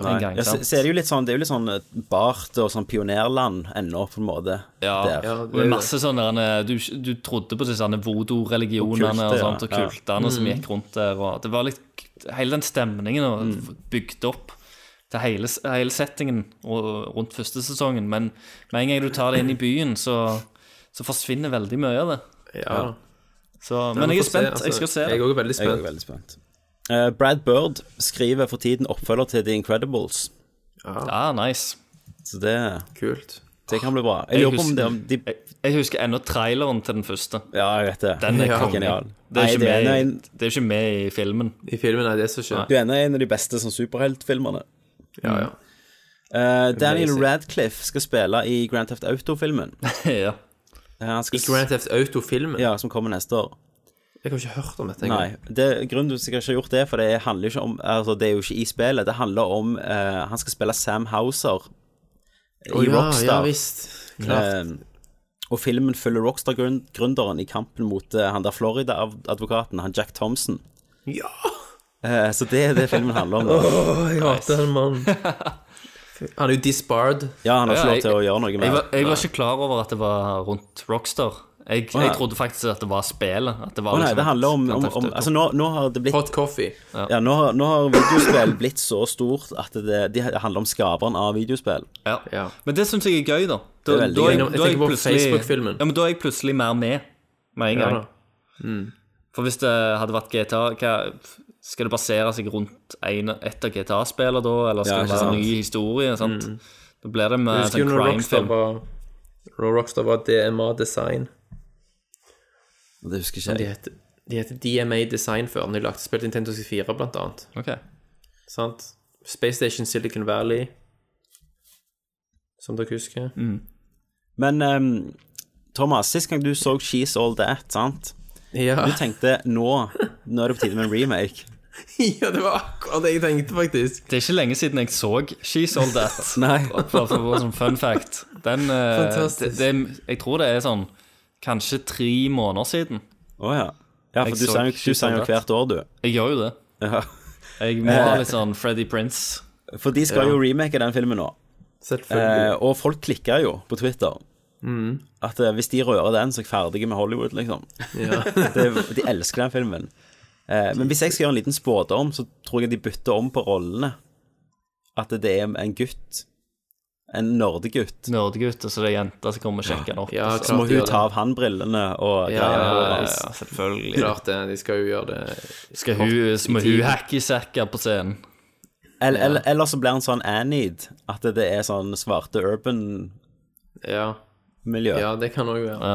Speaker 1: Nei.
Speaker 10: en gang.
Speaker 1: ja, så,
Speaker 10: sant?
Speaker 1: så er det, jo litt sånn, det er jo litt sånn eh, bart og sånn pionerland ennå, på en måte.
Speaker 10: Ja,
Speaker 1: der.
Speaker 10: og det er masse sånne derne- du, du trodde på disse derne voodoo-religionene
Speaker 1: Og
Speaker 10: og,
Speaker 1: kulter,
Speaker 10: sånt, og
Speaker 1: ja.
Speaker 10: kultene som
Speaker 1: Mm.
Speaker 10: gikk rundt der. Og det var litt, Hele den stemningen og
Speaker 1: Mm.
Speaker 10: bygd opp til hele, hele settingen og, rundt første sesongen. Men med en gang du tar det inn i byen, så, så forsvinner veldig mye av det.
Speaker 9: Ja.
Speaker 10: Så,
Speaker 9: Nei,
Speaker 10: men
Speaker 9: vi
Speaker 10: jeg
Speaker 9: får
Speaker 10: er
Speaker 9: se,
Speaker 10: spent.
Speaker 9: altså,
Speaker 10: jeg skal se det.
Speaker 9: jeg er også veldig
Speaker 1: Jeg er
Speaker 9: spent.
Speaker 1: også veldig spent. Eh, Brad Bird skriver for tiden oppfølger til The Incredibles.
Speaker 10: Ja, nice.
Speaker 1: Så det
Speaker 9: Kult.
Speaker 1: Det kan bli bra. Jeg
Speaker 10: Jeg
Speaker 1: lurer på om
Speaker 10: husker-
Speaker 1: det om de
Speaker 10: Jeg, jeg husker ennå traileren til den første.
Speaker 1: Ja, jeg vet det.
Speaker 10: Den er
Speaker 1: Ja.
Speaker 10: konge.
Speaker 1: Genial.
Speaker 10: Det
Speaker 1: Nei,
Speaker 10: er ikke
Speaker 1: det er
Speaker 10: med i-
Speaker 1: en-
Speaker 10: det er ikke med i filmen.
Speaker 9: I filmen er det som skjer.
Speaker 1: Du er en av de beste sånn superheltfilmerne.
Speaker 9: Ja, ja.
Speaker 1: Eh, Daniel
Speaker 9: Amazing.
Speaker 1: Radcliffe skal spille i Grand Theft Auto-filmen. Eh,
Speaker 10: ja.
Speaker 9: I Grand Theft Auto-filmen?
Speaker 1: Ja, som kommer neste år.
Speaker 9: Jeg har ikke hørt om dette. engang.
Speaker 1: Nei, det, grunnen til at jeg ikke har gjort det, for det handler ikke om Altså, det er jo ikke i spillet. Det handler om eh, Han skal spille Sam Houser i
Speaker 9: Å, ja,
Speaker 1: Rockstar.
Speaker 9: ja, visst. Klart.
Speaker 1: Eh, og filmen følger Rockstar-gründeren i kampen mot eh, han der Florida-advokaten, han Jack Thompson.
Speaker 9: Ja!
Speaker 1: Eh, så det er det filmen handler om.
Speaker 9: Åh, jeg hater den mannen. Han er jo disbarred.
Speaker 1: Ja, han har ikke
Speaker 10: Ja,
Speaker 1: lov til å gjøre noe
Speaker 10: Jeg
Speaker 1: med
Speaker 10: var, jeg var ikke klar over at det var rundt Rockstar. Jeg,
Speaker 1: Å, nei.
Speaker 10: jeg trodde faktisk at det var spillet. At det var
Speaker 1: Å nei,
Speaker 10: liksom
Speaker 1: det handler om,
Speaker 10: et
Speaker 1: om,
Speaker 10: Grand
Speaker 1: om
Speaker 10: Theft Auto.
Speaker 1: Altså, nå, nå har det blitt
Speaker 9: Hot coffee.
Speaker 1: Ja, nå, har- nå har videospill blitt så stort at det, det handler om skaperen av videospill.
Speaker 10: ja. Men det syns jeg er gøy, da. Da,
Speaker 1: Det er veldig
Speaker 10: da,
Speaker 1: gøy. Jeg
Speaker 10: jeg, da er jeg
Speaker 9: tenker på
Speaker 10: plutselig,
Speaker 9: Facebook-filmen.
Speaker 10: Ja, men da er jeg plutselig mer med med en
Speaker 9: Ja,
Speaker 10: gang.
Speaker 9: da. Mm.
Speaker 10: For hvis det hadde vært GTA, hva, skal det basere seg rundt en, et av GTA-spillene da, eller skal
Speaker 9: Ja,
Speaker 10: det
Speaker 9: ikke
Speaker 10: være en
Speaker 9: sant.
Speaker 10: ny historie? Sant? Da blir det
Speaker 9: Mm. Jeg
Speaker 10: med
Speaker 9: husker jo
Speaker 10: sånn
Speaker 9: når Rockstar
Speaker 10: crime-film.
Speaker 9: var, når Rockstar var DMA Design.
Speaker 1: Det husker
Speaker 9: Men
Speaker 1: ikke
Speaker 9: De
Speaker 1: jeg.
Speaker 9: heter, de heter DMA Design før. Når de lagde spill til Nintendo 64, blant annet.
Speaker 10: Ok.
Speaker 9: Sant? Space Station Silicon Valley, som dere husker.
Speaker 1: Men ehm, Thomas, sist gang du så She's All That, sant?
Speaker 9: Ja.
Speaker 1: Du tenkte nå Nå er det på tide med en remake.
Speaker 9: ja, det var akkurat det jeg tenkte, faktisk.
Speaker 10: Det er ikke lenge siden jeg så She's All That.
Speaker 1: Nei.
Speaker 10: Bare for å få sånn fun fact. Den, eh,
Speaker 9: Fantastisk.
Speaker 10: Det, det, jeg tror det er sånn kanskje tre måneder siden.
Speaker 1: Å ja. Ja, for
Speaker 10: Jeg
Speaker 1: du
Speaker 10: så
Speaker 1: sang jo- du
Speaker 10: She's
Speaker 1: sang
Speaker 10: All
Speaker 1: jo
Speaker 10: That.
Speaker 1: hvert år, du.
Speaker 10: Jeg gjør jo det.
Speaker 1: Ja.
Speaker 10: Jeg må ha
Speaker 1: Eh,
Speaker 10: litt sånn Freddy Prince.
Speaker 1: For de skal
Speaker 10: Ja.
Speaker 1: jo remake den filmen nå. Eh, og folk klikker jo på Twitter.
Speaker 9: Mm.
Speaker 1: At eh, hvis de rører den, så er jeg ferdig med Hollywood, liksom.
Speaker 9: Ja.
Speaker 1: det, de elsker den filmen. Eh, men hvis jeg skal gjøre en liten spådom, så tror jeg de bytter om på rollene. At det er en gutt. En nerdegutt.
Speaker 10: Nerdegutt, og så det er jenta som kommer og sjekker den opp.
Speaker 9: Ja,
Speaker 10: og
Speaker 1: Så må
Speaker 9: de gjør
Speaker 1: hun
Speaker 9: det.
Speaker 1: ta av han brillene og
Speaker 9: Ja,
Speaker 1: greie
Speaker 9: ja,
Speaker 1: håret
Speaker 9: ja,
Speaker 1: hans.
Speaker 9: ja,
Speaker 10: selvfølgelig.
Speaker 9: Klart det. De skal jo gjøre det
Speaker 10: Skal hun, så må hun hackysacker på scenen.
Speaker 1: Eller, eller, eller så blir han sånn Anid, at det er sånn svarte urban-miljø.
Speaker 9: Ja, ja det kan òg være.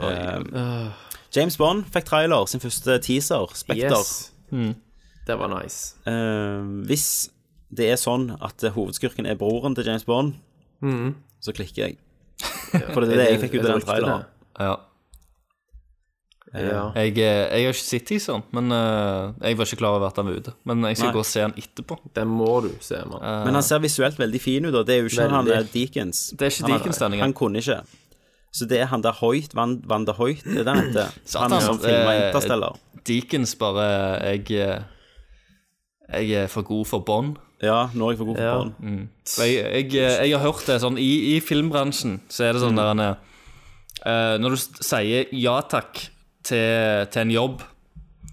Speaker 1: Ehm, James Bond fikk trailer, sin første teaser, Spekter.
Speaker 9: Yes. Det var nice.
Speaker 1: Ehm, hvis det er sånn at hovedskurken er broren til James Bond,
Speaker 10: Mm.
Speaker 1: så klikker jeg. For det er det jeg fikk ut av den traileren.
Speaker 10: Ja.
Speaker 9: Ja.
Speaker 10: Jeg, eh, jeg har ikke sett i sånn, men eh, jeg var ikke klar over at han var ute. Men jeg skal
Speaker 1: Nei.
Speaker 10: gå og se han etterpå.
Speaker 9: Den må du se, mann.
Speaker 10: Eh,
Speaker 1: Men han ser visuelt veldig fin ut, og det er jo ikke
Speaker 9: Veldig.
Speaker 1: han eh, Deakins.
Speaker 10: Det er ikke
Speaker 1: Han-
Speaker 10: Deakins denne gangen.
Speaker 1: Han kunne ikke. Så det er han der Hoyt, Van, Van der Hoyt, det er det han heter.
Speaker 10: Satan,
Speaker 1: Han som
Speaker 10: altså,
Speaker 1: filma
Speaker 10: eh,
Speaker 1: Interstellar.
Speaker 10: Deakins bare Jeg, eh, jeg er for god for Bond.
Speaker 1: Ja, nå er jeg for god for Bond.
Speaker 10: Mm. For Jeg, jeg, jeg har hørt det sånn I, i filmbransjen så er det sånn der han er eh, Når du s- sier ja takk til, til en jobb,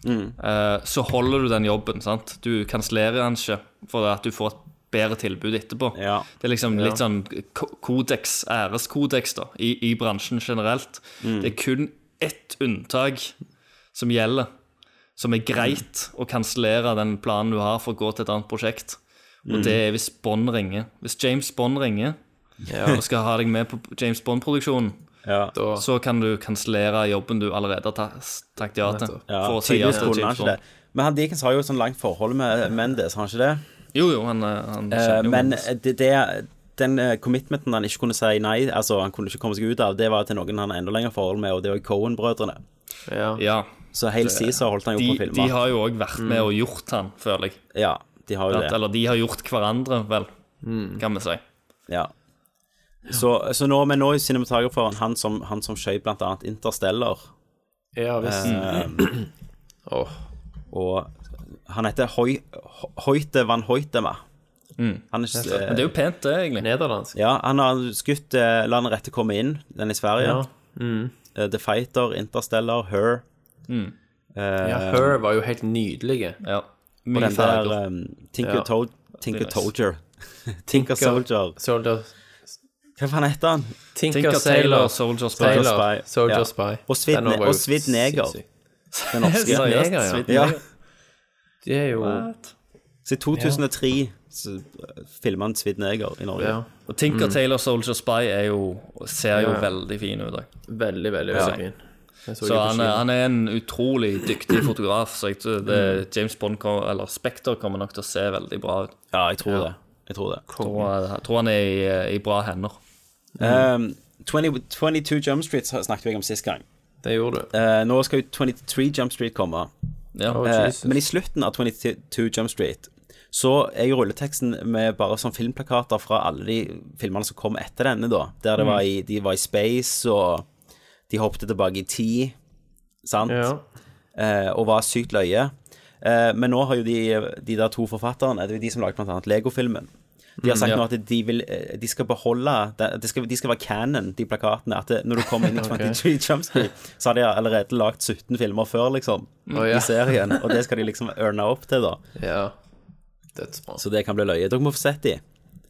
Speaker 10: eh, så holder du den jobben. sant? Du kansellerer den ikke for at du får et bedre tilbud etterpå.
Speaker 1: Ja.
Speaker 10: Det er liksom litt
Speaker 9: Ja.
Speaker 10: sånn ko- kodeks, æreskodeks, da, i, i bransjen generelt. Det er kun ett unntak som gjelder, som er greit å kansellere den planen du har for å gå til et annet prosjekt. Og
Speaker 1: Mm.
Speaker 10: det er hvis Bond ringer. Hvis James Bond ringer og skal ha deg med på James Bond-produksjonen,
Speaker 1: Ja.
Speaker 9: Da,
Speaker 10: så kan du kansellere jobben du allerede har ta- takket ja til.
Speaker 1: Ja,
Speaker 10: For å si ja
Speaker 1: tydeligvis
Speaker 10: til
Speaker 1: kunne han
Speaker 10: James
Speaker 1: ikke det.
Speaker 10: Bond.
Speaker 1: Men han Deakins har jo et sånn langt forhold med Mendes, har han ikke det?
Speaker 10: Jo, jo, han, han
Speaker 1: Eh,
Speaker 10: kjenner jo
Speaker 1: men
Speaker 10: Mendes.
Speaker 1: det, det, den eh, commitmenten han ikke kunne si nei, altså han kunne ikke komme seg ut av, det var til noen han har enda lengre forhold med, og det var Cohen-brødrene.
Speaker 9: ja.
Speaker 10: Ja.
Speaker 1: Så Hale Cæsar holdt han jo
Speaker 10: De,
Speaker 1: på å filme.
Speaker 10: de har jo òg vært med og gjort han, føler jeg.
Speaker 1: Ja, de har jo
Speaker 10: At,
Speaker 1: det. Mm.
Speaker 10: eller de har gjort hverandre, vel, kan vi si.
Speaker 1: Ja. Så, så nå, men nå er cinematograferen han som, han som skjøt blant annet Interstellar,
Speaker 9: ja visst.
Speaker 1: Eh,
Speaker 9: Åh.
Speaker 1: og han heter Hoy, Ho- Hoyte van Hoytema. Han er ikke
Speaker 10: Men Mm. det er jo pent, det, egentlig.
Speaker 9: Nederlandsk.
Speaker 1: Eh, Ja, han har skutt eh, Landet rette komme inn, den i Sverige.
Speaker 9: Ja. Mm.
Speaker 1: Eh, The Fighter, Interstellar, Her.
Speaker 10: Mm.
Speaker 1: Eh,
Speaker 9: ja. Her var jo helt nydelig.
Speaker 10: Ja.
Speaker 1: Og
Speaker 10: Mye
Speaker 1: den
Speaker 10: farger.
Speaker 1: der um, Tinker,
Speaker 9: Ja.
Speaker 1: Tol Tinker
Speaker 10: nice.
Speaker 1: Soldier. Tinker Soldier.
Speaker 9: Soldier
Speaker 1: Hva faen heter han?
Speaker 9: Tinker,
Speaker 10: Tinker
Speaker 9: Sailor,
Speaker 10: Tailor, Soldier Spy.
Speaker 9: Sailor,
Speaker 1: Soldier Spy.
Speaker 9: Soldier
Speaker 1: Ja.
Speaker 9: Spy.
Speaker 1: Og svidd
Speaker 9: Den var
Speaker 1: ne-
Speaker 9: jo
Speaker 1: og svidd neger.
Speaker 9: sinnssyk.
Speaker 1: Den norske.
Speaker 10: Seriøst,
Speaker 9: Neger, ja.
Speaker 10: sweet
Speaker 1: ja.
Speaker 10: neger.
Speaker 9: Det er jo
Speaker 1: Så i 2003 så uh, filma han Svidd neger i Norge.
Speaker 9: ja.
Speaker 10: Og Tinker Tailor Soldier Spy er jo, ser jo
Speaker 9: Ja.
Speaker 10: veldig fin ut. da.
Speaker 9: veldig, veldig,
Speaker 10: Ja.
Speaker 9: veldig fin. Jeg
Speaker 10: Så
Speaker 9: ikke på
Speaker 10: han er, han er en utrolig dyktig fotograf. Så jeg tror det, James Bond kom, eller Spekter kommer nok til å se veldig bra ut.
Speaker 1: Ja, jeg tror det. Jeg tror det.
Speaker 10: Tror, jeg tror han er i, i bra hender.
Speaker 1: Um, 20, 22 Jump Street sn- snakket vi om sist gang. Eh,
Speaker 9: Det gjorde du.
Speaker 1: nå skal jo 23 Jump Street komme.
Speaker 10: Oh,
Speaker 1: Eh,
Speaker 10: Jesus.
Speaker 1: men i slutten av 22 Jump Street så er jo rulleteksten med bare sånn filmplakater fra alle de filmene som kom etter denne, da. Der
Speaker 10: Mm.
Speaker 1: det var i, de var i space, og de hoppet tilbake i tid, sant? Eh, og var sykt løye. Eh, men nå har jo de, de der to forfatterne, det er jo de som lagde blant annet Lego-filmen, de har
Speaker 9: Mm,
Speaker 1: sagt
Speaker 9: ja.
Speaker 1: nå at de, vil, eh, de skal beholde det- de skal, de skal være canon, de plakatene. At det, når du kommer inn i
Speaker 9: Ok.
Speaker 1: 23 Jump Street, så har de allerede lagd 17 filmer før, liksom.
Speaker 9: Mm. Å, ja.
Speaker 1: I serien. Og det skal de liksom earne opp til, da.
Speaker 9: Ja. Dødsbra.
Speaker 1: Så det kan bli løye. Dere må få sett de.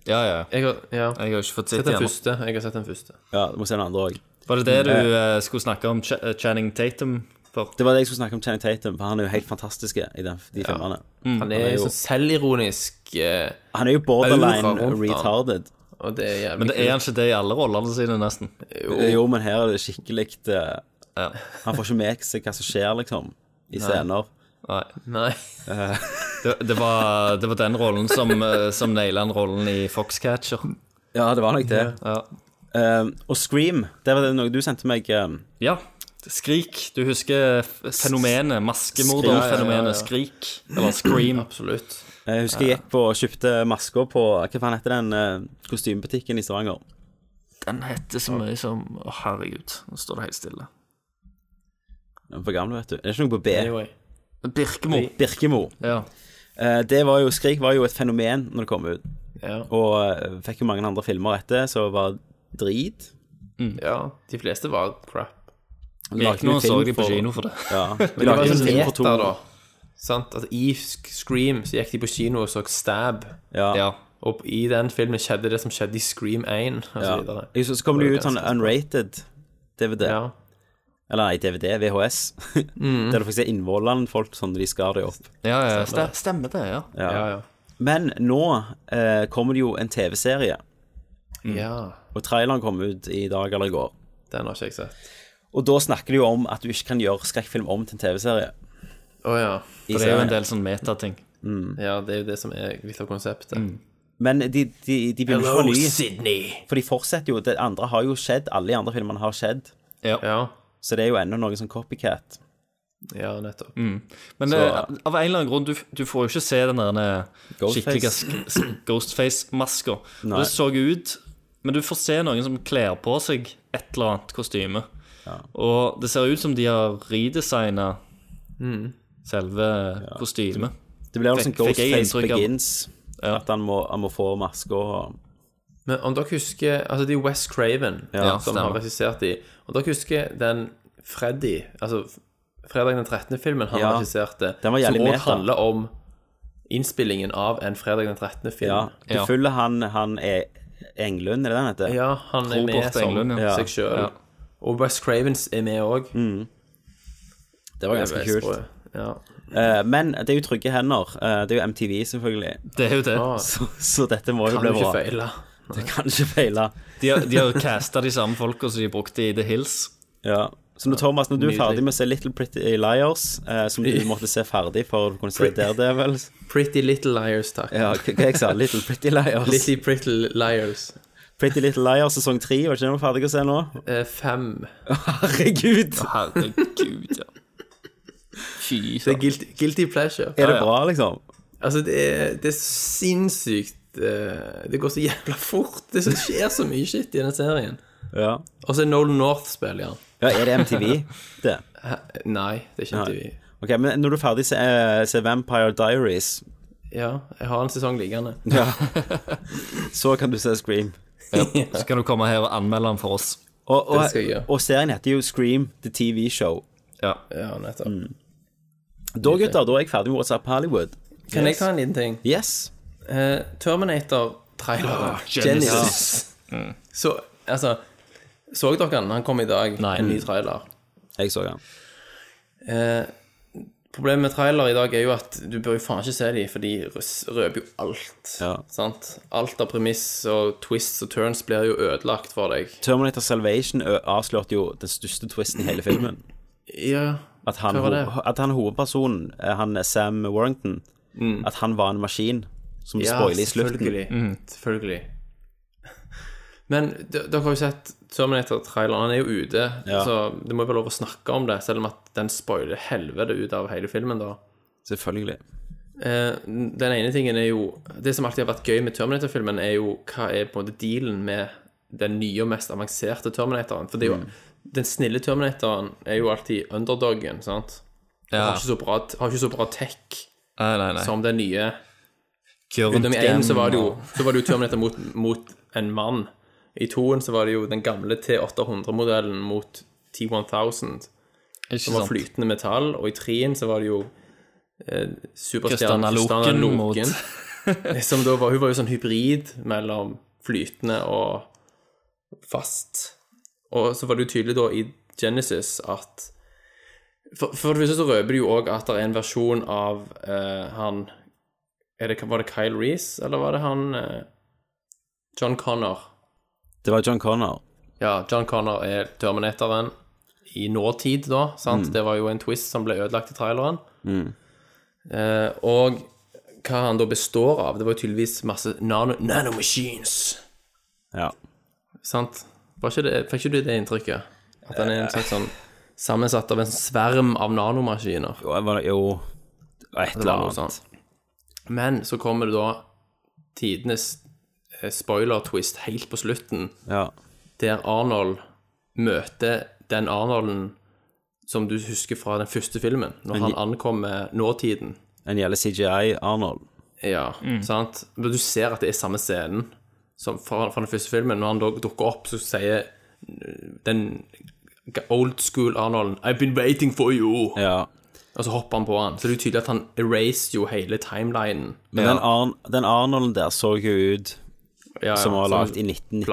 Speaker 10: Ja, ja.
Speaker 9: Jeg har, ja.
Speaker 10: Jeg har ikke fått
Speaker 9: Sett
Speaker 10: sett
Speaker 9: den
Speaker 10: igjen.
Speaker 9: første. Jeg har sett den første.
Speaker 1: Ja, du må se den andre òg.
Speaker 10: Var det det du
Speaker 1: Eh,
Speaker 10: eh, skulle snakke om Ch eh, Channing Tatum for?
Speaker 1: Det var det jeg skulle snakke om Channing Tatum, for han er jo helt fantastisk i den, de filmene.
Speaker 9: Han er jo sånn selvironisk eh,
Speaker 1: han er jo
Speaker 9: aura
Speaker 1: borderline
Speaker 9: rundt han.
Speaker 1: retarded.
Speaker 9: Og det er jævlig
Speaker 10: Men det er
Speaker 9: kult.
Speaker 10: han ikke det i alle rollene sine, nesten.
Speaker 1: Eh, Jo, men her er det skikkelig eh, Han får ikke med seg hva som skjer, liksom, i
Speaker 10: Nei.
Speaker 1: scener.
Speaker 10: Nei.
Speaker 9: Mm.
Speaker 10: det, det, var, det var den rollen som, eh, som naila den rollen i Foxcatcher.
Speaker 1: Ja, det var nok det. Eh, og Scream, det var det noe du sendte meg. eh,
Speaker 10: Ja. Skrik. Du husker f- fenomenet. Maskemorderfenomenet. Skrik. Eller Scream.
Speaker 9: Absolutt.
Speaker 1: Jeg husker jeg gikk på og kjøpte masker på Hva faen heter den eh, kostymebutikken i Stavanger?
Speaker 10: Den heter så mye som Å, herregud. Nå står det helt stille.
Speaker 1: Den er For gammel, vet du. Det er ikke noe på B.
Speaker 9: Anyway.
Speaker 10: Birkemo.
Speaker 1: Birkemo.
Speaker 10: Ja.
Speaker 1: Eh, Det var jo, Skrik var jo et fenomen når det kom ut.
Speaker 9: Ja.
Speaker 1: Og eh, fikk jo mange andre filmer etter, så var drit.
Speaker 9: Ja, de fleste var crap.
Speaker 1: Lagde jo film for- Ja,
Speaker 9: Men det var
Speaker 1: jo
Speaker 9: sånn
Speaker 1: film for
Speaker 9: meta,
Speaker 1: to-
Speaker 9: da. Sant? At Altså, I Sk- Scream så gikk de på kino og så Stab.
Speaker 1: Ja.
Speaker 9: Og i den filmen skjedde det som skjedde i Scream 1. Og så
Speaker 1: Ja.
Speaker 9: videre.
Speaker 1: Jeg synes, Så kom det jo
Speaker 9: var
Speaker 1: ut sånn
Speaker 9: ganske-
Speaker 1: unrated DVD. Eller nei, DVD, VHS.
Speaker 10: Mhm.
Speaker 1: Der du får se innvollene folk sånn de skar det opp.
Speaker 10: Ja, ja. Stemmer, stemmer det, ja.
Speaker 1: Ja. Men nå eh, kommer det jo en TV-serie.
Speaker 9: Ja.
Speaker 1: Og traileren kom ut i dag eller i går.
Speaker 9: Den har ikke jeg sett.
Speaker 1: Og da snakker de jo om at du ikke kan gjøre skrekkfilm om til en TV-serie.
Speaker 9: Å ja.
Speaker 1: I det er jo en serien.
Speaker 10: del sånn metating.
Speaker 1: Mm.
Speaker 9: Ja, det er jo det som er litt av konseptet.
Speaker 1: Men de, de, de begynner
Speaker 9: Hello,
Speaker 1: på ny.
Speaker 9: Sydney.
Speaker 1: For de fortsetter jo. Det andre har jo skjedd. Alle de andre filmene har skjedd.
Speaker 10: Ja.
Speaker 1: Så det er jo ennå noe sånn copycat.
Speaker 9: Ja, nettopp.
Speaker 10: Mm. Men
Speaker 1: Så-
Speaker 10: det, av en eller annen grunn, du, du får jo ikke se den der skikkelige
Speaker 1: Ghostface.
Speaker 10: sk- sk- Ghostface-maska. Og
Speaker 1: Nei.
Speaker 10: Det så ut Men du får se noen som kler på seg et eller annet kostyme. Og det ser ut som de har redesigna
Speaker 9: Mm.
Speaker 10: selve kostymet.
Speaker 1: Det blir jo sånn
Speaker 10: Fikk- fikk jeg
Speaker 1: Ghostface
Speaker 10: inntrykk av.
Speaker 1: Begins. At han må, han må få maske og
Speaker 9: Men om dere husker Altså, det er West Craven
Speaker 1: Ja,
Speaker 9: som
Speaker 1: stemmer.
Speaker 9: har regissert de. Om dere husker den Freddy Altså Fredag den 13. filmen han
Speaker 1: Ja,
Speaker 9: regisserte,
Speaker 1: den var
Speaker 9: som
Speaker 1: jævlig
Speaker 9: også
Speaker 1: meta.
Speaker 9: handler om innspillingen av en Fredag den 13. film.
Speaker 1: Ja. Du følger han, han er Englund, er det det han heter?
Speaker 9: Ja, han er med som seg sjøl.
Speaker 1: Ja. Mm.
Speaker 9: Og West Cravens er med òg.
Speaker 1: Det var ganske kult.
Speaker 9: Ja.
Speaker 1: Eh, men det er jo trygge hender. Eh, det er jo MTV, selvfølgelig.
Speaker 10: Det er jo det.
Speaker 9: Ah.
Speaker 1: Så, så dette må jo
Speaker 9: Kan
Speaker 1: bli
Speaker 9: jo ikke
Speaker 1: bra.
Speaker 9: feile.
Speaker 1: Det kan ikke feile.
Speaker 10: De har, de har casta de samme folka som de brukte i The Hills.
Speaker 1: Ja. Så når Thomas, når du er
Speaker 10: Nydelig.
Speaker 1: ferdig med å se Little Pretty Liars, eh, som du måtte se ferdig for å kunne se Daredevil
Speaker 9: Pretty Little Liars, takk.
Speaker 1: Ja, hva hva jeg sa Little Pretty Liars.
Speaker 9: Little Pretty Liars.
Speaker 1: Pretty Little Liars sesong tre, var ikke det vi var ferdig å se nå?
Speaker 9: Eh, fem.
Speaker 1: Herregud!
Speaker 10: Herregud, ja. Fy
Speaker 9: Det er guilty, guilty pleasure.
Speaker 1: Er det bra, liksom?
Speaker 9: Altså, det er, det er sinnssykt eh, Det går så jævla fort. Det som skjer så mye shit i denne serien.
Speaker 1: Ja.
Speaker 9: Og så er Nolan North spiller han.
Speaker 1: ja er det MTV, det?
Speaker 9: Hæ? Eh, Nei, det er ikke MTV.
Speaker 1: Nei. Ok, Men når du er ferdig, se, eh, se Vampire Diaries.
Speaker 9: Ja, jeg har en sesong liggende.
Speaker 1: Ja. Så kan du se Scream.
Speaker 10: Ja. Så kan du komme her og anmelde den for oss.
Speaker 1: Og, og,
Speaker 10: Det skal jeg gjøre.
Speaker 1: og serien heter jo Scream The TV Show.
Speaker 10: Ja,
Speaker 9: nettopp.
Speaker 1: Mm. Da, gutter, da er jeg ferdig med WhatsApp Hollywood.
Speaker 9: Kan jeg ta en liten ting?
Speaker 1: Yes.
Speaker 9: Eh, Terminator-traileren.
Speaker 1: Ah, Genesis.
Speaker 9: Så, altså Så dere han? Han kom i dag. En ny trailer.
Speaker 1: Jeg så han.
Speaker 9: Eh, problemet med trailer i dag er jo at du bør jo faen ikke se de, for de røs- røper jo alt. Sant? Alt av premiss og twists og turns blir jo ødelagt for deg.
Speaker 1: Terminator Salvation ø, avslørte jo den største twisten i hele filmen.
Speaker 9: Ja,
Speaker 1: At han,
Speaker 9: hva var det?
Speaker 1: ho- at han hovedpersonen, eh, han Sam Warrington, at han var en maskin. Som vi spoiler i slutten.
Speaker 9: Selvfølgelig. selvfølgelig. Mm. Men d- dere har jo sett Terminator-traileren. Han er jo ute,
Speaker 1: Ja.
Speaker 9: så det må jo være lov å snakke om det, selv om at den spoiler helvete ut av hele filmen, da.
Speaker 1: Selvfølgelig.
Speaker 9: Eh, den ene tingen er jo Det som alltid har vært gøy med Terminator-filmen, er jo hva er på en måte dealen med den nye og mest avanserte Terminatoren. For det er jo,
Speaker 10: Mm.
Speaker 9: den snille Terminatoren er jo alltid underdogen, sant? Og
Speaker 10: Ja.
Speaker 9: Har, ikke så bra, har ikke så bra tech
Speaker 10: Nei, nei, nei.
Speaker 9: som den nye.
Speaker 10: Gurren
Speaker 9: Utenom i én så var det jo,
Speaker 10: og-
Speaker 9: så var det jo Terminator mot, mot en mann. I toen så var det jo den gamle T800-modellen mot T1000.
Speaker 10: Ikke
Speaker 9: Som var
Speaker 10: sant.
Speaker 9: flytende metall. Og i treen så var det jo eh, superstjernen
Speaker 10: Kristanna Loken
Speaker 9: Kristanna
Speaker 10: mot-
Speaker 9: Loken. som da var, hun var jo sånn hybrid mellom flytende og fast. Og så var det jo tydelig da i Genesis at For, for det første så røper de jo òg at det er en versjon av eh, han er det, Var det Kyle Reese, eller var det han eh, John Connor?
Speaker 1: Det var John Connor.
Speaker 9: Ja, John Connor er Terminatoren i nåtid, da. sant?
Speaker 1: Mm.
Speaker 9: Det var jo en twist som ble ødelagt i traileren.
Speaker 1: Mm.
Speaker 9: Eh, og hva han da består av Det var jo tydeligvis masse nano, nanomachines.
Speaker 1: Ja.
Speaker 9: Sant? Var ikke det, fikk ikke du det inntrykket? At han er en slags sånn sammensatt av en sverm av nanomaskiner?
Speaker 1: Jo, jeg var, jo et
Speaker 9: Det
Speaker 1: eller
Speaker 9: var noe
Speaker 1: annet.
Speaker 9: sånt. Men så kommer det da tidenes eh, spoiler-twist helt på slutten,
Speaker 1: Ja.
Speaker 9: der Arnold møter den Arnolden som du husker fra den første filmen, når
Speaker 1: En-
Speaker 9: han ankommer nåtiden.
Speaker 1: En gjelder CGI Arnold.
Speaker 9: Ja, sant? Men du ser at det er samme scenen som fra, fra den første filmen. Når han da dukker opp, så sier øh, den old school Arnolden 'I've been waiting for you'. Og så hopper han på han. Så det er jo tydelig at han erased jo hele timelinen.
Speaker 1: Men den, Arn, den Arnolden der så jo ut
Speaker 9: Ja, ja,
Speaker 1: som var
Speaker 9: som
Speaker 1: laget i 1995.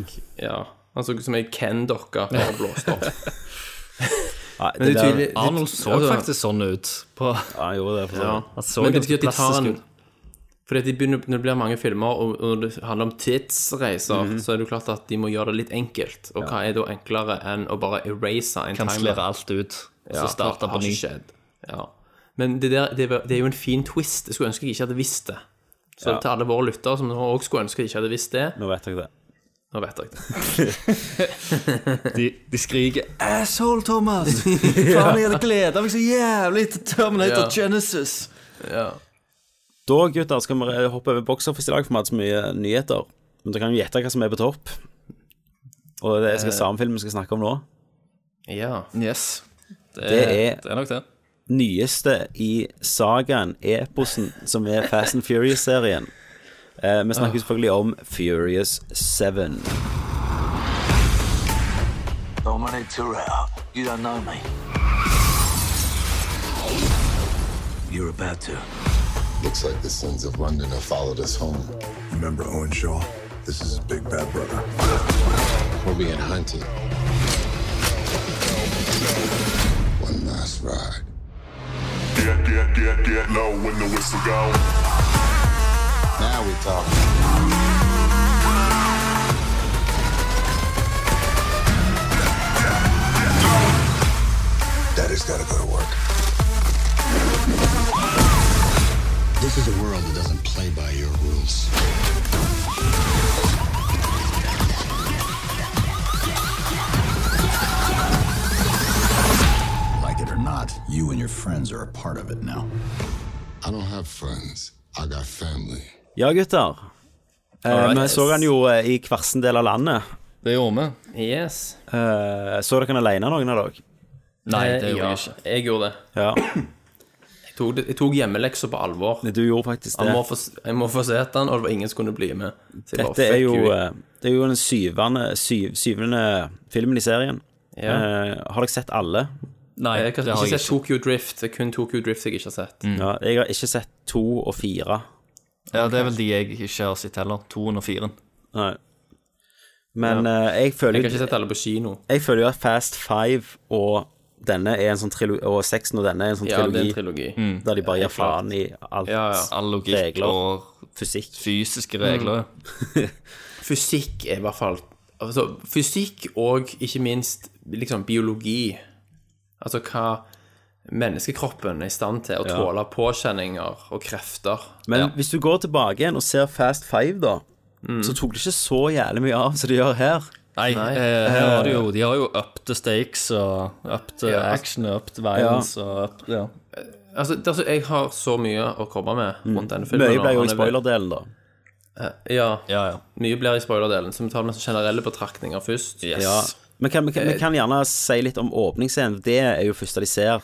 Speaker 9: plastikk. Ja. Han så ut som ei Ken-dokke bare blåst opp.
Speaker 1: Nei,
Speaker 9: Men det er
Speaker 1: der-
Speaker 9: tydelig-
Speaker 10: Arnold så faktisk sånn ut. På,
Speaker 1: Ja, han gjorde det. For
Speaker 9: Ja.
Speaker 1: sånn. Han så
Speaker 9: Men det
Speaker 10: jo
Speaker 9: betyr at de tar
Speaker 10: plastisk
Speaker 9: en Fordi at de begynner, når det blir mange filmer, og, og det handler om tidsreiser,
Speaker 10: Mhm.
Speaker 9: så er det jo klart at de må gjøre det litt enkelt. Og hva er da enklere enn å bare erase en
Speaker 10: Kanslere
Speaker 9: timeline?
Speaker 10: alt ut,
Speaker 9: Ja,
Speaker 10: så starter
Speaker 9: det har
Speaker 10: på ny.
Speaker 9: ikke skjedd. Ja. Men det, der, det, er- det er jo en fin twist. Jeg skulle ønske jeg ikke hadde visst det. Så
Speaker 1: Ja.
Speaker 9: til alle våre lyttere som også skulle ønske jeg ikke hadde visst det,
Speaker 1: Nå vet jeg det.
Speaker 9: nå vet jeg det.
Speaker 10: de, de skriker Asshole, Thomas!
Speaker 1: Ja.
Speaker 10: Faen, jeg hadde gleda meg så jævlig til Terminator
Speaker 1: Ja.
Speaker 10: Genesis!
Speaker 1: Da, gutter, skal vi hoppe over box office i dag, for vi har hatt så mye nyheter. Men dere kan jo gjette hva som er på topp. Og det er
Speaker 10: Eh.
Speaker 1: skal samme film vi skal snakke om nå.
Speaker 9: Ja.
Speaker 10: Yes. Eh, Det
Speaker 9: Eh.
Speaker 1: Det er,
Speaker 10: er, det er nok det.
Speaker 1: nyeste i sagaen, eposen, som er Fast and Furious-serien. Eh, vi
Speaker 9: Ah.
Speaker 1: snakker selvfølgelig om Furious 7.
Speaker 14: Dominic Terrell, you don't know me. You're about to.
Speaker 17: Looks like the sons of London have followed us home. Remember Owen Shaw? This is his big bad brother. We're being hunted. One last ride. Get, get, get, get low when the whistle goes. Now we talking. Daddy's gotta go to work. This is a world that doesn't play by your rules.
Speaker 18: Like it or not, you and your friends are a part of it now.
Speaker 17: I don't have friends. I got family.
Speaker 1: Ja, gutter. Eh,
Speaker 17: Alright.
Speaker 1: vi så den jo eh, i hver sin del av landet.
Speaker 10: Det gjorde
Speaker 9: vi. Yes.
Speaker 1: Eh, så dere den alene, noen av dere? Eh,
Speaker 9: ja, Jeg gjorde det.
Speaker 1: Ja.
Speaker 9: Jeg tok, det- jeg tok hjemmelekser på alvor.
Speaker 1: Du gjorde faktisk det.
Speaker 9: Jeg må få, jeg må få sett den, og det var ingen som kunne bli med. Så jeg bare,
Speaker 1: Dette er
Speaker 9: fuck
Speaker 1: jo,
Speaker 9: you.
Speaker 1: eh, det er jo den syvende, syv, syvende filmen i serien.
Speaker 9: Ja.
Speaker 1: Eh, har dere sett alle?
Speaker 10: Nei,
Speaker 9: Jeg har Eh, ikke sett Tokyo Drift. Det er kun Tokyo Drift jeg ikke har sett.
Speaker 1: Ja, jeg har ikke sett to og fire.
Speaker 10: Ja, Det er vel de jeg ikke har sett heller. 204.
Speaker 1: Nei. Men
Speaker 10: Ja.
Speaker 1: eh, jeg føler
Speaker 10: Jeg har ikke sett
Speaker 9: alle på kino.
Speaker 1: Jeg føler jo at Fast Five og denne er en sånn trilogi, og Sexen og denne er en sånn
Speaker 9: Ja, det
Speaker 1: trilogi,
Speaker 9: er en trilogi. Mm.
Speaker 1: der de bare gir
Speaker 9: Helt klart.
Speaker 1: faen i alt.
Speaker 9: Ja, ja.
Speaker 10: All logikk
Speaker 1: regler,
Speaker 10: og
Speaker 1: fysikk.
Speaker 10: fysiske regler.
Speaker 9: fysikk er i hvert fall altså, Fysikk og ikke minst liksom biologi. Altså hva menneskekroppen er i stand til å
Speaker 1: Ja.
Speaker 9: tåle påkjenninger og krefter.
Speaker 1: Men hvis du går tilbake igjen og ser Fast Five, da, så tok det ikke så jævlig mye av som det gjør her.
Speaker 10: Nei, eh, her har de jo De har jo up the stakes og up the
Speaker 9: Ja.
Speaker 10: action og up the violence og up ja.
Speaker 9: Altså, det, er altså, jeg har så mye å komme med rundt denne filmen.
Speaker 1: Mm. Mye
Speaker 9: og
Speaker 1: ble jo
Speaker 9: han
Speaker 1: i
Speaker 9: er-
Speaker 1: spoilerdelen, da.
Speaker 9: Eh, Ja. Mye blir i spoilerdelen, så vi tar med generelle betraktninger først.
Speaker 1: Ja. Men kan, vi, kan, vi
Speaker 9: Eh,
Speaker 1: kan gjerne si litt om åpningsscenen. Det er jo første de ser.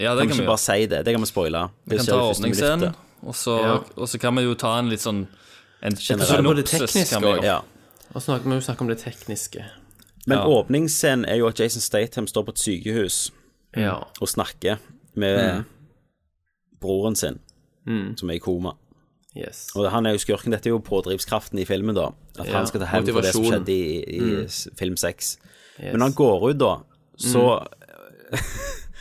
Speaker 10: Ja,
Speaker 1: kan vi
Speaker 10: det kan
Speaker 1: ikke
Speaker 10: vi gjøre.
Speaker 1: bare si det. Det kan vi spoile.
Speaker 10: Vi
Speaker 1: Det
Speaker 10: kan
Speaker 1: skjer
Speaker 10: ta
Speaker 1: i første
Speaker 10: åpningsscenen,
Speaker 1: minuttet.
Speaker 10: og, så-
Speaker 9: Ja.
Speaker 10: og så kan vi jo ta en litt sånn En
Speaker 9: Og så på det
Speaker 10: synopsis
Speaker 9: tekniske
Speaker 10: kan vi
Speaker 9: også.
Speaker 10: gjøre.
Speaker 9: Og så snakker vi jo snakke om det tekniske.
Speaker 1: Men
Speaker 9: Ja.
Speaker 1: åpningsscenen er jo at Jason Statham står på et sykehus
Speaker 9: Ja.
Speaker 1: og snakker med
Speaker 9: Mm.
Speaker 1: broren sin, som er i koma.
Speaker 9: Yes.
Speaker 1: Og han er jo skurken. Dette er jo pådrivskraften i filmen, da. At
Speaker 9: Ja,
Speaker 1: han skal ta hevn for det som
Speaker 9: motivasjon.
Speaker 1: skjedde i, i
Speaker 9: Mm.
Speaker 1: s- film seks.
Speaker 9: Yes.
Speaker 1: Men når han går ut, da, så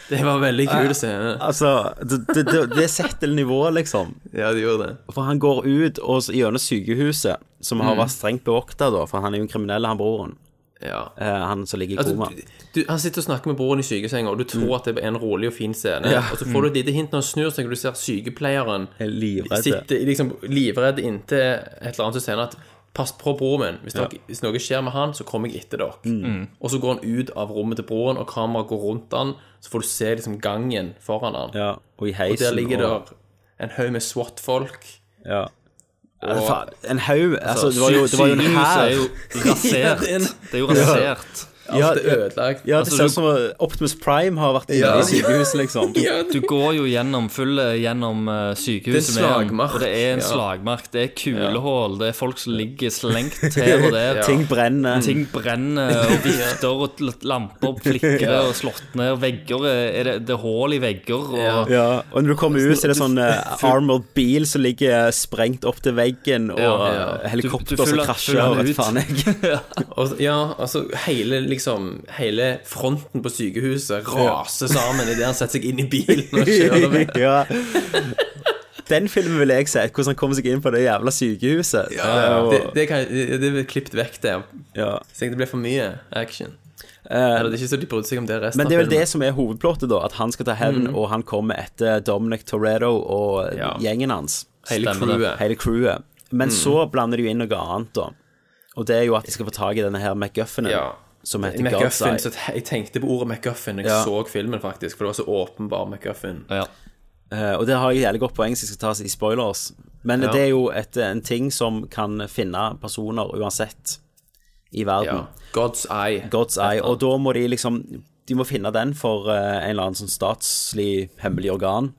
Speaker 9: Det var veldig kul scene.
Speaker 1: Altså, det, det, det, det setter nivået, liksom.
Speaker 9: Ja, det gjorde det.
Speaker 1: For han går ut og s- gjennom sykehuset, som har
Speaker 9: Mm.
Speaker 1: vært strengt bevokta, da, for han er jo en kriminell, han broren. Eh, han som ligger i
Speaker 9: Altså,
Speaker 1: koma.
Speaker 9: du, du, han sitter og snakker med broren i sykesenga, og du tror at det er en rolig og fin scene.
Speaker 1: Mm. Ja. Mm.
Speaker 9: Og så får du et lite hint når han snur seg, og du ser sykepleieren
Speaker 1: livredd.
Speaker 9: sitte liksom, livredd inntil et eller annet som sier at Pass på broren min. Hvis,
Speaker 1: Ja.
Speaker 9: dere- hvis noe skjer med han, så kommer jeg etter dere.
Speaker 1: Mm.
Speaker 9: Og så går han ut av rommet til broren, og kameraet går rundt han, så får du se liksom gangen foran han.
Speaker 1: Ja, og i
Speaker 9: og der
Speaker 1: heisen,
Speaker 9: ligger
Speaker 1: og-
Speaker 9: der en haug med SWAT-folk.
Speaker 1: Ja.
Speaker 9: Og-
Speaker 1: Altså, faen, en haug Altså, det var jo, det var jo en
Speaker 10: sykehuset
Speaker 1: hær.
Speaker 10: er jo rasert.
Speaker 9: Ja, det er en-
Speaker 10: Det er jo rasert.
Speaker 1: Ja, ja,
Speaker 9: Alt er ødelagt.
Speaker 1: Ja, det
Speaker 10: Altså,
Speaker 1: ser
Speaker 10: du-
Speaker 1: ut som eh, Optimus Prime har vært inne
Speaker 10: Ja.
Speaker 1: i sykehuset, liksom.
Speaker 10: Du går jo gjennom full gjennom eh, sykehuset
Speaker 9: Det er en
Speaker 10: med han,
Speaker 9: slagmark.
Speaker 10: og det er en
Speaker 9: Ja.
Speaker 10: slagmark. Det er kulehull, det er folk som ligger slengt her og der.
Speaker 1: Ja. Ting brenner.
Speaker 10: Mm. Ting brenner, og vifter og l- lamper flikker
Speaker 1: Ja.
Speaker 10: og slått ned, og vegger er er det, det er hull i vegger, og
Speaker 1: Ja, og når du kommer ut, så er det sånn eh, armored bil som ligger sprengt opp til veggen, og eh,
Speaker 9: Ja, ja. Du- du
Speaker 1: helikopter som
Speaker 9: fyller-
Speaker 1: krasjer,
Speaker 9: fyller
Speaker 1: og vet
Speaker 9: ut.
Speaker 1: faen jeg.
Speaker 9: Og, ja, altså hele, liksom, hele fronten på sykehuset raser sammen idet han setter seg inn i bilen og kjører med.
Speaker 1: ja. Den filmen vil jeg se, hvordan han kommer seg inn på det jævla sykehuset. Eh,
Speaker 9: Det, det, kan, det, det blir klippet vekk der.
Speaker 1: Ja.
Speaker 9: Så jeg det ble for mye action.
Speaker 1: Eh,
Speaker 9: Eller det er ikke så de brydde seg om det resten
Speaker 1: men det er vel
Speaker 9: av filmen.
Speaker 1: det som er hovedplottet, da. At han skal ta hevn,
Speaker 9: Mm.
Speaker 1: og han kommer etter Dominic Toretto og gjengen hans.
Speaker 9: Hele Stemmer det. crewet.
Speaker 1: Hele crewet. Men
Speaker 9: Mm.
Speaker 1: så blander de jo inn noe annet, da. Og det er jo at de skal få tak i denne her McGuffinen,
Speaker 9: Ja.
Speaker 1: som heter
Speaker 9: MacGuffin,
Speaker 1: Godside.
Speaker 9: så te- jeg tenkte på ordet MacGuffin da jeg
Speaker 1: Ja.
Speaker 9: så filmen, faktisk. For det var så åpenbar MacGuffin.
Speaker 1: Eh, og det har jeg et jævlig godt poeng som jeg skal tas i spoilers. Men
Speaker 9: Ja.
Speaker 1: det er jo et, en ting som kan finne personer uansett i verden.
Speaker 9: God's eye.
Speaker 1: God's eye. Og da må de liksom De må finne den for eh, en eller annen sånn statslig hemmelig organ.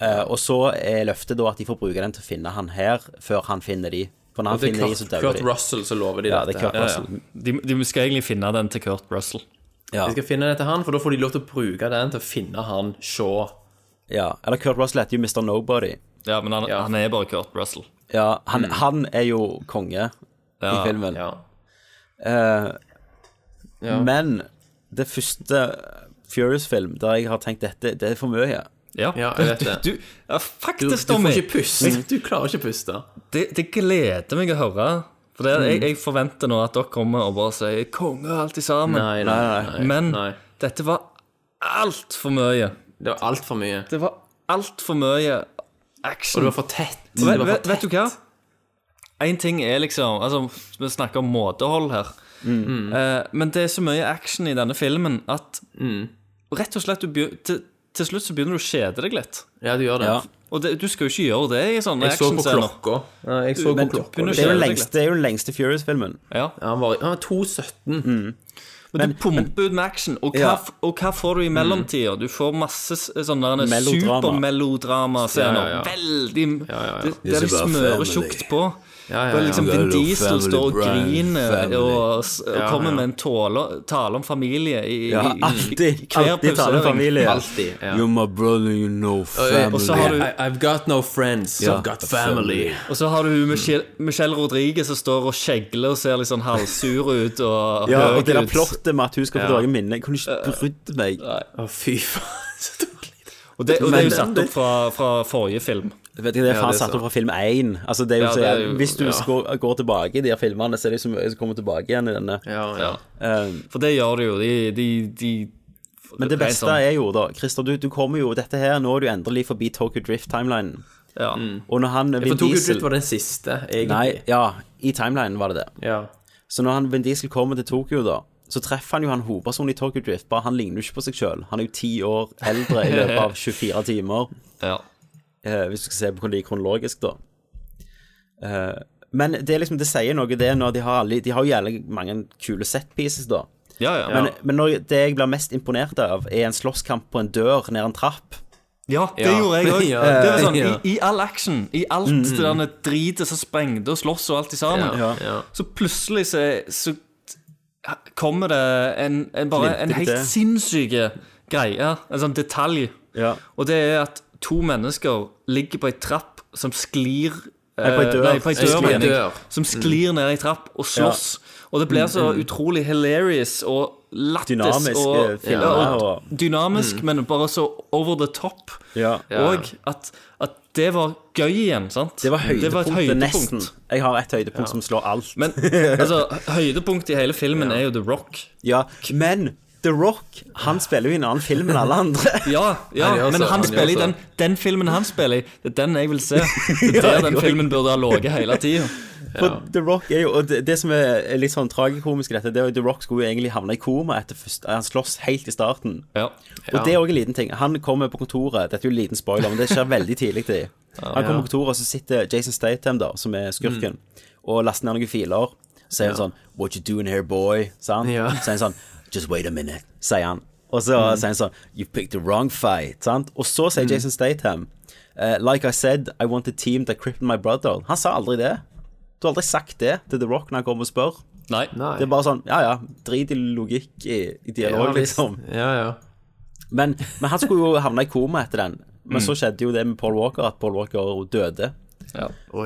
Speaker 1: Eh, og så er løftet da at de får bruke den til å finne han her, før han finner de. For når han
Speaker 9: Og det er
Speaker 1: finner de, så
Speaker 9: Kurt,
Speaker 1: dauer
Speaker 9: Kurt
Speaker 1: de.
Speaker 9: Russell som lover de
Speaker 1: Ja,
Speaker 9: dette.
Speaker 1: det er Kurt
Speaker 9: her.
Speaker 1: Russell.
Speaker 10: De, de skal egentlig finne den til Kurt Russell.
Speaker 1: Ja.
Speaker 9: De skal finne den til han, for da får de lov til å bruke den til å finne han Shaw.
Speaker 1: Ja, Eller Kurt Russell heter jo Mr. Nobody.
Speaker 10: Ja, men han, han er bare Kurt Russell.
Speaker 1: Ja, han, han er jo konge
Speaker 10: Ja,
Speaker 1: i filmen.
Speaker 9: Mm. Ja.
Speaker 1: Eh,
Speaker 9: Ja.
Speaker 1: Men det første Furious-film der jeg har tenkt dette, det er for mye.
Speaker 10: Ja,
Speaker 9: Ja, jeg vet det.
Speaker 10: Du, du,
Speaker 9: Du, du
Speaker 10: ja,
Speaker 9: får
Speaker 10: faktisk, Tommy.
Speaker 9: ikke puste. Du klarer ikke å puste.
Speaker 10: Det, det gleder meg å høre. For det, jeg, jeg forventer nå at dere kommer og bare sier 'konge' alt sammen.
Speaker 9: Nei, nei, nei,
Speaker 10: Men
Speaker 9: nei.
Speaker 10: dette var altfor mye.
Speaker 9: Det var altfor mye.
Speaker 10: Det var altfor mye action.
Speaker 9: Og det var for tett.
Speaker 10: Og
Speaker 9: Det
Speaker 10: Vet,
Speaker 9: var for
Speaker 10: vet, vet du hva? Én ting er liksom Altså, vi snakker om måtehold her.
Speaker 9: Mm.
Speaker 10: Eh, men det er så mye action i denne filmen at
Speaker 9: Mm.
Speaker 10: rett og slett du begyn- til, til slutt så begynner du å kjede deg litt.
Speaker 9: Ja, du gjør det.
Speaker 10: Ja. Og det, du skal jo ikke gjøre det i sånne
Speaker 9: Jeg så på
Speaker 10: actionscener.
Speaker 9: klokka. Ja, jeg så
Speaker 1: Men
Speaker 9: på klokka.
Speaker 1: det er jo den lengste, det er jo den lengste Furious-filmen.
Speaker 10: Ja.
Speaker 9: han var, han var 2,17.
Speaker 10: Men, du pumper ut med action, og hva,
Speaker 1: Ja. Mm.
Speaker 10: f- og hva får du i mellomtida? Du får masse s- sånne der
Speaker 1: Melodrama. Ja,
Speaker 10: supermelodramascener.
Speaker 1: ja, ja.
Speaker 10: Veldig Det,
Speaker 1: It's
Speaker 10: det er de
Speaker 1: about
Speaker 10: smører
Speaker 1: family.
Speaker 10: tjukt på.
Speaker 1: ja,
Speaker 10: Og liksom
Speaker 1: ja.
Speaker 10: Vin
Speaker 1: Little
Speaker 10: Diesel
Speaker 1: family
Speaker 10: står og
Speaker 1: brand,
Speaker 10: griner
Speaker 1: family.
Speaker 10: og, s- og
Speaker 1: Ja,
Speaker 10: kommer
Speaker 1: ja.
Speaker 10: med en tåle, tale om familie i, i,
Speaker 1: Ja,
Speaker 10: i- i
Speaker 1: alltid.
Speaker 10: hver
Speaker 1: Alltid tale om
Speaker 10: pausering.
Speaker 1: familie.
Speaker 9: Alltid, ja.
Speaker 1: You're my brother, you know family.
Speaker 10: Og så har du
Speaker 9: I, I've got no friends,
Speaker 10: Ja.
Speaker 9: I've got family.
Speaker 10: og så har du hun Michelle, Michelle Rodriguez som står og skjegler og ser litt sånn halvsur ut og
Speaker 1: Ja, og
Speaker 10: høg
Speaker 1: det der
Speaker 10: ut.
Speaker 1: plottet med at hun skal få
Speaker 10: Ja.
Speaker 1: tilbake minnet, jeg kunne ikke brydd meg.
Speaker 9: Å, fy faen. så dårlig.
Speaker 10: Og det, og det er
Speaker 1: Men-
Speaker 10: jo satt opp fra, fra forrige film.
Speaker 1: Vet ikke, Det er faen satt opp fra film én. Altså, det er jo
Speaker 10: Ja,
Speaker 1: så,
Speaker 10: det er jo-
Speaker 1: hvis du
Speaker 10: ja.
Speaker 1: skå- går tilbake i de her filmene, så er Um, det jo så mye som kommer tilbake igjen i denne.
Speaker 9: Ja, ja.
Speaker 1: Um,
Speaker 10: For det gjør det jo. De, de, de
Speaker 1: Men det
Speaker 10: rent
Speaker 1: beste
Speaker 10: sånn-
Speaker 1: er jo, da Christer, du, du kommer jo dette her Nå er du endelig forbi Tokyo Drift-timelinen.
Speaker 9: Mm.
Speaker 1: Og når han
Speaker 9: For Tokyo Drift var den siste, egentlig.
Speaker 1: Nei, ja, i timelinen var det det. Så når han, Vin Diesel kommer til Tokyo, da, så treffer han jo han hovedpersonen i Tokyo Drift. Bare han ligner jo ikke på seg sjøl. Han er jo ti år eldre i løpet av 24 timer. Eh, hvis du skal se på det kronologisk, da. Eh, men det er liksom, det sier noe, det, når de har alle De har jo jævlig mange kule set pieces, da.
Speaker 10: Ja, ja.
Speaker 1: Men, men når, det jeg blir mest imponert av, er en slåsskamp på en dør ned en trapp.
Speaker 10: Ja, det gjorde jeg òg. Det var sånn, i, I all action, i alt
Speaker 1: Mm,
Speaker 10: det der dritet som sprengte og sloss og alt i sammen,
Speaker 1: Ja,
Speaker 10: så plutselig så, så kommer det en, en bare en
Speaker 1: Glimter
Speaker 10: helt
Speaker 1: det.
Speaker 10: sinnssyk greie, en sånn detalj, og det er at to mennesker ligger på ei trapp som sklir
Speaker 1: Nei, på ei
Speaker 10: eh,
Speaker 1: dør.
Speaker 10: Nei, på ei dør,
Speaker 1: Sklir
Speaker 10: mener jeg.
Speaker 1: dør.
Speaker 10: Som sklir ned ei trapp og slåss. Og det blir så
Speaker 1: Mm, mm.
Speaker 10: utrolig hilarious og lættis
Speaker 1: Dynamisk, eh,
Speaker 10: og,
Speaker 1: filmer og-
Speaker 10: dynamisk,
Speaker 1: Mm.
Speaker 10: men bare så over the top.
Speaker 1: Ja.
Speaker 10: Og at, at det var gøy igjen, sant?
Speaker 1: Det var høydepunktet,
Speaker 10: et
Speaker 1: nesten. Jeg har et høydepunkt som slår alt.
Speaker 10: Men altså, høydepunktet i hele filmen er jo The Rock.
Speaker 1: Ja, men The Rock, han spiller jo i en annen film enn alle andre.
Speaker 10: Ja, ja
Speaker 1: Han gjør
Speaker 10: men
Speaker 1: så,
Speaker 10: han
Speaker 1: han
Speaker 10: spiller i
Speaker 1: gjør så.
Speaker 10: den, den filmen han spiller i. Det er den jeg vil se. Det er
Speaker 1: Ja,
Speaker 10: der den
Speaker 1: jeg
Speaker 10: filmen burde ha ligget hele tida.
Speaker 1: For The Rock er jo Og det, det som er er litt sånn tragikomisk i dette, det er jo at The Rock skulle jo egentlig havne i koma etter først Han slåss helt i starten. Og
Speaker 10: Ja.
Speaker 1: det er òg en liten ting. Han kommer på kontoret Dette er jo en liten spoiler, men det skjer veldig tidlig. i. Han kommer på kontoret, og så sitter Jason Statham, da, som er skurken, og laster ned noen filer. Så sier han
Speaker 19: Ja.
Speaker 1: sånn What you doing here, boy? Sa han.
Speaker 19: Ja.
Speaker 1: Så sier han sånn Just wait a minute, sier han. Og så
Speaker 19: Mm.
Speaker 1: sier han sånn You picked the wrong fight. Sant? Og så sier
Speaker 19: Mm.
Speaker 1: Jason Statham eh, Like I said, I want a team that crippled my brother. Han sa aldri det. Du har aldri sagt det til The Rock når han kommer og spør.
Speaker 10: Nei.
Speaker 1: Det er bare sånn Ja, ja, drit i logikk i, i dialog,
Speaker 9: Ja, visst.
Speaker 1: liksom.
Speaker 9: Ja, ja.
Speaker 1: Men, men han skulle jo havne i koma etter den. Men
Speaker 9: Mm.
Speaker 1: så skjedde jo det med Paul Walker, at Paul Walker døde.
Speaker 9: Å,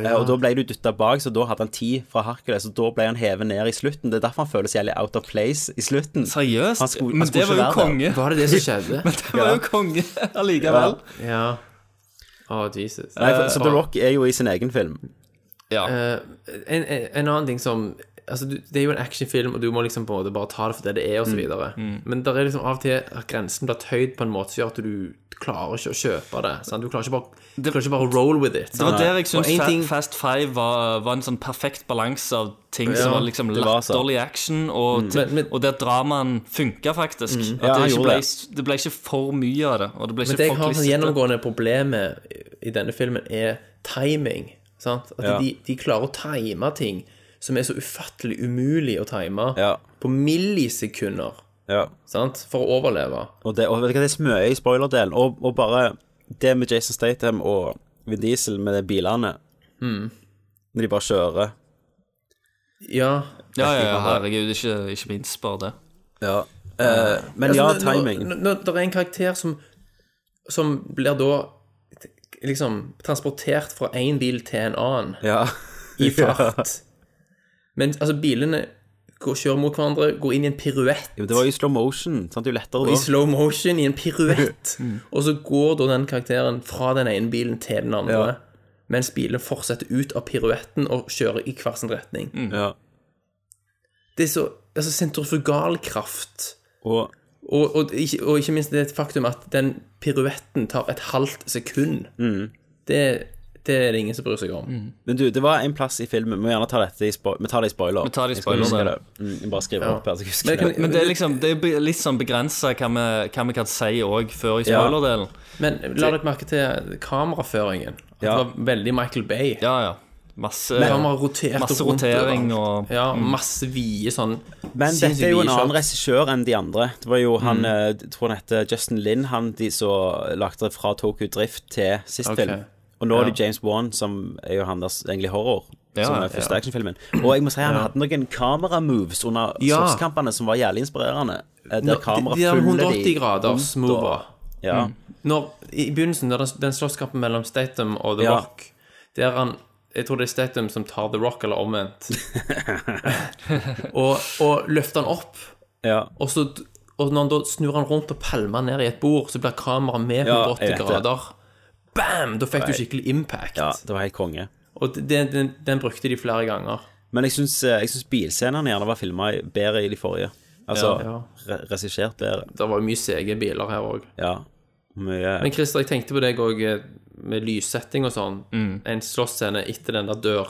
Speaker 9: ja.
Speaker 1: Eh, Og da ble du dytta bak, så da hadde han ti fra Hercules, og da ble han hevet ned i slutten. Det er derfor han føles jævlig out of place i slutten.
Speaker 10: Seriøst?
Speaker 1: Han skulle,
Speaker 10: Men
Speaker 1: han skulle
Speaker 10: det var
Speaker 1: ikke være
Speaker 10: jo
Speaker 1: der.
Speaker 10: konge. Var det det som skjedde? Men det var jo konge allikevel.
Speaker 9: Ja. Å, Jesus.
Speaker 1: Nei, for, så
Speaker 9: Eh,
Speaker 1: The Rock er jo i sin egen film.
Speaker 9: Eh, en, en, en annen ting som Altså, du, Det er jo en actionfilm, og du må liksom på en måte bare ta det for det det er, og så
Speaker 1: Mm.
Speaker 9: videre
Speaker 1: Mm.
Speaker 9: Men der er liksom av og til at grensen blir tøyd på en måte som gjør at du klarer ikke å kjøpe det. Sant? Du klarer ikke bare, du klarer ikke bare å roll with it.
Speaker 10: Det var der jeg syns
Speaker 9: Og en ting-
Speaker 10: Fast Five var, var en sånn perfekt balanse av ting som
Speaker 9: Ja,
Speaker 10: var liksom
Speaker 9: det var så.
Speaker 10: latterlig action, og,
Speaker 9: Mm.
Speaker 10: til- og der dramaen funka faktisk.
Speaker 9: Mm.
Speaker 10: At
Speaker 9: Ja, han
Speaker 10: det, ikke
Speaker 9: gjorde
Speaker 10: ble,
Speaker 9: det.
Speaker 10: det ble ikke for mye av det. Og det ble
Speaker 9: Men
Speaker 10: ikke
Speaker 9: det jeg
Speaker 10: for
Speaker 9: har sånn
Speaker 10: klissete.
Speaker 9: gjennomgående problem med i- i denne filmen, er timing. Sant? At
Speaker 10: Ja.
Speaker 9: de, de klarer å time ting som er så ufattelig umulig å time, på millisekunder. Sant? For å overleve.
Speaker 1: Og det, og vet du hva, det er så mye i spoilerdelen. Og, og bare det med Jason Statham og Vin Diesel med de bilene,
Speaker 9: Mm.
Speaker 1: når de bare kjører.
Speaker 9: Ja.
Speaker 10: Ja, ja, ja, herregud, ikke, ikke minst bare det.
Speaker 1: Ja. Eh, men ja,
Speaker 9: Altså, når-
Speaker 1: timing.
Speaker 9: Når, når det er en karakter som, som blir da liksom transportert fra én bil til en annen
Speaker 1: Ja.
Speaker 9: i fart Men altså, bilene går, kjører mot hverandre, går inn i en piruett.
Speaker 1: Jo, det var jo i slow motion. Sant? Det er jo lettere
Speaker 9: Og
Speaker 1: da.
Speaker 9: i slow motion, i en piruett.
Speaker 1: Mm.
Speaker 9: Og så går da den karakteren fra den ene bilen til den andre.
Speaker 1: Ja.
Speaker 9: Mens bilen fortsetter ut av piruetten og kjører i hver sin retning.
Speaker 1: Ja.
Speaker 9: Det er så altså, sentrifugalkraft.
Speaker 1: Og,
Speaker 9: og, og, ikke, og ikke minst det faktum at den piruetten tar et halvt sekund.
Speaker 1: Mm.
Speaker 9: Det, det er det ingen som bryr seg om.
Speaker 10: Mm.
Speaker 1: Men du, det var en plass i filmen Vi må gjerne ta dette i spo vi tar det i spoiler.
Speaker 10: Vi tar det i
Speaker 1: Jeg skal
Speaker 10: spoiler,
Speaker 1: huske
Speaker 10: det.
Speaker 1: det. Mm, jeg bare skriver
Speaker 10: Ja.
Speaker 1: opp her, så jeg husker
Speaker 10: Men,
Speaker 1: det.
Speaker 10: men det er liksom Det er be- litt sånn begrensa hva, vi- hva vi kan si òg før i
Speaker 9: Ja.
Speaker 10: spoilerdelen.
Speaker 9: Men la dere merke til kameraføringen. At
Speaker 10: Ja.
Speaker 9: Det var veldig Michael Bay.
Speaker 10: Ja, ja. Masse,
Speaker 9: Kamera roterte
Speaker 10: masse
Speaker 9: rundt
Speaker 10: rotering
Speaker 9: overalt.
Speaker 10: og
Speaker 9: Ja,
Speaker 10: mm.
Speaker 9: masse vide sånn
Speaker 1: Men dette er jo en
Speaker 9: sinnssykt vide
Speaker 1: annen
Speaker 9: shots.
Speaker 1: regissør enn de andre. Det var jo han,
Speaker 9: Mm.
Speaker 1: eh, jeg tror han heter Justin Lin, han de som lagde det fra Tokyo Drift til sist
Speaker 9: Ok.
Speaker 1: film. Og nå er det
Speaker 9: Ja.
Speaker 1: James Wan, som er jo han deres egentlig horror.
Speaker 9: Ja,
Speaker 1: som
Speaker 9: ja,
Speaker 1: er første
Speaker 9: ja.
Speaker 1: actionfilmen. Og jeg må si han
Speaker 9: Ja.
Speaker 1: hadde noen kameramoves under
Speaker 9: Ja.
Speaker 1: slåsskampene som var jævlig inspirerende. Eh,
Speaker 9: Nå,
Speaker 1: Der kameraet
Speaker 9: de, de der
Speaker 1: følger de Mm.
Speaker 9: 180 graders
Speaker 1: rundt og-
Speaker 9: mover.
Speaker 1: Ja.
Speaker 9: Mm. Når, I begynnelsen, når den, den slåsskampen mellom Statham og The
Speaker 1: Ja.
Speaker 9: Rock Der han Jeg tror det er Statham som tar The Rock, eller omvendt. og, og løfter han opp. Og, så, og når han da snur han rundt og pælmer ned i et bord, så blir kameraet med
Speaker 1: Ja,
Speaker 9: 180
Speaker 1: jeg vet det.
Speaker 9: grader. Bam! Da fikk
Speaker 1: Nei.
Speaker 9: du skikkelig impact.
Speaker 1: Ja, det var helt konge.
Speaker 9: Og den, den, den brukte de flere ganger.
Speaker 1: eh, Men jeg syns, jeg syns bilscenene gjerne var filma bedre i de forrige. Altså,
Speaker 9: Ja.
Speaker 1: re- regissert bedre.
Speaker 9: Det var jo mye sege biler her òg.
Speaker 1: Ja. Mye
Speaker 9: Men Christer, jeg tenkte på deg òg med lyssetting og sånn.
Speaker 10: Mm.
Speaker 9: En slåssscene etter den der dør,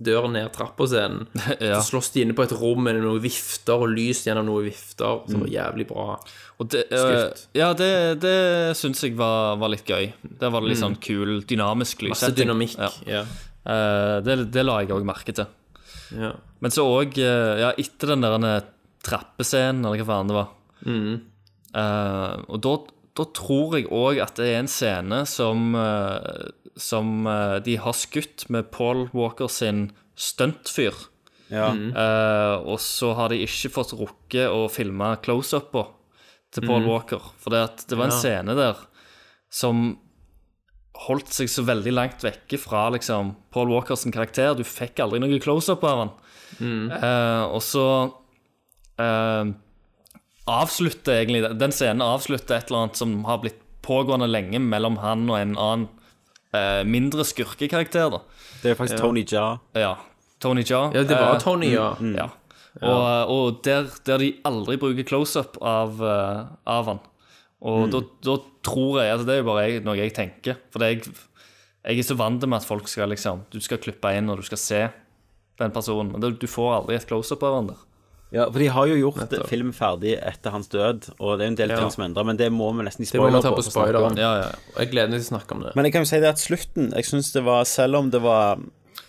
Speaker 9: dør ned trappa-scenen.
Speaker 10: Ja.
Speaker 9: Så slåss de inne på et rom med noen vifter og lys gjennom noen vifter. Det var jævlig bra.
Speaker 10: Og det, eh,
Speaker 9: Skutt.
Speaker 10: ja, det, det syns jeg var, var litt gøy. Der var det litt
Speaker 9: Mm.
Speaker 10: sånn kul, dynamisk
Speaker 9: Masse
Speaker 10: lyssetting.
Speaker 9: dynamikk,
Speaker 10: Eh, det, det la jeg òg merke til.
Speaker 9: Ja.
Speaker 10: Men så òg, ja, etter den der eh, trappescenen, eller hva faen det var
Speaker 9: Mm.
Speaker 10: eh, Og da, da tror jeg òg at det er en scene som eh, Som eh, de har skutt med Paul Walker sin stuntfyr.
Speaker 1: Ja.
Speaker 9: Mm.
Speaker 10: Eh, og så har de ikke fått rukket å filme close-upa til Paul
Speaker 9: Mhm.
Speaker 10: Walker. For det, at det var en
Speaker 9: Ja.
Speaker 10: scene der som holdt seg så veldig langt vekke fra liksom, Paul Walkers karakter. Du fikk aldri noe close-up av han.
Speaker 9: Mhm.
Speaker 10: Eh, og så eh, avslutter egentlig Den scenen avslutter et eller annet som har blitt pågående lenge mellom han og en annen eh, mindre skurkekarakter. da.
Speaker 1: Det er faktisk
Speaker 10: Ja.
Speaker 1: Tony Ja.
Speaker 10: Ja. Tony Ja.
Speaker 9: Ja, det var
Speaker 10: Eh,
Speaker 9: Tony, ja.
Speaker 10: mm, ja. Og, og der, der de aldri bruker close-up av, eh, av han. Og
Speaker 9: Mm.
Speaker 10: da, da tror jeg altså Det er jo bare jeg, noe jeg tenker. For det jeg, jeg er så vant til med at folk skal liksom Du skal klippe inn, og du skal se den personen. Men det, du får aldri et close-up av han der.
Speaker 1: Ja, for de har jo gjort
Speaker 10: Nettopp.
Speaker 1: filmen ferdig etter hans død, og det er jo en del
Speaker 10: Ja.
Speaker 1: ting som endrer, men det må vi nesten i
Speaker 9: Det må
Speaker 1: spoiler
Speaker 9: vi ta på
Speaker 1: for å snakke om.
Speaker 9: spoileren. Og Jeg gleder meg til å snakke om det.
Speaker 1: Men jeg kan jo si det at slutten Jeg synes det var, selv om det var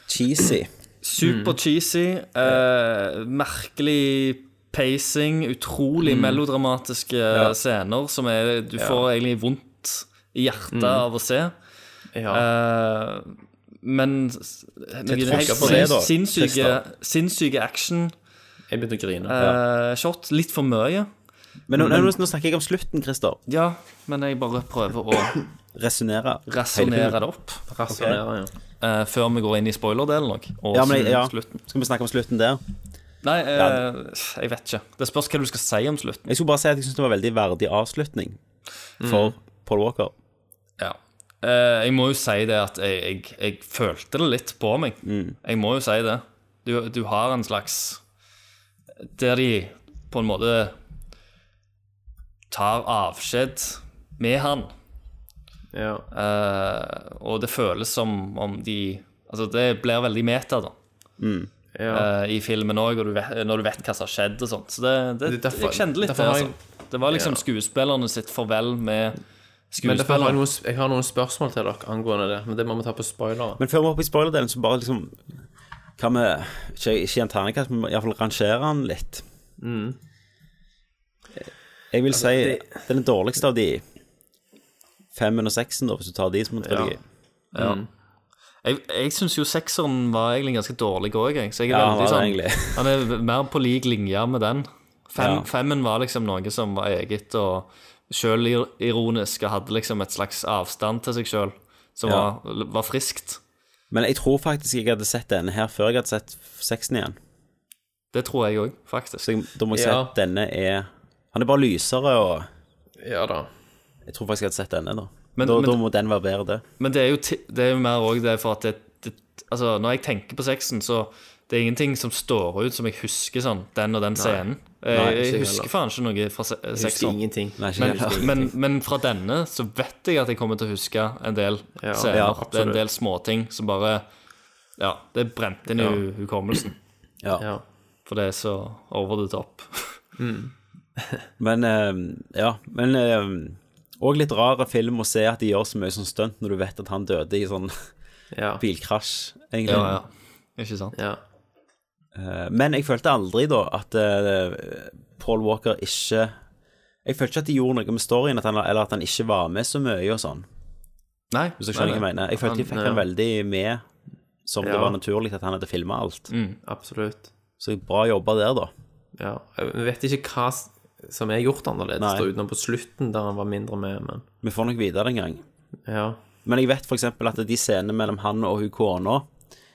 Speaker 1: cheesy
Speaker 10: Super
Speaker 1: Mm.
Speaker 10: cheesy, eh, merkelig pacing, utrolig
Speaker 1: Mm.
Speaker 10: melodramatiske
Speaker 1: Ja.
Speaker 10: scener som er, du
Speaker 1: Ja.
Speaker 10: får egentlig vondt i hjertet
Speaker 1: Mm.
Speaker 10: av å se. Eh, men s- noen
Speaker 9: tross
Speaker 10: helt
Speaker 9: for det, da,
Speaker 10: sinnssyke,
Speaker 9: Christer.
Speaker 10: sinnssyke action.
Speaker 9: Jeg begynte å grine.
Speaker 10: Eh, shot litt for mye.
Speaker 1: Men nå,
Speaker 9: Mm.
Speaker 10: Men-
Speaker 1: nå, nå snakker jeg om slutten, Christer
Speaker 10: Ja, men jeg bare prøver å
Speaker 1: Resonere Hele
Speaker 10: rasonere
Speaker 1: filmen.
Speaker 10: det opp.
Speaker 1: Rasonere,
Speaker 10: Eh, før vi går inn i spoilerdelen òg.
Speaker 1: ja, men, jeg- ja. Skal vi snakke om slutten der?
Speaker 10: Nei, eh,
Speaker 1: Ja.
Speaker 10: jeg vet ikke. Det spørs hva du skal si om slutten.
Speaker 1: Jeg skulle bare si at jeg synes det var en veldig verdig avslutning
Speaker 9: Mm.
Speaker 1: For Paul Walker
Speaker 10: Ja. Eh, jeg må jo si det at jeg, jeg, jeg følte det litt på meg. Jeg må jo si det. Du, du har en slags Der de på en måte tar avskjed med han. Eh, og det føles som om de Altså, det blir veldig meta, da.
Speaker 1: Mm.
Speaker 9: Ja.
Speaker 10: Eh, I filmen òg, når du vet hva som har skjedd og sånt. Så det, det,
Speaker 9: Det er derfor-
Speaker 10: jeg kjente litt det.
Speaker 9: derfor har jeg-
Speaker 10: Altså. Det var liksom
Speaker 9: Ja.
Speaker 10: skuespillerne sitt farvel med
Speaker 9: Men derfor har jeg,
Speaker 10: skuespillerne.
Speaker 9: noen, jeg har noen spørsmål til dere angående det, men det må vi ta på spoileren.
Speaker 1: Men før vi hopper i spoilerdelen, så bare liksom Kan vi Ikke, ikke en ternekast, men iallfall rangere han litt.
Speaker 10: Mm.
Speaker 1: Jeg vil
Speaker 10: Altså,
Speaker 1: si det, er den dårligste av de femmen og seksen, da, hvis du tar de som en trilogi.
Speaker 10: Ja. Jeg, jeg syns jo sekseren var egentlig ganske dårlig òg, jeg. Så jeg er
Speaker 1: Ja, han
Speaker 10: veldig
Speaker 1: var
Speaker 10: sånn
Speaker 1: det egentlig.
Speaker 10: Han er mer på lik linje med den. Fem,
Speaker 1: Ja.
Speaker 10: Femmen var liksom noe som var eget og sjølironisk og hadde liksom et slags avstand til seg sjøl som
Speaker 1: Ja.
Speaker 10: var, var friskt.
Speaker 1: Men jeg tror faktisk jeg hadde sett denne her før jeg hadde sett seksen igjen.
Speaker 10: Det tror jeg òg, faktisk.
Speaker 1: Så jeg, da må jeg si
Speaker 10: Ja.
Speaker 1: at denne er Han er bare lysere og
Speaker 9: Ja da.
Speaker 1: Jeg tror faktisk jeg hadde sett denne, da.
Speaker 10: Men-
Speaker 1: da,
Speaker 10: men-
Speaker 1: da må den være bedre, det.
Speaker 10: Men det er jo, ti- det er jo mer òg det for at det, det Altså, når jeg tenker på sexen, så det er ingenting som står ut som jeg husker sånn, den og den
Speaker 9: Nei.
Speaker 10: scenen.
Speaker 9: Nei,
Speaker 10: Jeg,
Speaker 9: ikke
Speaker 10: jeg
Speaker 9: jeg
Speaker 10: husker
Speaker 9: heller.
Speaker 10: faen ikke noe fra se-
Speaker 9: husker
Speaker 10: sexen.
Speaker 9: ingenting. Nei, ikke
Speaker 10: men,
Speaker 9: jeg heller.
Speaker 10: men, men fra denne så vet jeg at jeg kommer til å huske en del
Speaker 9: Ja,
Speaker 10: scener.
Speaker 9: ja,
Speaker 10: det er
Speaker 9: absolutt.
Speaker 10: en del småting som bare Ja, det brente inn i
Speaker 9: Ja.
Speaker 10: hu- hukommelsen.
Speaker 1: Ja.
Speaker 10: For det er så over the top.
Speaker 1: Men eh, ja, men eh, Og litt rar film å se at de gjør så mye sånn stunt når du vet at han døde i sånn
Speaker 9: Ja.
Speaker 1: bilkrasj, egentlig.
Speaker 10: Ja, ja. Ikke sant?
Speaker 9: Ja.
Speaker 1: Eh, men jeg følte aldri da at eh, Paul Walker ikke Jeg følte ikke at de gjorde noe med storyen, at han, eller at han ikke var med så mye og sånn.
Speaker 10: Nei.
Speaker 1: Hvis du skjønner hva jeg mener. Jeg følte de fikk han veldig med, som det
Speaker 9: Ja.
Speaker 1: var naturlig at han hadde filma alt.
Speaker 10: Mm.
Speaker 9: Absolutt.
Speaker 1: Så bra jobba der, da.
Speaker 9: Ja. Vi vet ikke hva s- som er gjort annerledes,
Speaker 1: Nei.
Speaker 9: da, utenom på slutten, der han var mindre med, men
Speaker 1: Vi får nok vite det en gang.
Speaker 9: Ja.
Speaker 1: Men jeg vet for eksempel at de scenene mellom han og hun kona,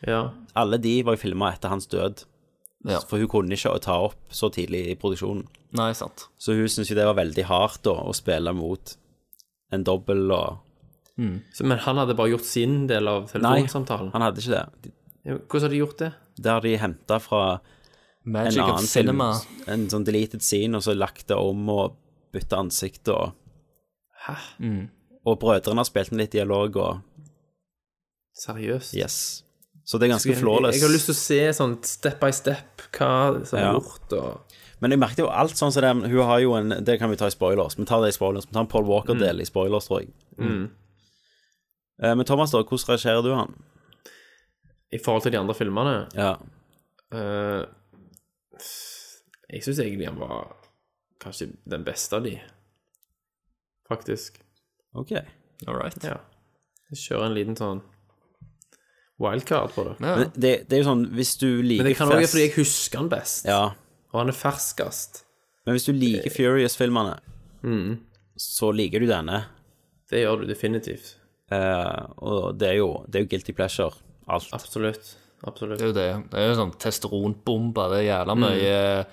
Speaker 9: Ja.
Speaker 1: alle de var jo filma etter hans død.
Speaker 10: Ja.
Speaker 1: For hun kunne ikke ta opp så tidlig i produksjonen.
Speaker 10: Nei, sant.
Speaker 1: Så hun syntes jo det var veldig hardt da, å spille mot en dobbel og
Speaker 9: Så, men han hadde bare gjort sin del av
Speaker 1: Nei,
Speaker 9: telefonsamtalen?
Speaker 1: han hadde ikke det.
Speaker 9: Ja, Hvordan har de gjort det?
Speaker 1: Der de henta fra
Speaker 10: Magic
Speaker 1: en
Speaker 10: of
Speaker 1: annen
Speaker 10: cinema.
Speaker 1: film. En sånn deleted scene, og så lagt det om og bytta ansikt og
Speaker 9: Hæ?
Speaker 1: Og brødrene har spilt inn litt dialog og
Speaker 9: Seriøst?
Speaker 1: Yes. Så det er ganske
Speaker 9: Jeg-
Speaker 1: flawless.
Speaker 9: Jeg, jeg har lyst til å se sånn step by step hva som er
Speaker 1: Ja.
Speaker 9: gjort, og
Speaker 1: Men jeg merket jo alt sånn som det Hun har jo en Det kan vi ta i spoilers. Vi tar det i spoilers. Vi tar en Paul Walker-del i spoilers, tror jeg.
Speaker 9: Mm.
Speaker 1: Eh, Men Thomas, da, hvordan rangerer du han?
Speaker 9: I forhold til de andre filmene
Speaker 1: Ja.
Speaker 9: eh, Jeg syns egentlig han var kanskje den beste av de, faktisk.
Speaker 1: OK.
Speaker 10: All right.
Speaker 9: Ja. Jeg kjører en liten sånn wildcard på det.
Speaker 1: Men det, det er jo sånn, hvis du liker
Speaker 9: Men det kan også være
Speaker 1: fest-
Speaker 9: fordi jeg husker han best.
Speaker 1: Ja.
Speaker 9: Og han er ferskest.
Speaker 1: Men hvis du
Speaker 9: Eh.
Speaker 1: liker Furious-filmene,
Speaker 9: Mm.
Speaker 1: så liker du denne.
Speaker 9: Det gjør du definitivt.
Speaker 1: Eh, og det er, jo, det er jo guilty pleasure, alt.
Speaker 9: Absolutt. Absolutt.
Speaker 10: Det er jo det. Det er jo sånn testosteronbombe. Det er jævla
Speaker 9: Mm.
Speaker 10: mye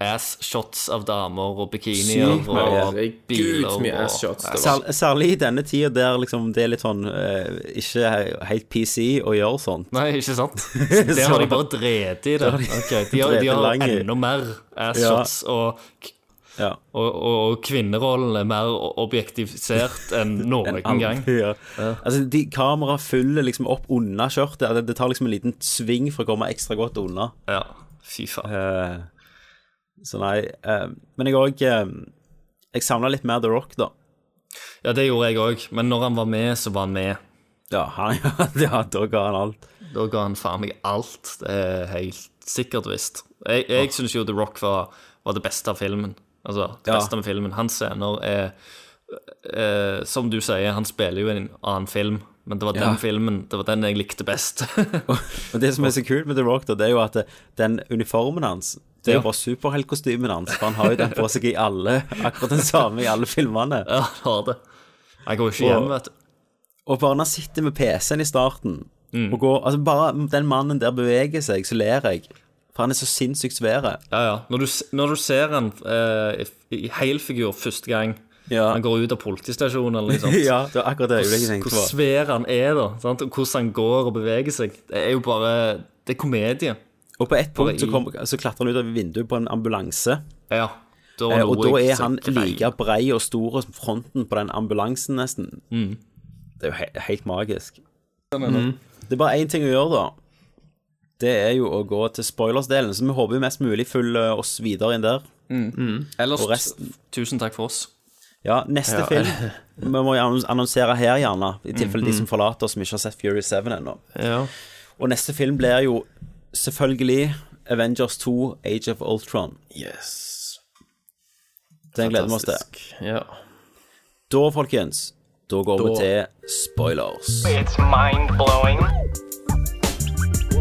Speaker 10: ass shots av damer og bikinier
Speaker 1: Sykt
Speaker 10: og
Speaker 1: mye.
Speaker 10: biler. og-
Speaker 1: Sær, særlig i denne tida der liksom det er litt sånn eh, ikke helt PC å gjøre sånn. sånt.
Speaker 10: Nei, ikke sant? Det har de bare dreti i det. Ok, de har, de har enda mer ass
Speaker 1: Ja.
Speaker 10: shots, og, og, og, og kvinnerollen er mer objektivisert enn noen gang.
Speaker 1: Ja. Altså, de kamera fyller liksom opp unna skjørtet. Det, det tar liksom en liten sving for å komme ekstra godt unna.
Speaker 10: Ja, fy faen.
Speaker 1: så nei. eh, men jeg òg Jeg samla litt mer The Rock, da.
Speaker 10: Ja, det gjorde jeg òg, men når han var med, så var han med.
Speaker 1: Ja, han, ja, da ga han alt.
Speaker 10: Da ga han faen meg alt. Det er helt sikkert visst. Jeg, jeg syns jo The Rock var, var det beste av filmen. Altså, det
Speaker 1: Ja.
Speaker 10: beste med filmen. Hans scener er eh, Som du sier, han spiller jo i en annen film, men det var
Speaker 1: Ja.
Speaker 10: den filmen Det var den jeg likte best.
Speaker 1: Og det som er så kult med The Rock, da, det er jo at eh, den uniformen hans det er
Speaker 10: Ja.
Speaker 1: jo bare superheltkostymen hans, for han har jo den på seg i alle akkurat den samme i alle filmene.
Speaker 10: Ja, han har det. Han går ikke hjem, vet du.
Speaker 1: Og bare når han sitter med PC-en i starten, og går Altså, bare den mannen der beveger seg, så ler jeg. For han er så sinnssykt svær.
Speaker 10: Ja, ja. Når du, s- når du ser han eh, i i helfigur første gang Han går ut av politistasjonen eller noe sånt.
Speaker 1: Ja, det var akkurat det øyeblikket jeg tenkte på.
Speaker 10: Hvor hvor svær han er, da. Sant? Og hvordan han går og beveger seg. Det er jo bare Det er komedie.
Speaker 1: Og på ett
Speaker 10: Bare
Speaker 1: punkt så,
Speaker 10: i-
Speaker 1: kom, så klatrer han ut av vinduet på en ambulanse.
Speaker 10: Ja. Da
Speaker 1: Eh,
Speaker 10: lo
Speaker 1: og da
Speaker 10: jeg
Speaker 1: er
Speaker 10: så
Speaker 1: han
Speaker 10: grei.
Speaker 1: like brei og stor som fronten på den ambulansen, nesten. Det er jo he helt magisk.
Speaker 10: Sånn er det.
Speaker 1: Det er bare én ting å gjøre, da. Det er jo å gå til spoilers-delen, så vi håper jo mest mulig følger oss videre inn der.
Speaker 10: Mm. Ellers,
Speaker 1: Og resten-
Speaker 10: tusen takk for oss.
Speaker 1: Ja, neste
Speaker 10: Ja.
Speaker 1: film Vi må jo annons- annonsere her, gjerne, i tilfelle de
Speaker 10: Mhm.
Speaker 1: som forlater oss, som ikke har sett Fury 7 ennå.
Speaker 9: Ja.
Speaker 1: Og neste film blir jo selvfølgelig Avengers 2, Age of Ultron.
Speaker 9: Yes.
Speaker 1: Den gleder vi oss til.
Speaker 9: Ja.
Speaker 1: Da, folkens, da går vi
Speaker 9: Da-
Speaker 1: til spoilers.
Speaker 19: It's mind blowing.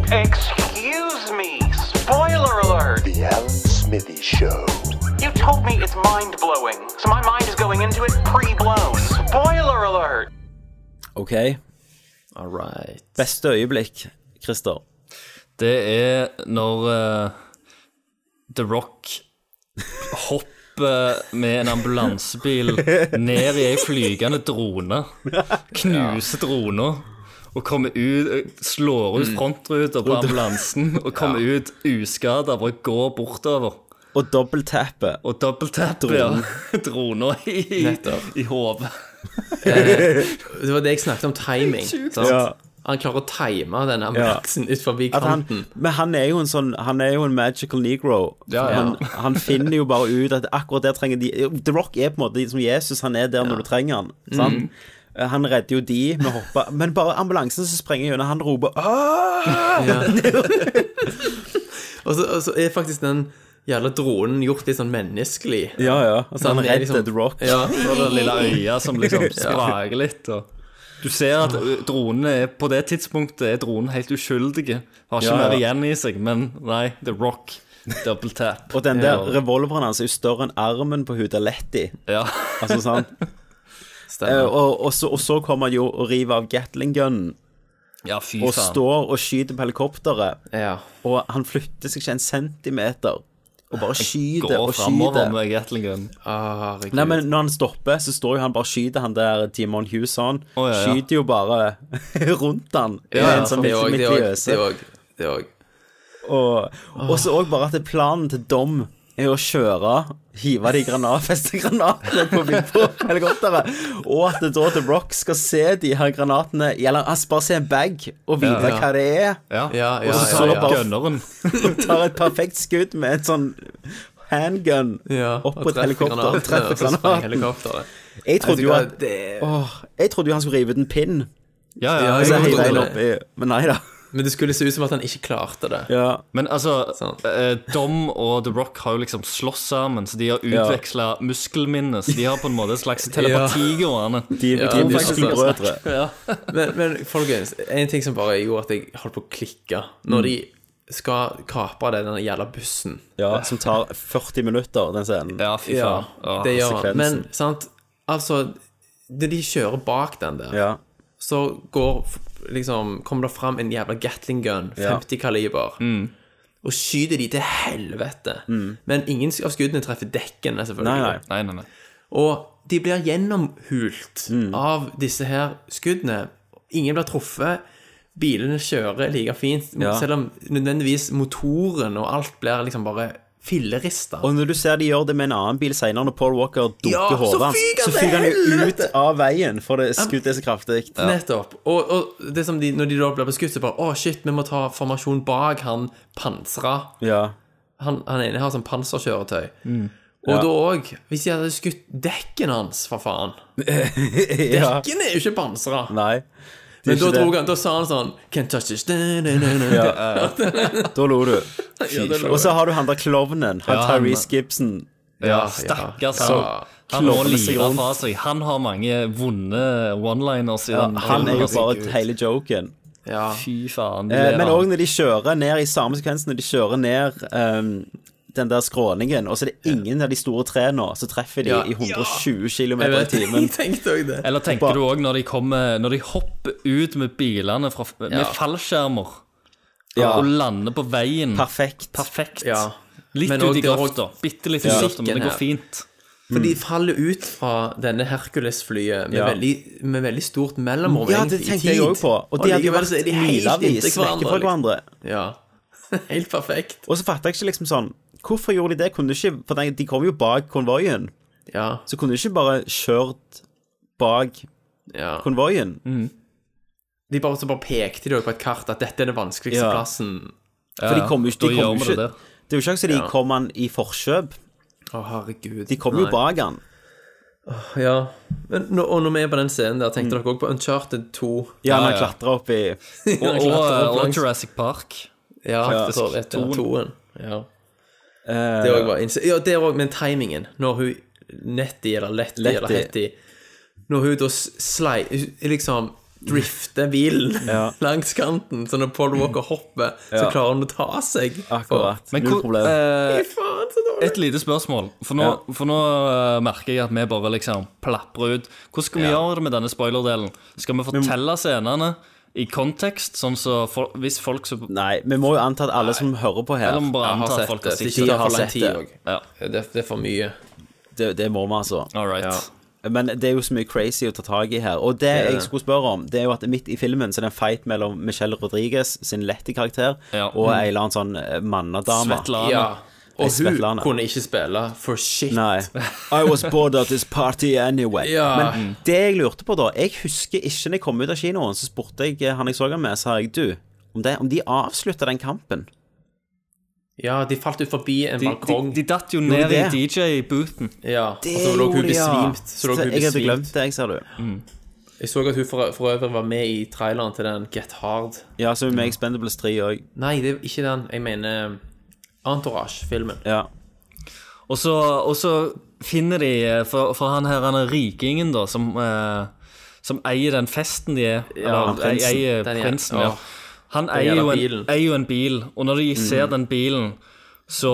Speaker 19: Excuse me. Spoiler alert. The Alan Smithy Show. You told me it's mind blowing, so my mind is going into it pre blown. Spoiler alert.
Speaker 1: OK?
Speaker 9: All right.
Speaker 1: Beste øyeblikk, Christer?
Speaker 10: Det er når eh, The Rock hopper med en ambulansebil ned i ei flygende drone, knuser drona og kommer ut, eh, slår ut
Speaker 1: Mm.
Speaker 10: frontruta på
Speaker 1: Og da-
Speaker 10: ambulansen og kommer ut uskada, bare går bortover.
Speaker 1: Og dobbelttappet.
Speaker 10: Og dobbelttappet, ja.
Speaker 9: Dronen.
Speaker 10: Drona i,
Speaker 9: Nettopp.
Speaker 10: i hodet.
Speaker 9: Eh, det var det jeg snakket om timing.
Speaker 10: Sykt.
Speaker 9: Sant?
Speaker 1: Ja.
Speaker 9: Han klarer å time den ambulansen ut forbi
Speaker 1: At han,
Speaker 9: kanten.
Speaker 1: men han er jo en sånn Han er jo en magical negro.
Speaker 9: Ja, ja.
Speaker 1: Han, han finner jo bare ut at akkurat der trenger de The Rock er på en måte som Jesus, han er der når du trenger han. Sant? Eh,
Speaker 9: Mm.
Speaker 1: Han redder jo de med å hoppe, men bare ambulansen som sprenger gjennom, han roper "Ah!" «Åh!»
Speaker 9: Og så, og så er faktisk den jævla dronen gjort litt sånn menneskelig.
Speaker 1: Ja, ja. Og så
Speaker 9: Så
Speaker 1: han
Speaker 9: han er
Speaker 1: redder
Speaker 9: liksom-
Speaker 1: The Rock.
Speaker 9: Ja.
Speaker 10: Så er det lille øya som liksom
Speaker 9: Ja.
Speaker 10: sprager litt. Og du ser at dronene er På det tidspunktet er dronen helt uskyldige. Har ikke
Speaker 1: Ja, ja.
Speaker 10: mer igjen i seg, men nei, The Rock. Double tap.
Speaker 1: Og den der
Speaker 10: Ja.
Speaker 1: revolveren hans er jo større enn armen på Hudaletti.
Speaker 10: Ja.
Speaker 1: Altså, sant? Eh, og, og, så, og så kommer han jo og river av Gatling-gunnen.
Speaker 10: ja, fy
Speaker 1: og
Speaker 10: faen.
Speaker 1: står og skyter på helikopteret.
Speaker 9: Ja.
Speaker 1: Og han flytter seg ikke en centimeter. Og bare skyter
Speaker 10: Går
Speaker 1: og
Speaker 10: framover
Speaker 1: skyter.
Speaker 10: med Gatling Gun.
Speaker 9: Ah,
Speaker 1: Nei, men når han stopper, så står jo han bare og skyter han der Timon Hewson.
Speaker 10: Å, ja, ja.
Speaker 1: Skyter jo bare rundt han.
Speaker 9: Ja,
Speaker 1: en sånn
Speaker 9: det òg, det òg,
Speaker 1: mitraljøse.
Speaker 9: det òg, det òg.
Speaker 1: Og og så òg bare at planen til Dom er å kjøre, hive de granat, feste granatene på, på helikopteret, og at det da til Brock skal se de her granatene Eller altså bare se en bag og vite
Speaker 10: Ja, ja.
Speaker 1: hva det er,
Speaker 10: Ja. Ja, ja,
Speaker 1: og så
Speaker 10: ja,
Speaker 1: står det
Speaker 10: ja.
Speaker 1: bare
Speaker 10: Gunneren.
Speaker 1: og tar et perfekt skudd med et sånn handgun opp på et helikopter og treffer granaten. Jeg
Speaker 9: Altså,
Speaker 1: trodde jo at Åh, Jeg trodde jo han skulle rive ut en pinn.
Speaker 10: ja,
Speaker 1: Og
Speaker 10: jeg
Speaker 1: så
Speaker 10: trodde
Speaker 1: hive den
Speaker 10: det.
Speaker 1: opp i Men nei da.
Speaker 9: Men det skulle se ut som at han ikke klarte det.
Speaker 10: Men altså, eh, Dom og The Rock har jo liksom slåss sammen, så de har
Speaker 9: Ja.
Speaker 10: utveksla muskelminne. Så de har på en måte et slags telepati gående.
Speaker 9: Ja,
Speaker 10: de
Speaker 9: det er
Speaker 10: snakker-
Speaker 9: sant.
Speaker 10: Ja.
Speaker 9: men, men folkens, en ting som bare gjorde at jeg holdt på å klikke
Speaker 1: Mm.
Speaker 9: Når de skal kapre den der jævla bussen
Speaker 1: Ja, som tar 40 minutter, den scenen.
Speaker 10: Ja, fy faen. Ja,
Speaker 9: det gjør han.
Speaker 1: sekvensen.
Speaker 9: Men sant, altså Når de kjører bak den der,
Speaker 1: Ja.
Speaker 9: så går f- liksom Kommer det fram en jævla Gatling gun,
Speaker 1: Ja.
Speaker 9: 50 kaliber,
Speaker 10: Mm.
Speaker 9: og skyter de til helvete. Men ingen av skuddene treffer dekkene, selvfølgelig.
Speaker 10: Nei, nei, nei.
Speaker 9: Og de blir gjennomhult
Speaker 1: Mm.
Speaker 9: av disse her skuddene. Ingen blir truffet. Bilene kjører like fint,
Speaker 1: Ja.
Speaker 9: selv om nødvendigvis motoren og alt blir liksom bare fillerista.
Speaker 1: Og når du ser de gjør det med en annen bil senere, når Paul Walker dunker
Speaker 9: Ja, så
Speaker 1: hodet hans,
Speaker 9: fyker han
Speaker 1: så
Speaker 9: til
Speaker 1: fyker han jo ut
Speaker 9: helvete!
Speaker 1: av veien, for det skuddet er så kraftig.
Speaker 9: Nettopp. Og, og det som de, når de da blir beskutt, så bare Å, shit, vi må ta formasjon bak han pansra.
Speaker 1: Ja.
Speaker 9: Han, han ene har sånn panserkjøretøy. Og
Speaker 1: Mm. Ja.
Speaker 9: da òg, hvis de hadde skutt dekken hans, for faen
Speaker 1: Ja.
Speaker 9: Dekken er jo ikke pansra.
Speaker 1: Nei. det er
Speaker 9: Men da,
Speaker 1: ikke det.
Speaker 9: dro han, da sa han sånn Can't touch this da, da, da, da.
Speaker 1: Ja, Da lo du.
Speaker 9: Ja, da lo jeg.
Speaker 1: Og så har du han der klovnen, han
Speaker 10: Ja, han-
Speaker 1: Tyrese Gibson.
Speaker 10: Ja, Ah, stakkars
Speaker 1: Så
Speaker 10: han. Han må
Speaker 1: klovner seg
Speaker 10: lire
Speaker 1: rundt.
Speaker 10: fra seg. altså. Han har mange vonde one-liners i
Speaker 1: Ja,
Speaker 10: den.
Speaker 1: han er jo
Speaker 10: filmen, altså.
Speaker 1: bare hele joken.
Speaker 10: Fy faen.
Speaker 1: Eh, Men òg
Speaker 10: også
Speaker 1: når de kjører ned i samme sekvens, når de kjører ned ehm, den der skråningen, og så er det ingen av de store trærne som treffer de
Speaker 10: Ja.
Speaker 1: i 120 km
Speaker 10: Jeg
Speaker 1: i
Speaker 10: vet,
Speaker 1: timen.
Speaker 10: jeg
Speaker 9: tenkte også det.
Speaker 10: Eller tenker du òg når de kommer Når de hopper ut med bilene fra, med
Speaker 1: Ja.
Speaker 10: fallskjermer
Speaker 1: Ja.
Speaker 10: og lander på veien
Speaker 1: Perfekt.
Speaker 9: Ja.
Speaker 10: Litt
Speaker 9: Men
Speaker 10: ut
Speaker 9: også
Speaker 10: i
Speaker 9: det er
Speaker 10: grøfta.
Speaker 9: også
Speaker 10: Bitte litt ut i grøfta, men det
Speaker 9: fysikken
Speaker 10: går
Speaker 9: her.
Speaker 10: fint.
Speaker 9: For de faller ut fra denne Hercules-flyet med,
Speaker 10: Ja.
Speaker 9: veldig, med veldig stort mellomrom.
Speaker 1: Ja,
Speaker 9: egentlig,
Speaker 1: det
Speaker 9: i
Speaker 1: tenkte jeg
Speaker 9: tid.
Speaker 1: òg på. Og de hadde jo
Speaker 9: allikevel
Speaker 1: vært
Speaker 9: så er de
Speaker 1: milevis
Speaker 9: helt inntil
Speaker 1: vekk fra
Speaker 9: liksom.
Speaker 1: hverandre.
Speaker 9: Ja. Helt perfekt.
Speaker 1: Og så fatter jeg ikke liksom sånn Hvorfor gjorde de det? Kunne de ikke For de- de kom jo bak konvoien.
Speaker 9: Ja.
Speaker 1: Så kunne de ikke bare kjørt bak
Speaker 9: Ja.
Speaker 1: konvoien.
Speaker 9: De bare, så bare pekte de også på et kart at dette er den vanskeligste
Speaker 1: Ja.
Speaker 9: plassen.
Speaker 1: For de kom jo ikke, de kom jo ikke det, er jo ikke så de
Speaker 9: Ja.
Speaker 1: kom han i forkjøp.
Speaker 9: Å, herregud.
Speaker 1: De kom jo
Speaker 9: Nei.
Speaker 1: bak han.
Speaker 9: Ja. Men, nå- og når vi er på den scenen der,
Speaker 1: Mm.
Speaker 9: tenkte dere også på Uncharted 2.
Speaker 1: Ja, når han klatrer opp i eh,
Speaker 10: Og,
Speaker 9: Han
Speaker 10: og,
Speaker 9: klatrer opp
Speaker 10: og
Speaker 9: langs-
Speaker 10: Jurassic Park.
Speaker 9: Ja,
Speaker 10: faktisk.
Speaker 9: så vet jeg,
Speaker 10: Toen.
Speaker 9: toen. Ja. Det òg var innse- Ja, det òg, men timingen. Når hun Nettie eller Letty
Speaker 1: Letty.
Speaker 9: eller Hetty Når hun da s- slei... hun Liksom drifter bilen
Speaker 1: Ja.
Speaker 9: langs kanten, så når Paul Walker hopper, så
Speaker 10: Ja.
Speaker 9: klarer han å ta seg.
Speaker 1: Akkurat.
Speaker 10: Men hvor, eh, et lite spørsmål, for nå,
Speaker 9: Ja.
Speaker 10: for nå eh, merker jeg at vi bare liksom plaprer ut. Hvordan skal vi
Speaker 9: Ja.
Speaker 10: gjøre det med denne spoilerdelen? Skal vi fortelle scenene i kontekst, sånn så for, hvis folk så
Speaker 1: Nei, vi må jo anta at alle som hører på her
Speaker 10: Eller vi bare
Speaker 1: Ja,
Speaker 10: antar at folk har sett det.
Speaker 1: De har sett det.
Speaker 9: Eh, Det, det er for mye.
Speaker 1: Det, det må vi, altså.
Speaker 10: All right.
Speaker 1: Men det er jo så mye crazy å ta tak i her. Og det
Speaker 10: Det er
Speaker 1: jeg
Speaker 10: det.
Speaker 1: skulle spørre om, det er jo at midt i filmen så er det en fight mellom Michelle Rodriguez sin lette karakter
Speaker 10: Ja.
Speaker 1: og
Speaker 10: Mm.
Speaker 1: ei eller annen sånn eh, mannedame.
Speaker 10: Svetlana.
Speaker 9: Ja.
Speaker 1: Ei
Speaker 9: Og hun
Speaker 1: Svetlana.
Speaker 9: kunne ikke spille for shit.
Speaker 1: Nei. I was bored at this party anyway.
Speaker 9: Ja. Mm.
Speaker 1: Men det jeg lurte på, da Jeg husker ikke når jeg kom ut av kinoen, så spurte jeg eh, han jeg så han med, sa jeg, du, om, det, om de avslutta den kampen?
Speaker 9: Ja, de falt ut forbi en
Speaker 10: De- de-
Speaker 9: balkong.
Speaker 10: de datt jo
Speaker 1: Gjorde ned i det?
Speaker 10: DJ-booten.
Speaker 9: Ja, og
Speaker 1: Det
Speaker 9: så lå hun
Speaker 1: gjorde de, ja.
Speaker 9: besvimt. Så lå hun
Speaker 1: Jeg hadde
Speaker 9: besvimt.
Speaker 1: glemt det, jeg, ser du.
Speaker 9: Jeg så at hun for, for øvrig var med i traileren til den Get Hard.
Speaker 1: Ja, så er vi med i Expendables 3 òg.
Speaker 9: Nei, det er ikke den. Jeg mener um, Entourage-filmen.
Speaker 1: Ja.
Speaker 10: Og så, og så finner de eh, For, for han her, han er rikingen, da, som, eh, som eier den festen de er.
Speaker 9: Ja,
Speaker 10: eller,
Speaker 9: prinsen.
Speaker 10: eier
Speaker 9: Den er-
Speaker 10: prinsen, ja.
Speaker 9: åh,
Speaker 10: Han
Speaker 9: den
Speaker 10: eier jo,
Speaker 9: jævla
Speaker 10: en,
Speaker 9: bilen.
Speaker 10: eier jo en bil, og når de ser
Speaker 9: Mm.
Speaker 10: den bilen, så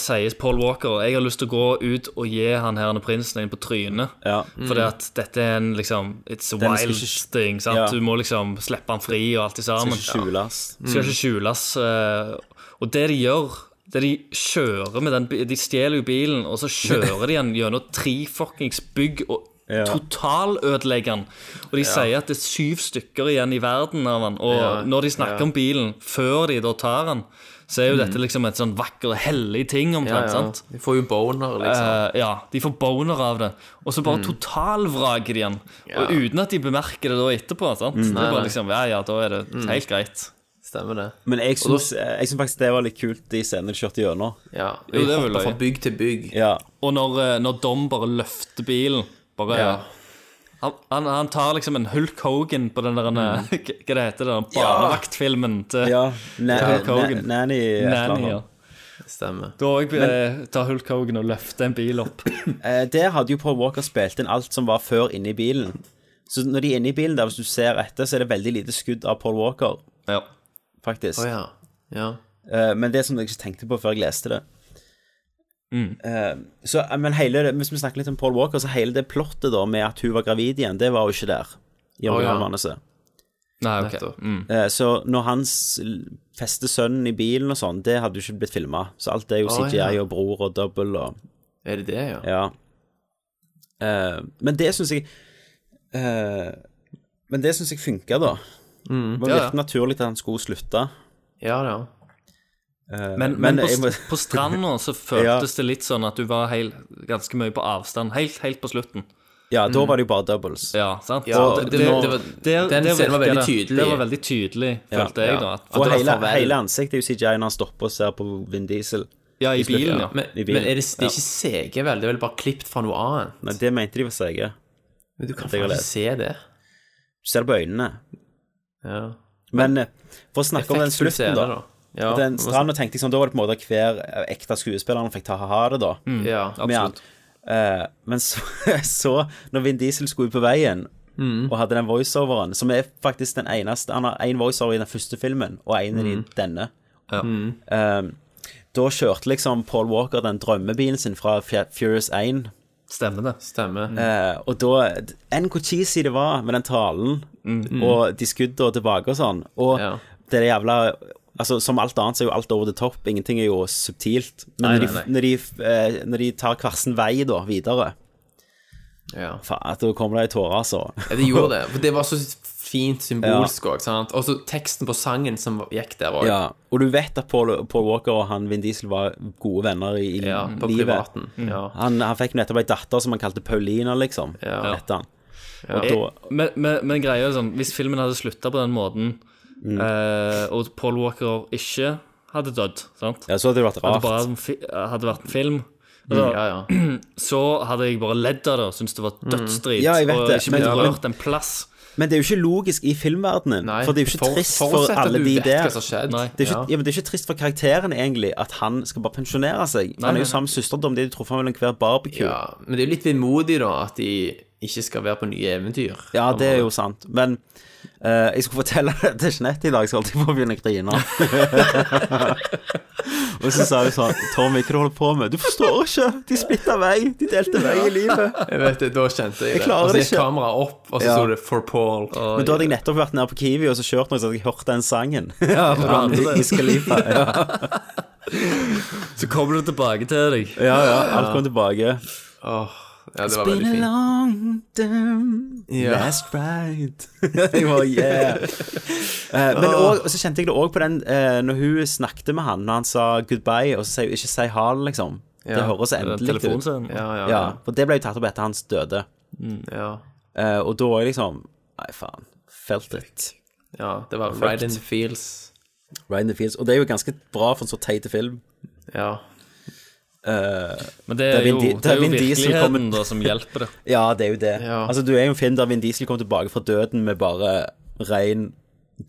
Speaker 10: sier Paul Walker Jeg har lyst til å gå ut og gi han her prinsen en på trynet. Fordi
Speaker 9: Mm.
Speaker 10: at dette er en liksom It's a
Speaker 9: Den skal
Speaker 10: wild
Speaker 9: ikke-
Speaker 10: thing. Sant?
Speaker 9: Ja.
Speaker 10: Du må liksom slippe han fri og alt i sammen.
Speaker 1: Skal ikke skjules.
Speaker 10: Ja. Skal
Speaker 9: Mm.
Speaker 10: ikke skjules. eh, Og det de gjør det de kjører med den bi- De stjeler jo bilen, og så kjører de den gjennom tre fuckings bygg og Ja. Totalødelegger den. Og de
Speaker 9: Ja.
Speaker 10: sier at det er syv stykker igjen i verden av den. Og
Speaker 9: Ja,
Speaker 10: når de snakker
Speaker 9: ja.
Speaker 10: om bilen, før de da tar den, så er jo
Speaker 9: Mm.
Speaker 10: dette liksom et sånn vakker, hellig ting
Speaker 9: Ja, ja.
Speaker 10: omtrent. sant?
Speaker 9: De får jo boner, liksom.
Speaker 10: Eh, ja, de får boner av det. Og så bare
Speaker 9: Mm.
Speaker 10: totalvraker de den. Og uten at de bemerker det da etterpå. sant?
Speaker 1: Mm.
Speaker 10: Det
Speaker 1: Nei,
Speaker 10: er
Speaker 1: nei.
Speaker 10: bare liksom, ja, ja, da er det
Speaker 1: Mm.
Speaker 10: helt greit.
Speaker 9: Stemmer det.
Speaker 1: Men jeg
Speaker 10: Og da-
Speaker 1: syns, jeg syns faktisk det var litt kult, de scenene de kjørte gjennom.
Speaker 9: Ja,
Speaker 10: Jo, det vil jeg. Fra
Speaker 9: bygg til bygg.
Speaker 1: Ja.
Speaker 10: Og når, eh, når Dom bare løfter bilen bare,
Speaker 1: Ja.
Speaker 10: han, han, han tar liksom en Hulk Hogan på den der eh,
Speaker 1: Mm.
Speaker 10: Hva det heter det? den
Speaker 1: Ja.
Speaker 10: Barnevaktfilmen til
Speaker 1: Ja, na-
Speaker 10: til Hulk
Speaker 1: na-
Speaker 10: Hogan.
Speaker 1: nanny et eller
Speaker 10: Nanny,
Speaker 1: annet.
Speaker 10: ja.
Speaker 9: Stemmer.
Speaker 10: Da òg
Speaker 1: Men-
Speaker 10: tar Hulk Hogan og løfter en bil opp.
Speaker 1: Eh, der hadde jo Paul Walker spilt inn alt som var før inne i bilen. Så når de er inne i bilen der, hvis du ser etter, så er det veldig lite skudd av Paul Walker. Faktisk.
Speaker 9: Å ja. Ja.
Speaker 1: Eh, men det som jeg ikke tenkte på før jeg leste det
Speaker 9: Mm.
Speaker 1: Eh, så, eh, men hele, det- Hvis vi snakker litt om Paul Walker, så hele det plottet da med at hun var gravid igjen, det var jo ikke der. I
Speaker 10: Å,
Speaker 1: originalmanuset.
Speaker 10: Nei, ok.
Speaker 9: Nettopp.
Speaker 10: Mm.
Speaker 1: Eh, Så når han s- fester sønnen i bilen og sånn, det hadde jo ikke blitt filma. Så alt det er jo
Speaker 9: Å,
Speaker 1: CGI
Speaker 9: ja.
Speaker 1: og bror og double og
Speaker 9: Er det det, ja?
Speaker 1: Ja. Eh, men det syns jeg eh, Men det syns jeg funka, da.
Speaker 9: Mm,
Speaker 1: det var
Speaker 10: ja, ja.
Speaker 1: virkelig naturlig at han skulle slutte.
Speaker 9: Ja, ja.
Speaker 1: Eh,
Speaker 10: Men, men, på,
Speaker 1: jeg må-
Speaker 10: st- på stranda så
Speaker 1: Ja.
Speaker 10: føltes det litt sånn at du var heil, ganske mye på avstand, helt, helt på slutten.
Speaker 1: Ja, da
Speaker 10: Mm.
Speaker 1: var det jo bare doubles.
Speaker 10: Ja, sant?
Speaker 1: Ja, det-
Speaker 10: Og
Speaker 1: det-
Speaker 10: nå-
Speaker 1: det var-
Speaker 10: der-
Speaker 9: den
Speaker 10: der
Speaker 9: scenen var
Speaker 10: virker
Speaker 9: veldig
Speaker 10: det-
Speaker 9: tydelig.
Speaker 10: Det var veldig tydelig, følte jeg da.
Speaker 1: Og
Speaker 10: at- at det var
Speaker 1: hele,
Speaker 10: farvel.
Speaker 1: hele ansiktet er jo CGI når han stopper og ser på Vin Diesel.
Speaker 10: Ja, i
Speaker 1: slutten.
Speaker 10: bilen, ja.
Speaker 9: Men,
Speaker 1: I bilen.
Speaker 9: men er det, det er ikke CG, vel? Det er vel bare klippet fra noe annet?
Speaker 1: Nei, det mente de var seige.
Speaker 9: Men du kan
Speaker 1: At jeg har
Speaker 9: faen ikke
Speaker 1: lest.
Speaker 9: se det.
Speaker 1: Du ser det på øynene.
Speaker 9: Ja.
Speaker 1: Men eh, for å snakke om den
Speaker 9: Effektfull
Speaker 1: slutten,
Speaker 9: scene,
Speaker 1: da.
Speaker 9: da. Ja,
Speaker 1: den
Speaker 9: det var
Speaker 1: stranda tenkte jeg sånn, Da var det på en måte hver eh, ekte skuespiller han fikk ta ha det, da.
Speaker 9: Mm, ja,
Speaker 1: Med han. Eh, men så, så, når Vin Diesel skulle ut på veien og hadde den voiceoveren, som er faktisk den eneste Han har én voiceover i den første filmen og én i
Speaker 9: Mm.
Speaker 1: denne.
Speaker 10: Ja.
Speaker 1: Eh, da kjørte liksom Paul Walker den drømmebilen sin fra Fu- Furious 1.
Speaker 10: Stemmer det.
Speaker 9: Stemmer.
Speaker 1: Eh, og da Enn hvor cheesy det var med den talen,
Speaker 9: Mm.
Speaker 1: og de skuddene tilbake og sånn. Og det er jævla Altså, Som alt annet så er jo alt over the top. Ingenting er jo subtilt. Men
Speaker 9: Nei,
Speaker 1: når,
Speaker 9: nei,
Speaker 1: de, når, de, eh, når de tar hver sin vei da, videre
Speaker 9: Ja.
Speaker 1: Faen, at da kommer det ei tåre, altså.
Speaker 9: Ja, det gjorde det. For det var så fint symbolsk òg, sant. Og så teksten på sangen som gikk der òg.
Speaker 1: Ja, og du vet at Paul, Paul Walker og han Vin Diesel var gode venner i i
Speaker 9: Ja, på
Speaker 1: Mm. livet.
Speaker 9: privaten, ja.
Speaker 1: Han, han fikk nettopp ei datter som han kalte Paulina, liksom.
Speaker 9: Ja.
Speaker 1: Etter han.
Speaker 10: Ja.
Speaker 1: Og da,
Speaker 10: Eh, men, men, men greia er sånn, hvis filmen hadde slutta på den måten, eh, og Paul Walker ikke hadde dødd, sant
Speaker 1: ja, så hadde det vært
Speaker 10: Hadde
Speaker 1: rart.
Speaker 10: bare vært en fi- hadde vært en film.
Speaker 1: Mm,
Speaker 10: Altså,
Speaker 1: ja,
Speaker 10: Så hadde jeg bare ledd av det og syntes det var dødsdrit.
Speaker 1: Ja, jeg vet
Speaker 10: og
Speaker 1: det,
Speaker 10: ikke
Speaker 1: men-
Speaker 10: blitt
Speaker 1: ja, men-
Speaker 10: rørt en plass.
Speaker 1: Men det er jo ikke logisk i filmverdenen. for det er jo ikke
Speaker 10: for-
Speaker 1: trist for
Speaker 10: forutsett at
Speaker 1: alle
Speaker 10: du
Speaker 1: de
Speaker 10: vet
Speaker 1: der.
Speaker 10: hva som skjedde. Nei.
Speaker 1: Det, er ikke,
Speaker 10: Ja.
Speaker 1: ja. men det er ikke trist for karakteren, egentlig, at han skal bare pensjonere seg. han
Speaker 9: Nei, nei,
Speaker 1: er
Speaker 9: nei.
Speaker 1: jo sammen med søsterdom, de traff ham mellom hver barbecue.
Speaker 9: Ja, men det er jo litt vemodig, da, at de ikke skal være på nye eventyr.
Speaker 1: Ja, det er jo sant. Men eh, jeg skulle fortelle det til Jeanette i dag, så holdt jeg på å begynne å grine. og så sa hun sånn Tommy, hva du holder på med? Du forstår ikke! De splitta vei! De delte vei i livet.
Speaker 9: Jeg vet det, Da kjente jeg,
Speaker 1: Jeg klarer
Speaker 9: det. Og så
Speaker 1: det
Speaker 9: gikk
Speaker 1: ikke.
Speaker 9: kameraet opp, og så
Speaker 1: Ja.
Speaker 9: sto det 'For Paul'.
Speaker 1: Men da hadde jeg nettopp vært nede på Kiwi og så kjørt noe, så hadde jeg hørt den sangen.
Speaker 10: Ja,
Speaker 1: Fra
Speaker 10: ja, det-
Speaker 1: Wiz Khalifa, ja.
Speaker 10: Så kommer det tilbake til deg.
Speaker 1: Ja, ja, alt kom tilbake.
Speaker 9: ja, det
Speaker 1: It's
Speaker 9: var
Speaker 1: been
Speaker 9: veldig
Speaker 1: a
Speaker 9: fint.
Speaker 1: long time
Speaker 9: Ja.
Speaker 1: Last ride Jeg var, yeah Eh, Men også, og så kjente jeg det også på den eh, Når hun snakket med han Når han sa goodbye Og så sier hun ikke si ha det liksom Det
Speaker 9: Ja.
Speaker 1: høres
Speaker 9: Den
Speaker 1: endelig ut
Speaker 9: telefonscenen. Ja, ja, ja.
Speaker 1: For det ble jo tatt opp etter hans døde
Speaker 9: Ja.
Speaker 1: Eh, Og da var jeg liksom Nei faen, felt it
Speaker 9: ja, det var
Speaker 1: Fucked.
Speaker 9: right in the fields.
Speaker 1: Right in the fields Og det er jo ganske bra for en så teite film
Speaker 9: Ja
Speaker 10: Men det er jo, det er jo virkeligheten da som hjelper det.
Speaker 1: Ja, det er jo det. Altså, du er jo en film der Vin Diesel kom tilbake fra døden med bare ren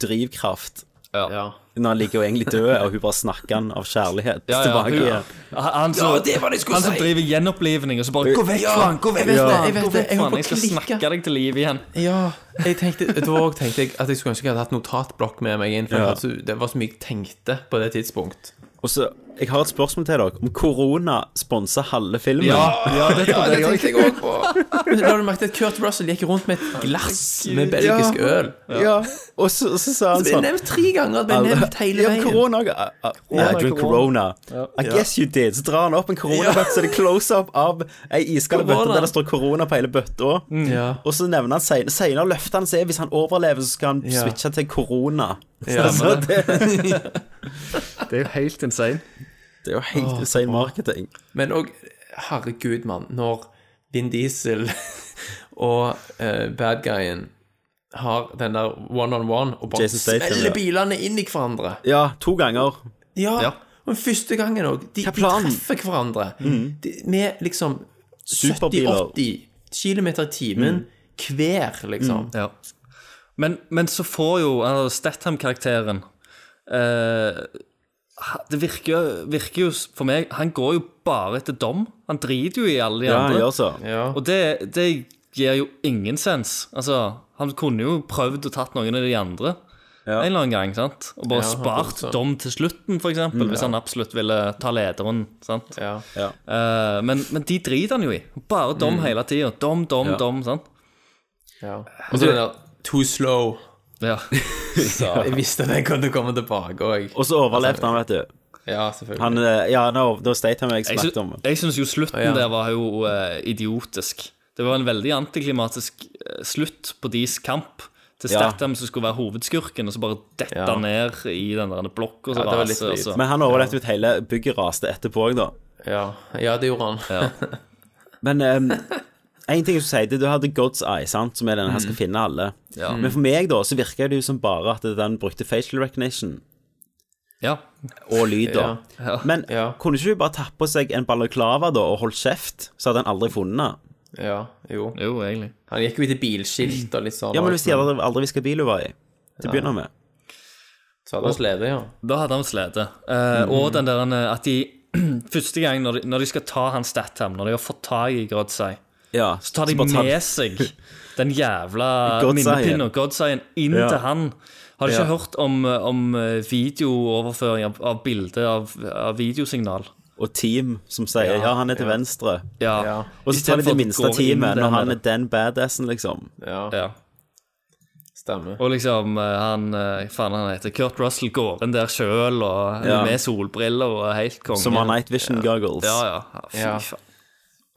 Speaker 1: drivkraft.
Speaker 10: Ja.
Speaker 1: Når han ligger jo egentlig død, og hun bare snakker han av kjærlighet
Speaker 10: Ja, ja,
Speaker 1: tilbake.
Speaker 10: hun,
Speaker 1: igjen.
Speaker 10: Han, han som-
Speaker 9: Ja, det var det jeg skulle
Speaker 10: han som
Speaker 9: si.
Speaker 10: driver gjenopplivning, og så bare 'Gå vekk
Speaker 9: Ja,
Speaker 10: fra han, gå vekk
Speaker 9: jeg vet
Speaker 10: fra
Speaker 9: det,
Speaker 10: han,
Speaker 9: jeg vet
Speaker 10: gå
Speaker 9: det,
Speaker 10: vekk
Speaker 9: jeg
Speaker 10: fra
Speaker 9: må
Speaker 10: han, jeg skal
Speaker 9: klikke.»
Speaker 10: snakke deg til live igjen'.
Speaker 9: Ja, jeg tenkte, da også tenkte jeg at jeg skulle ønske jeg hadde hatt notatblokk med meg inn, for jeg
Speaker 10: Ja.
Speaker 9: hadde så, det var så mye jeg tenkte på det tidspunkt.
Speaker 1: Og så, jeg har et spørsmål til dere. Om korona sponser halve filmen?
Speaker 9: Ja, ja, det trodde jeg
Speaker 1: også.
Speaker 9: tenkte jeg òg på. Men da har du merket at Kurt Russell gikk rundt med et glass med belgisk
Speaker 1: Ja.
Speaker 9: øl. Altså,
Speaker 1: Ja. Og så, så sa han
Speaker 9: Det ble
Speaker 1: sånn
Speaker 9: nevnt tre ganger. Det ble
Speaker 1: Alle-
Speaker 9: nevnt hele
Speaker 1: Ja,
Speaker 9: veien.
Speaker 1: korona, uh, uh, yeah, I drink corona. I guess you did. Så drar han opp en koronabøtte, så er det close-up av ei iskald bøtte
Speaker 9: Corona.
Speaker 1: der det står korona på hele bøtta.
Speaker 9: Ja.
Speaker 1: Og så nevner han senere, senere løfter han seg. Hvis han overlever, så skal han
Speaker 9: Ja.
Speaker 1: switche til korona.
Speaker 9: Ja,
Speaker 1: så
Speaker 9: men
Speaker 1: det,
Speaker 10: Det er jo helt insane.
Speaker 1: det er jo helt
Speaker 9: Åh,
Speaker 1: insane marketing.
Speaker 9: Men òg, herregud, mann, når Vin Diesel og eh, bad guyen har den der one-on-one og bare
Speaker 1: Jason Statham,
Speaker 9: smeller
Speaker 1: ja.
Speaker 9: bilene inn i hverandre.
Speaker 1: Ja, to ganger.
Speaker 9: Ja, og den første gangen òg. De, de treffer hverandre. De, med liksom
Speaker 10: Superbiler.
Speaker 9: 70-80 km i timen hver, liksom.
Speaker 10: Ja. Men, men så får jo altså, Statham-karakteren eh, ha- Det virker, virker jo s- for meg Han går jo bare etter dom. Han driter jo i alle de
Speaker 1: Ja, han
Speaker 10: andre.
Speaker 1: gjør så.
Speaker 10: Og det, det gir jo ingen sens. Altså, han kunne jo prøvd å tatt noen av de andre en eller annen gang. sant? Og bare
Speaker 9: Ja, han
Speaker 10: spart
Speaker 9: burde.
Speaker 10: dom til slutten, f.eks., eksempel
Speaker 9: Mm.
Speaker 10: hvis han absolutt ville ta lederen. sant?
Speaker 9: Ja.
Speaker 10: Eh, men, men de driter han jo i. Bare dom
Speaker 9: Mm.
Speaker 10: hele tida. Dom, dom,
Speaker 9: Ja.
Speaker 10: dom. sant?
Speaker 9: Ja. Og så den der Too slow.
Speaker 10: Ja.
Speaker 9: Så jeg visste at den kunne komme tilbake òg.
Speaker 1: Og så overlevde han, vet du.
Speaker 9: Ja, selvfølgelig.
Speaker 1: Han, eh, ja, nå, da Statham jeg
Speaker 10: Jeg,
Speaker 1: snakket om.
Speaker 10: sy- jeg syns jo slutten
Speaker 1: Ja.
Speaker 10: der var jo eh, idiotisk. Det var en veldig antiklimatisk eh, slutt på deres kamp. Til
Speaker 1: Ja.
Speaker 10: Statham som skulle være hovedskurken, og så bare dette
Speaker 1: Ja.
Speaker 10: ned i den der blokka.
Speaker 1: Ja, det var litt lite. Men han overlevde jo at hele bygget raste etterpå òg, da.
Speaker 9: Ja. det gjorde han.
Speaker 1: Men um, en ting jeg skulle si, det er du hadde God's Eye, sant, som er den her skal finne alle.
Speaker 10: Ja.
Speaker 1: Men for meg, da, så virker det jo som bare at den brukte facial recognition.
Speaker 10: Ja.
Speaker 1: Og lyd, da.
Speaker 10: Ja. Ja.
Speaker 1: Men kunne ikke du bare tatt på seg en balaklava da, og holdt kjeft, så hadde han aldri funnet den?
Speaker 9: Ja, jo.
Speaker 10: Jo, egentlig.
Speaker 9: Han gikk jo i til bilskilt og litt sånn.
Speaker 1: Ja, men hvis de hadde aldri visste hva bil hun var i, til å begynne med.
Speaker 9: Så hadde han slede, ja.
Speaker 10: Da hadde han slede. Eh,
Speaker 9: Mm.
Speaker 10: Og den der eh, at de første gang når de, når de skal ta han Statham, når de har fått tak i Godseye,
Speaker 1: Ja,
Speaker 10: så tar de
Speaker 1: så bare tar-
Speaker 10: med seg den jævla
Speaker 1: Godseyen.
Speaker 10: minnepinnen Godseyen inn
Speaker 1: Ja.
Speaker 10: til han. Har du ikke
Speaker 1: Ja.
Speaker 10: hørt om, eh, om eh, videooverføring av, av bilde av, av videosignal?
Speaker 1: Og team som sier ja, han er til venstre.
Speaker 10: Ja.
Speaker 1: Og så tar de
Speaker 10: Istedenfor
Speaker 1: det
Speaker 10: at
Speaker 1: minste
Speaker 10: går inn
Speaker 1: teamet
Speaker 10: der
Speaker 1: når han
Speaker 10: nede.
Speaker 1: er den badassen, liksom.
Speaker 10: Ja.
Speaker 9: Stemmer.
Speaker 10: Og liksom eh, han eh, Faen, han heter Kurt Russell går inn der sjøl og
Speaker 1: Ja.
Speaker 10: med solbriller og helt konge.
Speaker 1: Som har night vision goggles.
Speaker 10: Ja, ja. Fy
Speaker 9: Ja.
Speaker 10: faen.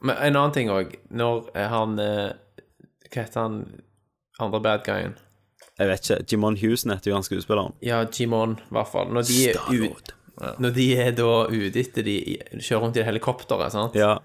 Speaker 9: Men en annen ting òg. Når eh, han eh, Hva heter han andre bad guyen?
Speaker 1: Jeg vet ikke. Jimon Houston heter jo han skuespilleren.
Speaker 9: Ja, Jimon, i hvert fall. Når de er ut... Når de er da ute etter de i- kjører rundt i det helikopteret, sant?
Speaker 1: Ja.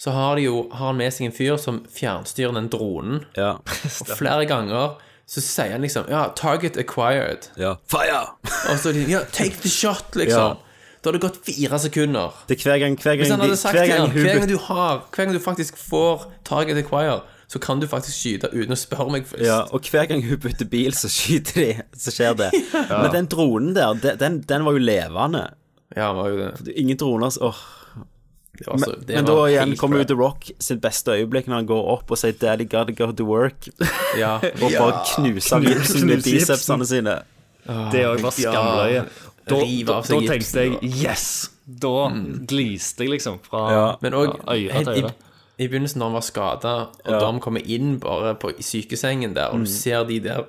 Speaker 9: så har de jo har han med seg en fyr som fjernstyrer den dronen.
Speaker 1: Ja.
Speaker 9: Og flere ganger så sier han liksom Ja, 'target acquired'.
Speaker 1: Ja. Fire!
Speaker 9: Og så er de, ja, 'take the shot', liksom. Da har det gått fire sekunder.
Speaker 1: Det er hver gang, hver gang,
Speaker 9: Hvis han
Speaker 1: de-
Speaker 9: hadde sagt
Speaker 1: hver
Speaker 9: til
Speaker 1: gang
Speaker 9: han,
Speaker 1: hun
Speaker 9: hver gang
Speaker 1: byt-
Speaker 9: du har Hver gang du faktisk får target acquire, så kan du faktisk skyte uten å spørre meg først.
Speaker 1: ja, og hver gang hun bytter bil, så skyter de, så skjer det.
Speaker 9: Ja.
Speaker 1: Men den dronen der, de- den, den var jo levende.
Speaker 9: Ja, var jo det.
Speaker 1: Ingen droner så- åh.
Speaker 9: var så-
Speaker 1: men
Speaker 9: det
Speaker 1: men
Speaker 9: var
Speaker 1: da igjen
Speaker 9: helt
Speaker 1: kommer jo
Speaker 9: crap.
Speaker 1: The Rock sitt beste øyeblikk når han går opp og sier 'Daddy gotta go to work',
Speaker 9: Ja.
Speaker 1: og bare
Speaker 9: Ja.
Speaker 1: knuser
Speaker 9: Knus-
Speaker 1: gipsen med
Speaker 9: knuse gipsen.
Speaker 1: bicepsene sine.
Speaker 10: Det òg var
Speaker 9: Ja.
Speaker 10: skamløye. Da,
Speaker 9: Rive
Speaker 10: da,
Speaker 9: av
Speaker 10: da
Speaker 9: seg gipsen,
Speaker 10: tenkte jeg
Speaker 9: da.
Speaker 10: yes! Da
Speaker 1: Mm.
Speaker 10: gliste jeg liksom fra
Speaker 9: Men òg
Speaker 10: fra øyre til
Speaker 9: i,
Speaker 10: øyre.
Speaker 9: i begynnelsen, når han var skada, og Dom kommer inn bare på, i sykesengen der, og du ser de der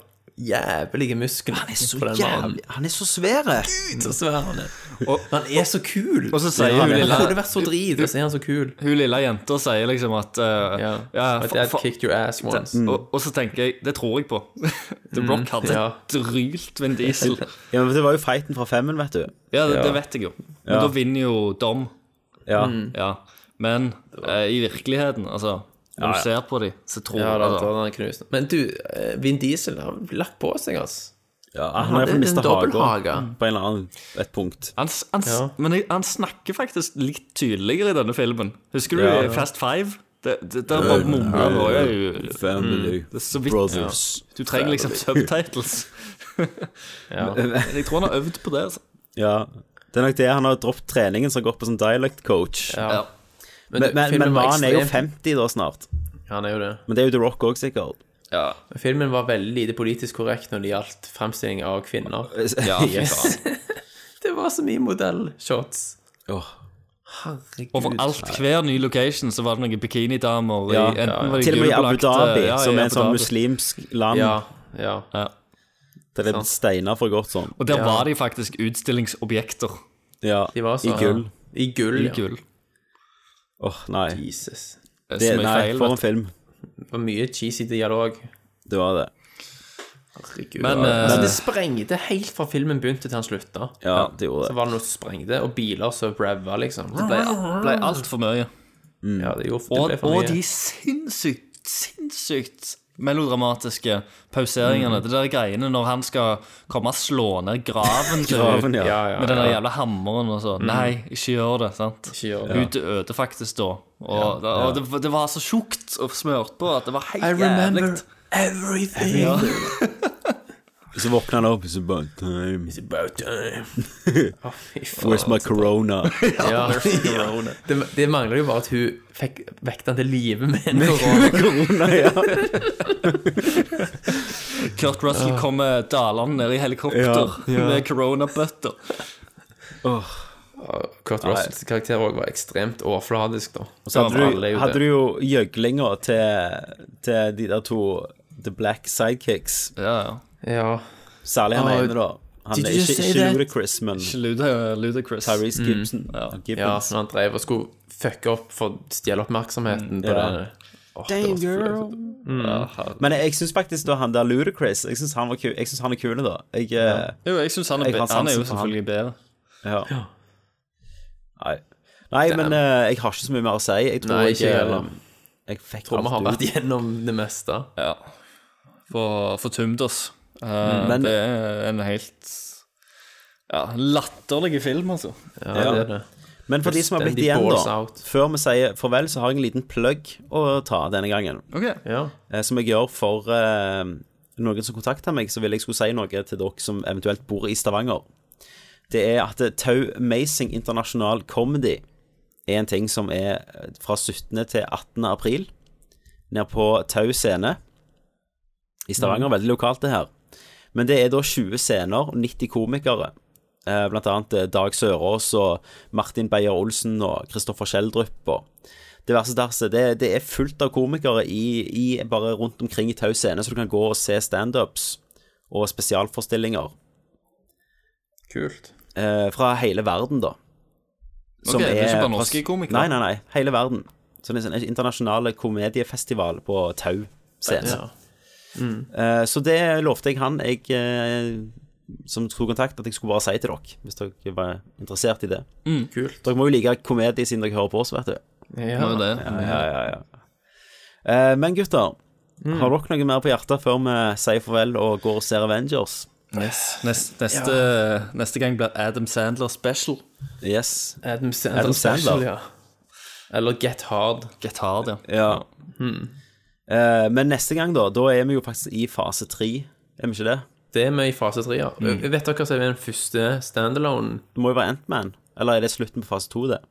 Speaker 9: jævlige musklene Han er
Speaker 1: Så jævlig, han er så svære!
Speaker 9: Gud, så svær han er. Og han er så kul.
Speaker 10: Og så sier hun
Speaker 9: Han
Speaker 10: lille
Speaker 9: burde vært så drit, og så er han så kul.
Speaker 10: Hun lille jenta sier liksom at eh, ja,
Speaker 9: My
Speaker 10: fa-
Speaker 9: dad
Speaker 10: fa- Mm.
Speaker 9: kicked your ass
Speaker 10: Det-
Speaker 9: once.
Speaker 10: Og, og så tenker jeg Det tror jeg på. The
Speaker 9: Mm,
Speaker 10: Rock hadde
Speaker 9: ja.
Speaker 10: drylt med en diesel.
Speaker 1: Ja, men Det var jo fighten fra femmen, vet du.
Speaker 10: Ja, det, det vet jeg jo. Men
Speaker 1: Ja.
Speaker 10: da vinner jo Dom.
Speaker 1: Ja.
Speaker 10: Mm. ja. Men eh, i virkeligheten, altså Når
Speaker 9: Ja, ja.
Speaker 10: du ser på dem, så tror
Speaker 9: Ja,
Speaker 10: jeg
Speaker 9: da,
Speaker 10: altså,
Speaker 9: da, den knusen. Men du, eh, Vin Diesel har lagt på seg, altså.
Speaker 1: Ja, han har
Speaker 9: hadde
Speaker 1: iallfall mista
Speaker 9: en dobbelthage.
Speaker 1: hagen på en eller annen, et punkt.
Speaker 10: han, s- han, s- Men jeg- han snakker faktisk litt tydeligere i denne filmen. Husker du
Speaker 1: Ja, ja.
Speaker 10: Fast Five? Det, det, der bare mumler og jeg er jo-
Speaker 1: Family,
Speaker 10: Mm. Det er så vidt
Speaker 1: brothers,
Speaker 10: Du trenger liksom
Speaker 1: family.
Speaker 10: subtitles.
Speaker 1: Ja.
Speaker 10: Men Jeg tror han har øvd på det. Altså.
Speaker 1: Ja, det er nok det. Han har droppet treningen, så han går på som dialect coach.
Speaker 10: Ja. Ja.
Speaker 1: Men, men, men,
Speaker 9: filmen var
Speaker 1: mannen er jo
Speaker 9: ekstremt-
Speaker 1: 50 da snart.
Speaker 9: Ja, han er jo det.
Speaker 1: Men det er jo The Rock òg, sikkert.
Speaker 9: Filmen
Speaker 1: Eh,
Speaker 9: var veldig lite politisk korrekt når det gjaldt fremstilling av kvinner.
Speaker 1: Ja, fy faen.
Speaker 9: Det var så mye modellshots. Herregud.
Speaker 10: Overalt, hver ny location, så var det noen bikinidamer. i-
Speaker 9: Ja,
Speaker 10: enten
Speaker 9: ja, ja.
Speaker 10: var de
Speaker 1: Til og med i Abu
Speaker 10: gulbelagte-
Speaker 1: Dhabi,
Speaker 10: ja, i
Speaker 1: som er
Speaker 10: Abu
Speaker 1: en sånn
Speaker 10: Dhabi.
Speaker 1: muslimsk land.
Speaker 10: Ja,
Speaker 1: Der det er steiner for godt sånn.
Speaker 10: Og der var de faktisk utstillingsobjekter.
Speaker 1: Ja,
Speaker 10: De var så-
Speaker 1: i gull.
Speaker 9: I gull,
Speaker 10: I
Speaker 9: ja.
Speaker 10: gull. eh,
Speaker 1: Åh, nei.
Speaker 9: Jesus.
Speaker 1: Det, nei, for en film.
Speaker 9: Det var mye cheesy dialog.
Speaker 1: Det var det.
Speaker 9: Herregud.
Speaker 10: Men,
Speaker 9: det var- altså,
Speaker 10: eh,
Speaker 9: det sprengte helt fra filmen begynte til han slutta.
Speaker 1: Ja, det gjorde det.
Speaker 9: Så var det noe som sprengte, og biler som brava, liksom. Det ble,
Speaker 10: ble altfor mye.
Speaker 1: Mm.
Speaker 9: Ja, det, gjorde, det
Speaker 10: Og,
Speaker 9: ble for
Speaker 10: og
Speaker 9: mye.
Speaker 10: de sinnssykt, sinnssykt melodramatiske
Speaker 1: Mm.
Speaker 10: pauseringene. Det der greiene når han skal komme og slå ned graven til
Speaker 1: Graven,
Speaker 10: hun
Speaker 1: ja. Ja, ja,
Speaker 10: med den der
Speaker 1: ja.
Speaker 10: jævla hammeren og sånn.
Speaker 1: Mm.
Speaker 10: Nei, ikke gjør det. sant?
Speaker 1: det.
Speaker 10: Hun døde faktisk da. Og, det,
Speaker 1: Ja, ja.
Speaker 10: og det, det var så tjukt og smørt på at det var helt
Speaker 1: I remember
Speaker 10: jævlig.
Speaker 1: everything.
Speaker 10: Ja.
Speaker 1: Så våkner han opp It's about time. It's
Speaker 9: about time.
Speaker 1: Where's my corona?
Speaker 9: ja, det, det mangler jo bare at hun fikk vekket han til live med en
Speaker 1: Med-
Speaker 9: korona.
Speaker 1: med korona,
Speaker 10: Kurt Russell
Speaker 9: Ah.
Speaker 10: kommer dalende ned i helikopter
Speaker 9: Ja, ja.
Speaker 10: med coronabøtter.
Speaker 9: Kurt
Speaker 1: Nei.
Speaker 9: Russells karakter også var ekstremt overfladisk, da.
Speaker 1: Og så hadde du,
Speaker 9: Alle er jo
Speaker 1: hadde
Speaker 9: det.
Speaker 1: du jo gjøglinga til, til de der to The Black Sidekicks.
Speaker 10: Ja,
Speaker 9: Ja.
Speaker 1: Særlig han
Speaker 9: Ah,
Speaker 1: ene, da. Han
Speaker 9: did
Speaker 1: er
Speaker 9: you
Speaker 1: ikke,
Speaker 9: say
Speaker 1: ikke
Speaker 9: that? Mm.
Speaker 1: Ludacris, men
Speaker 10: Ludacris.
Speaker 1: Tyrese Gibson.
Speaker 9: Ja.
Speaker 1: Gibbons.
Speaker 9: ja, når han drev og skulle fucke opp for å stjele oppmerksomheten på
Speaker 1: Ja.
Speaker 9: det. Åh, det
Speaker 1: Damn
Speaker 9: var så
Speaker 1: girl.
Speaker 9: flaut. Mm.
Speaker 1: Men jeg, jeg syns faktisk da han der Ludacris Jeg syns han, var ku- jeg synes han er kul, da. Jeg, eh,
Speaker 10: Jo, jeg syns han, er
Speaker 1: jeg
Speaker 10: be-
Speaker 1: har
Speaker 10: han er jo
Speaker 1: sansen for han.
Speaker 10: selvfølgelig bedre.
Speaker 1: Ja. Nei. Nei,
Speaker 9: Damn.
Speaker 1: men eh, jeg har ikke så mye mer å si. Jeg tror
Speaker 9: Nei,
Speaker 1: jeg,
Speaker 9: ikke jeg heller.
Speaker 1: eh, jeg fikk
Speaker 9: Tror vi har
Speaker 1: alt
Speaker 9: vært
Speaker 1: ut.
Speaker 9: igjennom det meste.
Speaker 10: Ja. For, for Tumdos. Eh,
Speaker 9: Mm. Men-
Speaker 10: det er en helt ja, latterlig film, altså.
Speaker 1: Ja. Men for de som har blitt igjen, da, før vi sier farvel, så har jeg en liten plugg å ta denne gangen.
Speaker 10: Ok.
Speaker 1: Eh, Som jeg gjør for eh, noen som kontakter meg, så vil jeg skulle si noe til dere som eventuelt bor i Stavanger. Det er at eh, Tau Amazing International Comedy er en ting som er eh, fra 17. til 18. april nede på Tau scene i Stavanger. Veldig lokalt, det her. Men det er da 20 scener, 90 komikere. Eh, Blant annet eh, Dag Sørås og Martin Beyer-Olsen og Kristoffer Schjelderup og diverse derse. Det, det er fullt av komikere i, i bare rundt omkring i Tau scene, så du kan gå og se standups og spesialforestillinger.
Speaker 9: Kult.
Speaker 1: Eh, fra hele verden, da.
Speaker 10: Ok, det er ikke bare
Speaker 1: fra-
Speaker 10: norske komikere?
Speaker 1: Nei, nei, nei. Hele verden. Så det er en sånn internasjonal komediefestival på Tau scene.
Speaker 9: Ja. Mm.
Speaker 1: Eh, Så det lovte jeg han jeg, eh, som tok kontakt, at jeg skulle bare si til dere, hvis dere var interessert i det.
Speaker 10: Mm.
Speaker 9: Kult.
Speaker 1: Dere må jo like komedie siden dere hører på oss, vet du.
Speaker 9: Ja. Må jo det.
Speaker 1: Ja, ja, ja, ja. Mm. Eh, Men gutter, har dere noe mer på hjertet før vi sier farvel og går og ser Avengers?
Speaker 10: Yes. Nest, neste, neste gang blir Adam Sandler special.
Speaker 1: Yes.
Speaker 9: Adam Sandler, Special, ja. Eller Get Hard.
Speaker 10: Get Hard, ja.
Speaker 1: Ja. mm. Eh, Men neste gang, da, da er vi jo faktisk i fase tre, er vi ikke det?
Speaker 9: Det er vi i fase tre, ja. Vet dere hva som er den første standalone?
Speaker 1: Det må jo være Ant-Man, eller er det slutten på fase to, det?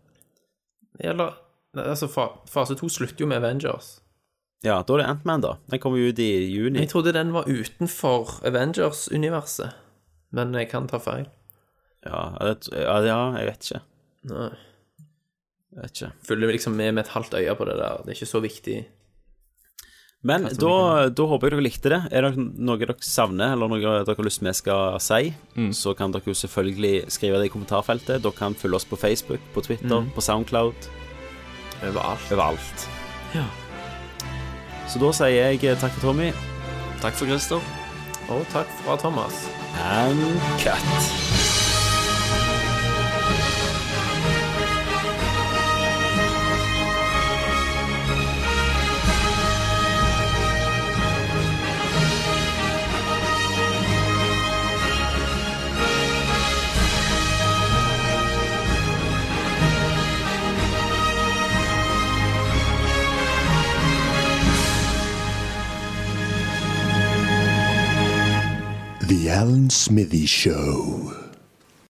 Speaker 9: Eller nei, altså, fa fase to slutter jo med Avengers.
Speaker 1: Ja, da er det Ant-Man, da. Den kommer jo ut i juni.
Speaker 9: Jeg trodde den var utenfor Avengers-universet, men jeg kan ta feil.
Speaker 1: Ja, det, ja, ja, jeg vet ikke.
Speaker 9: Nei.
Speaker 1: Jeg vet ikke.
Speaker 9: Følger liksom med med et halvt øye på det der. Det er ikke så viktig.
Speaker 1: Men da, da håper jeg dere likte det. Er det noe dere savner, eller noe dere har lyst vi skal si,
Speaker 9: Mm.
Speaker 1: så kan dere jo selvfølgelig skrive det i kommentarfeltet. Dere kan følge oss på Facebook, på Twitter,
Speaker 9: Mm.
Speaker 1: på Soundcloud.
Speaker 9: Overalt.
Speaker 1: Overalt.
Speaker 9: Ja.
Speaker 1: Så da sier jeg takk for Tommy.
Speaker 10: Takk for Christer.
Speaker 9: Og takk fra Thomas.
Speaker 1: And cut.
Speaker 2: The Alan Smithy Show.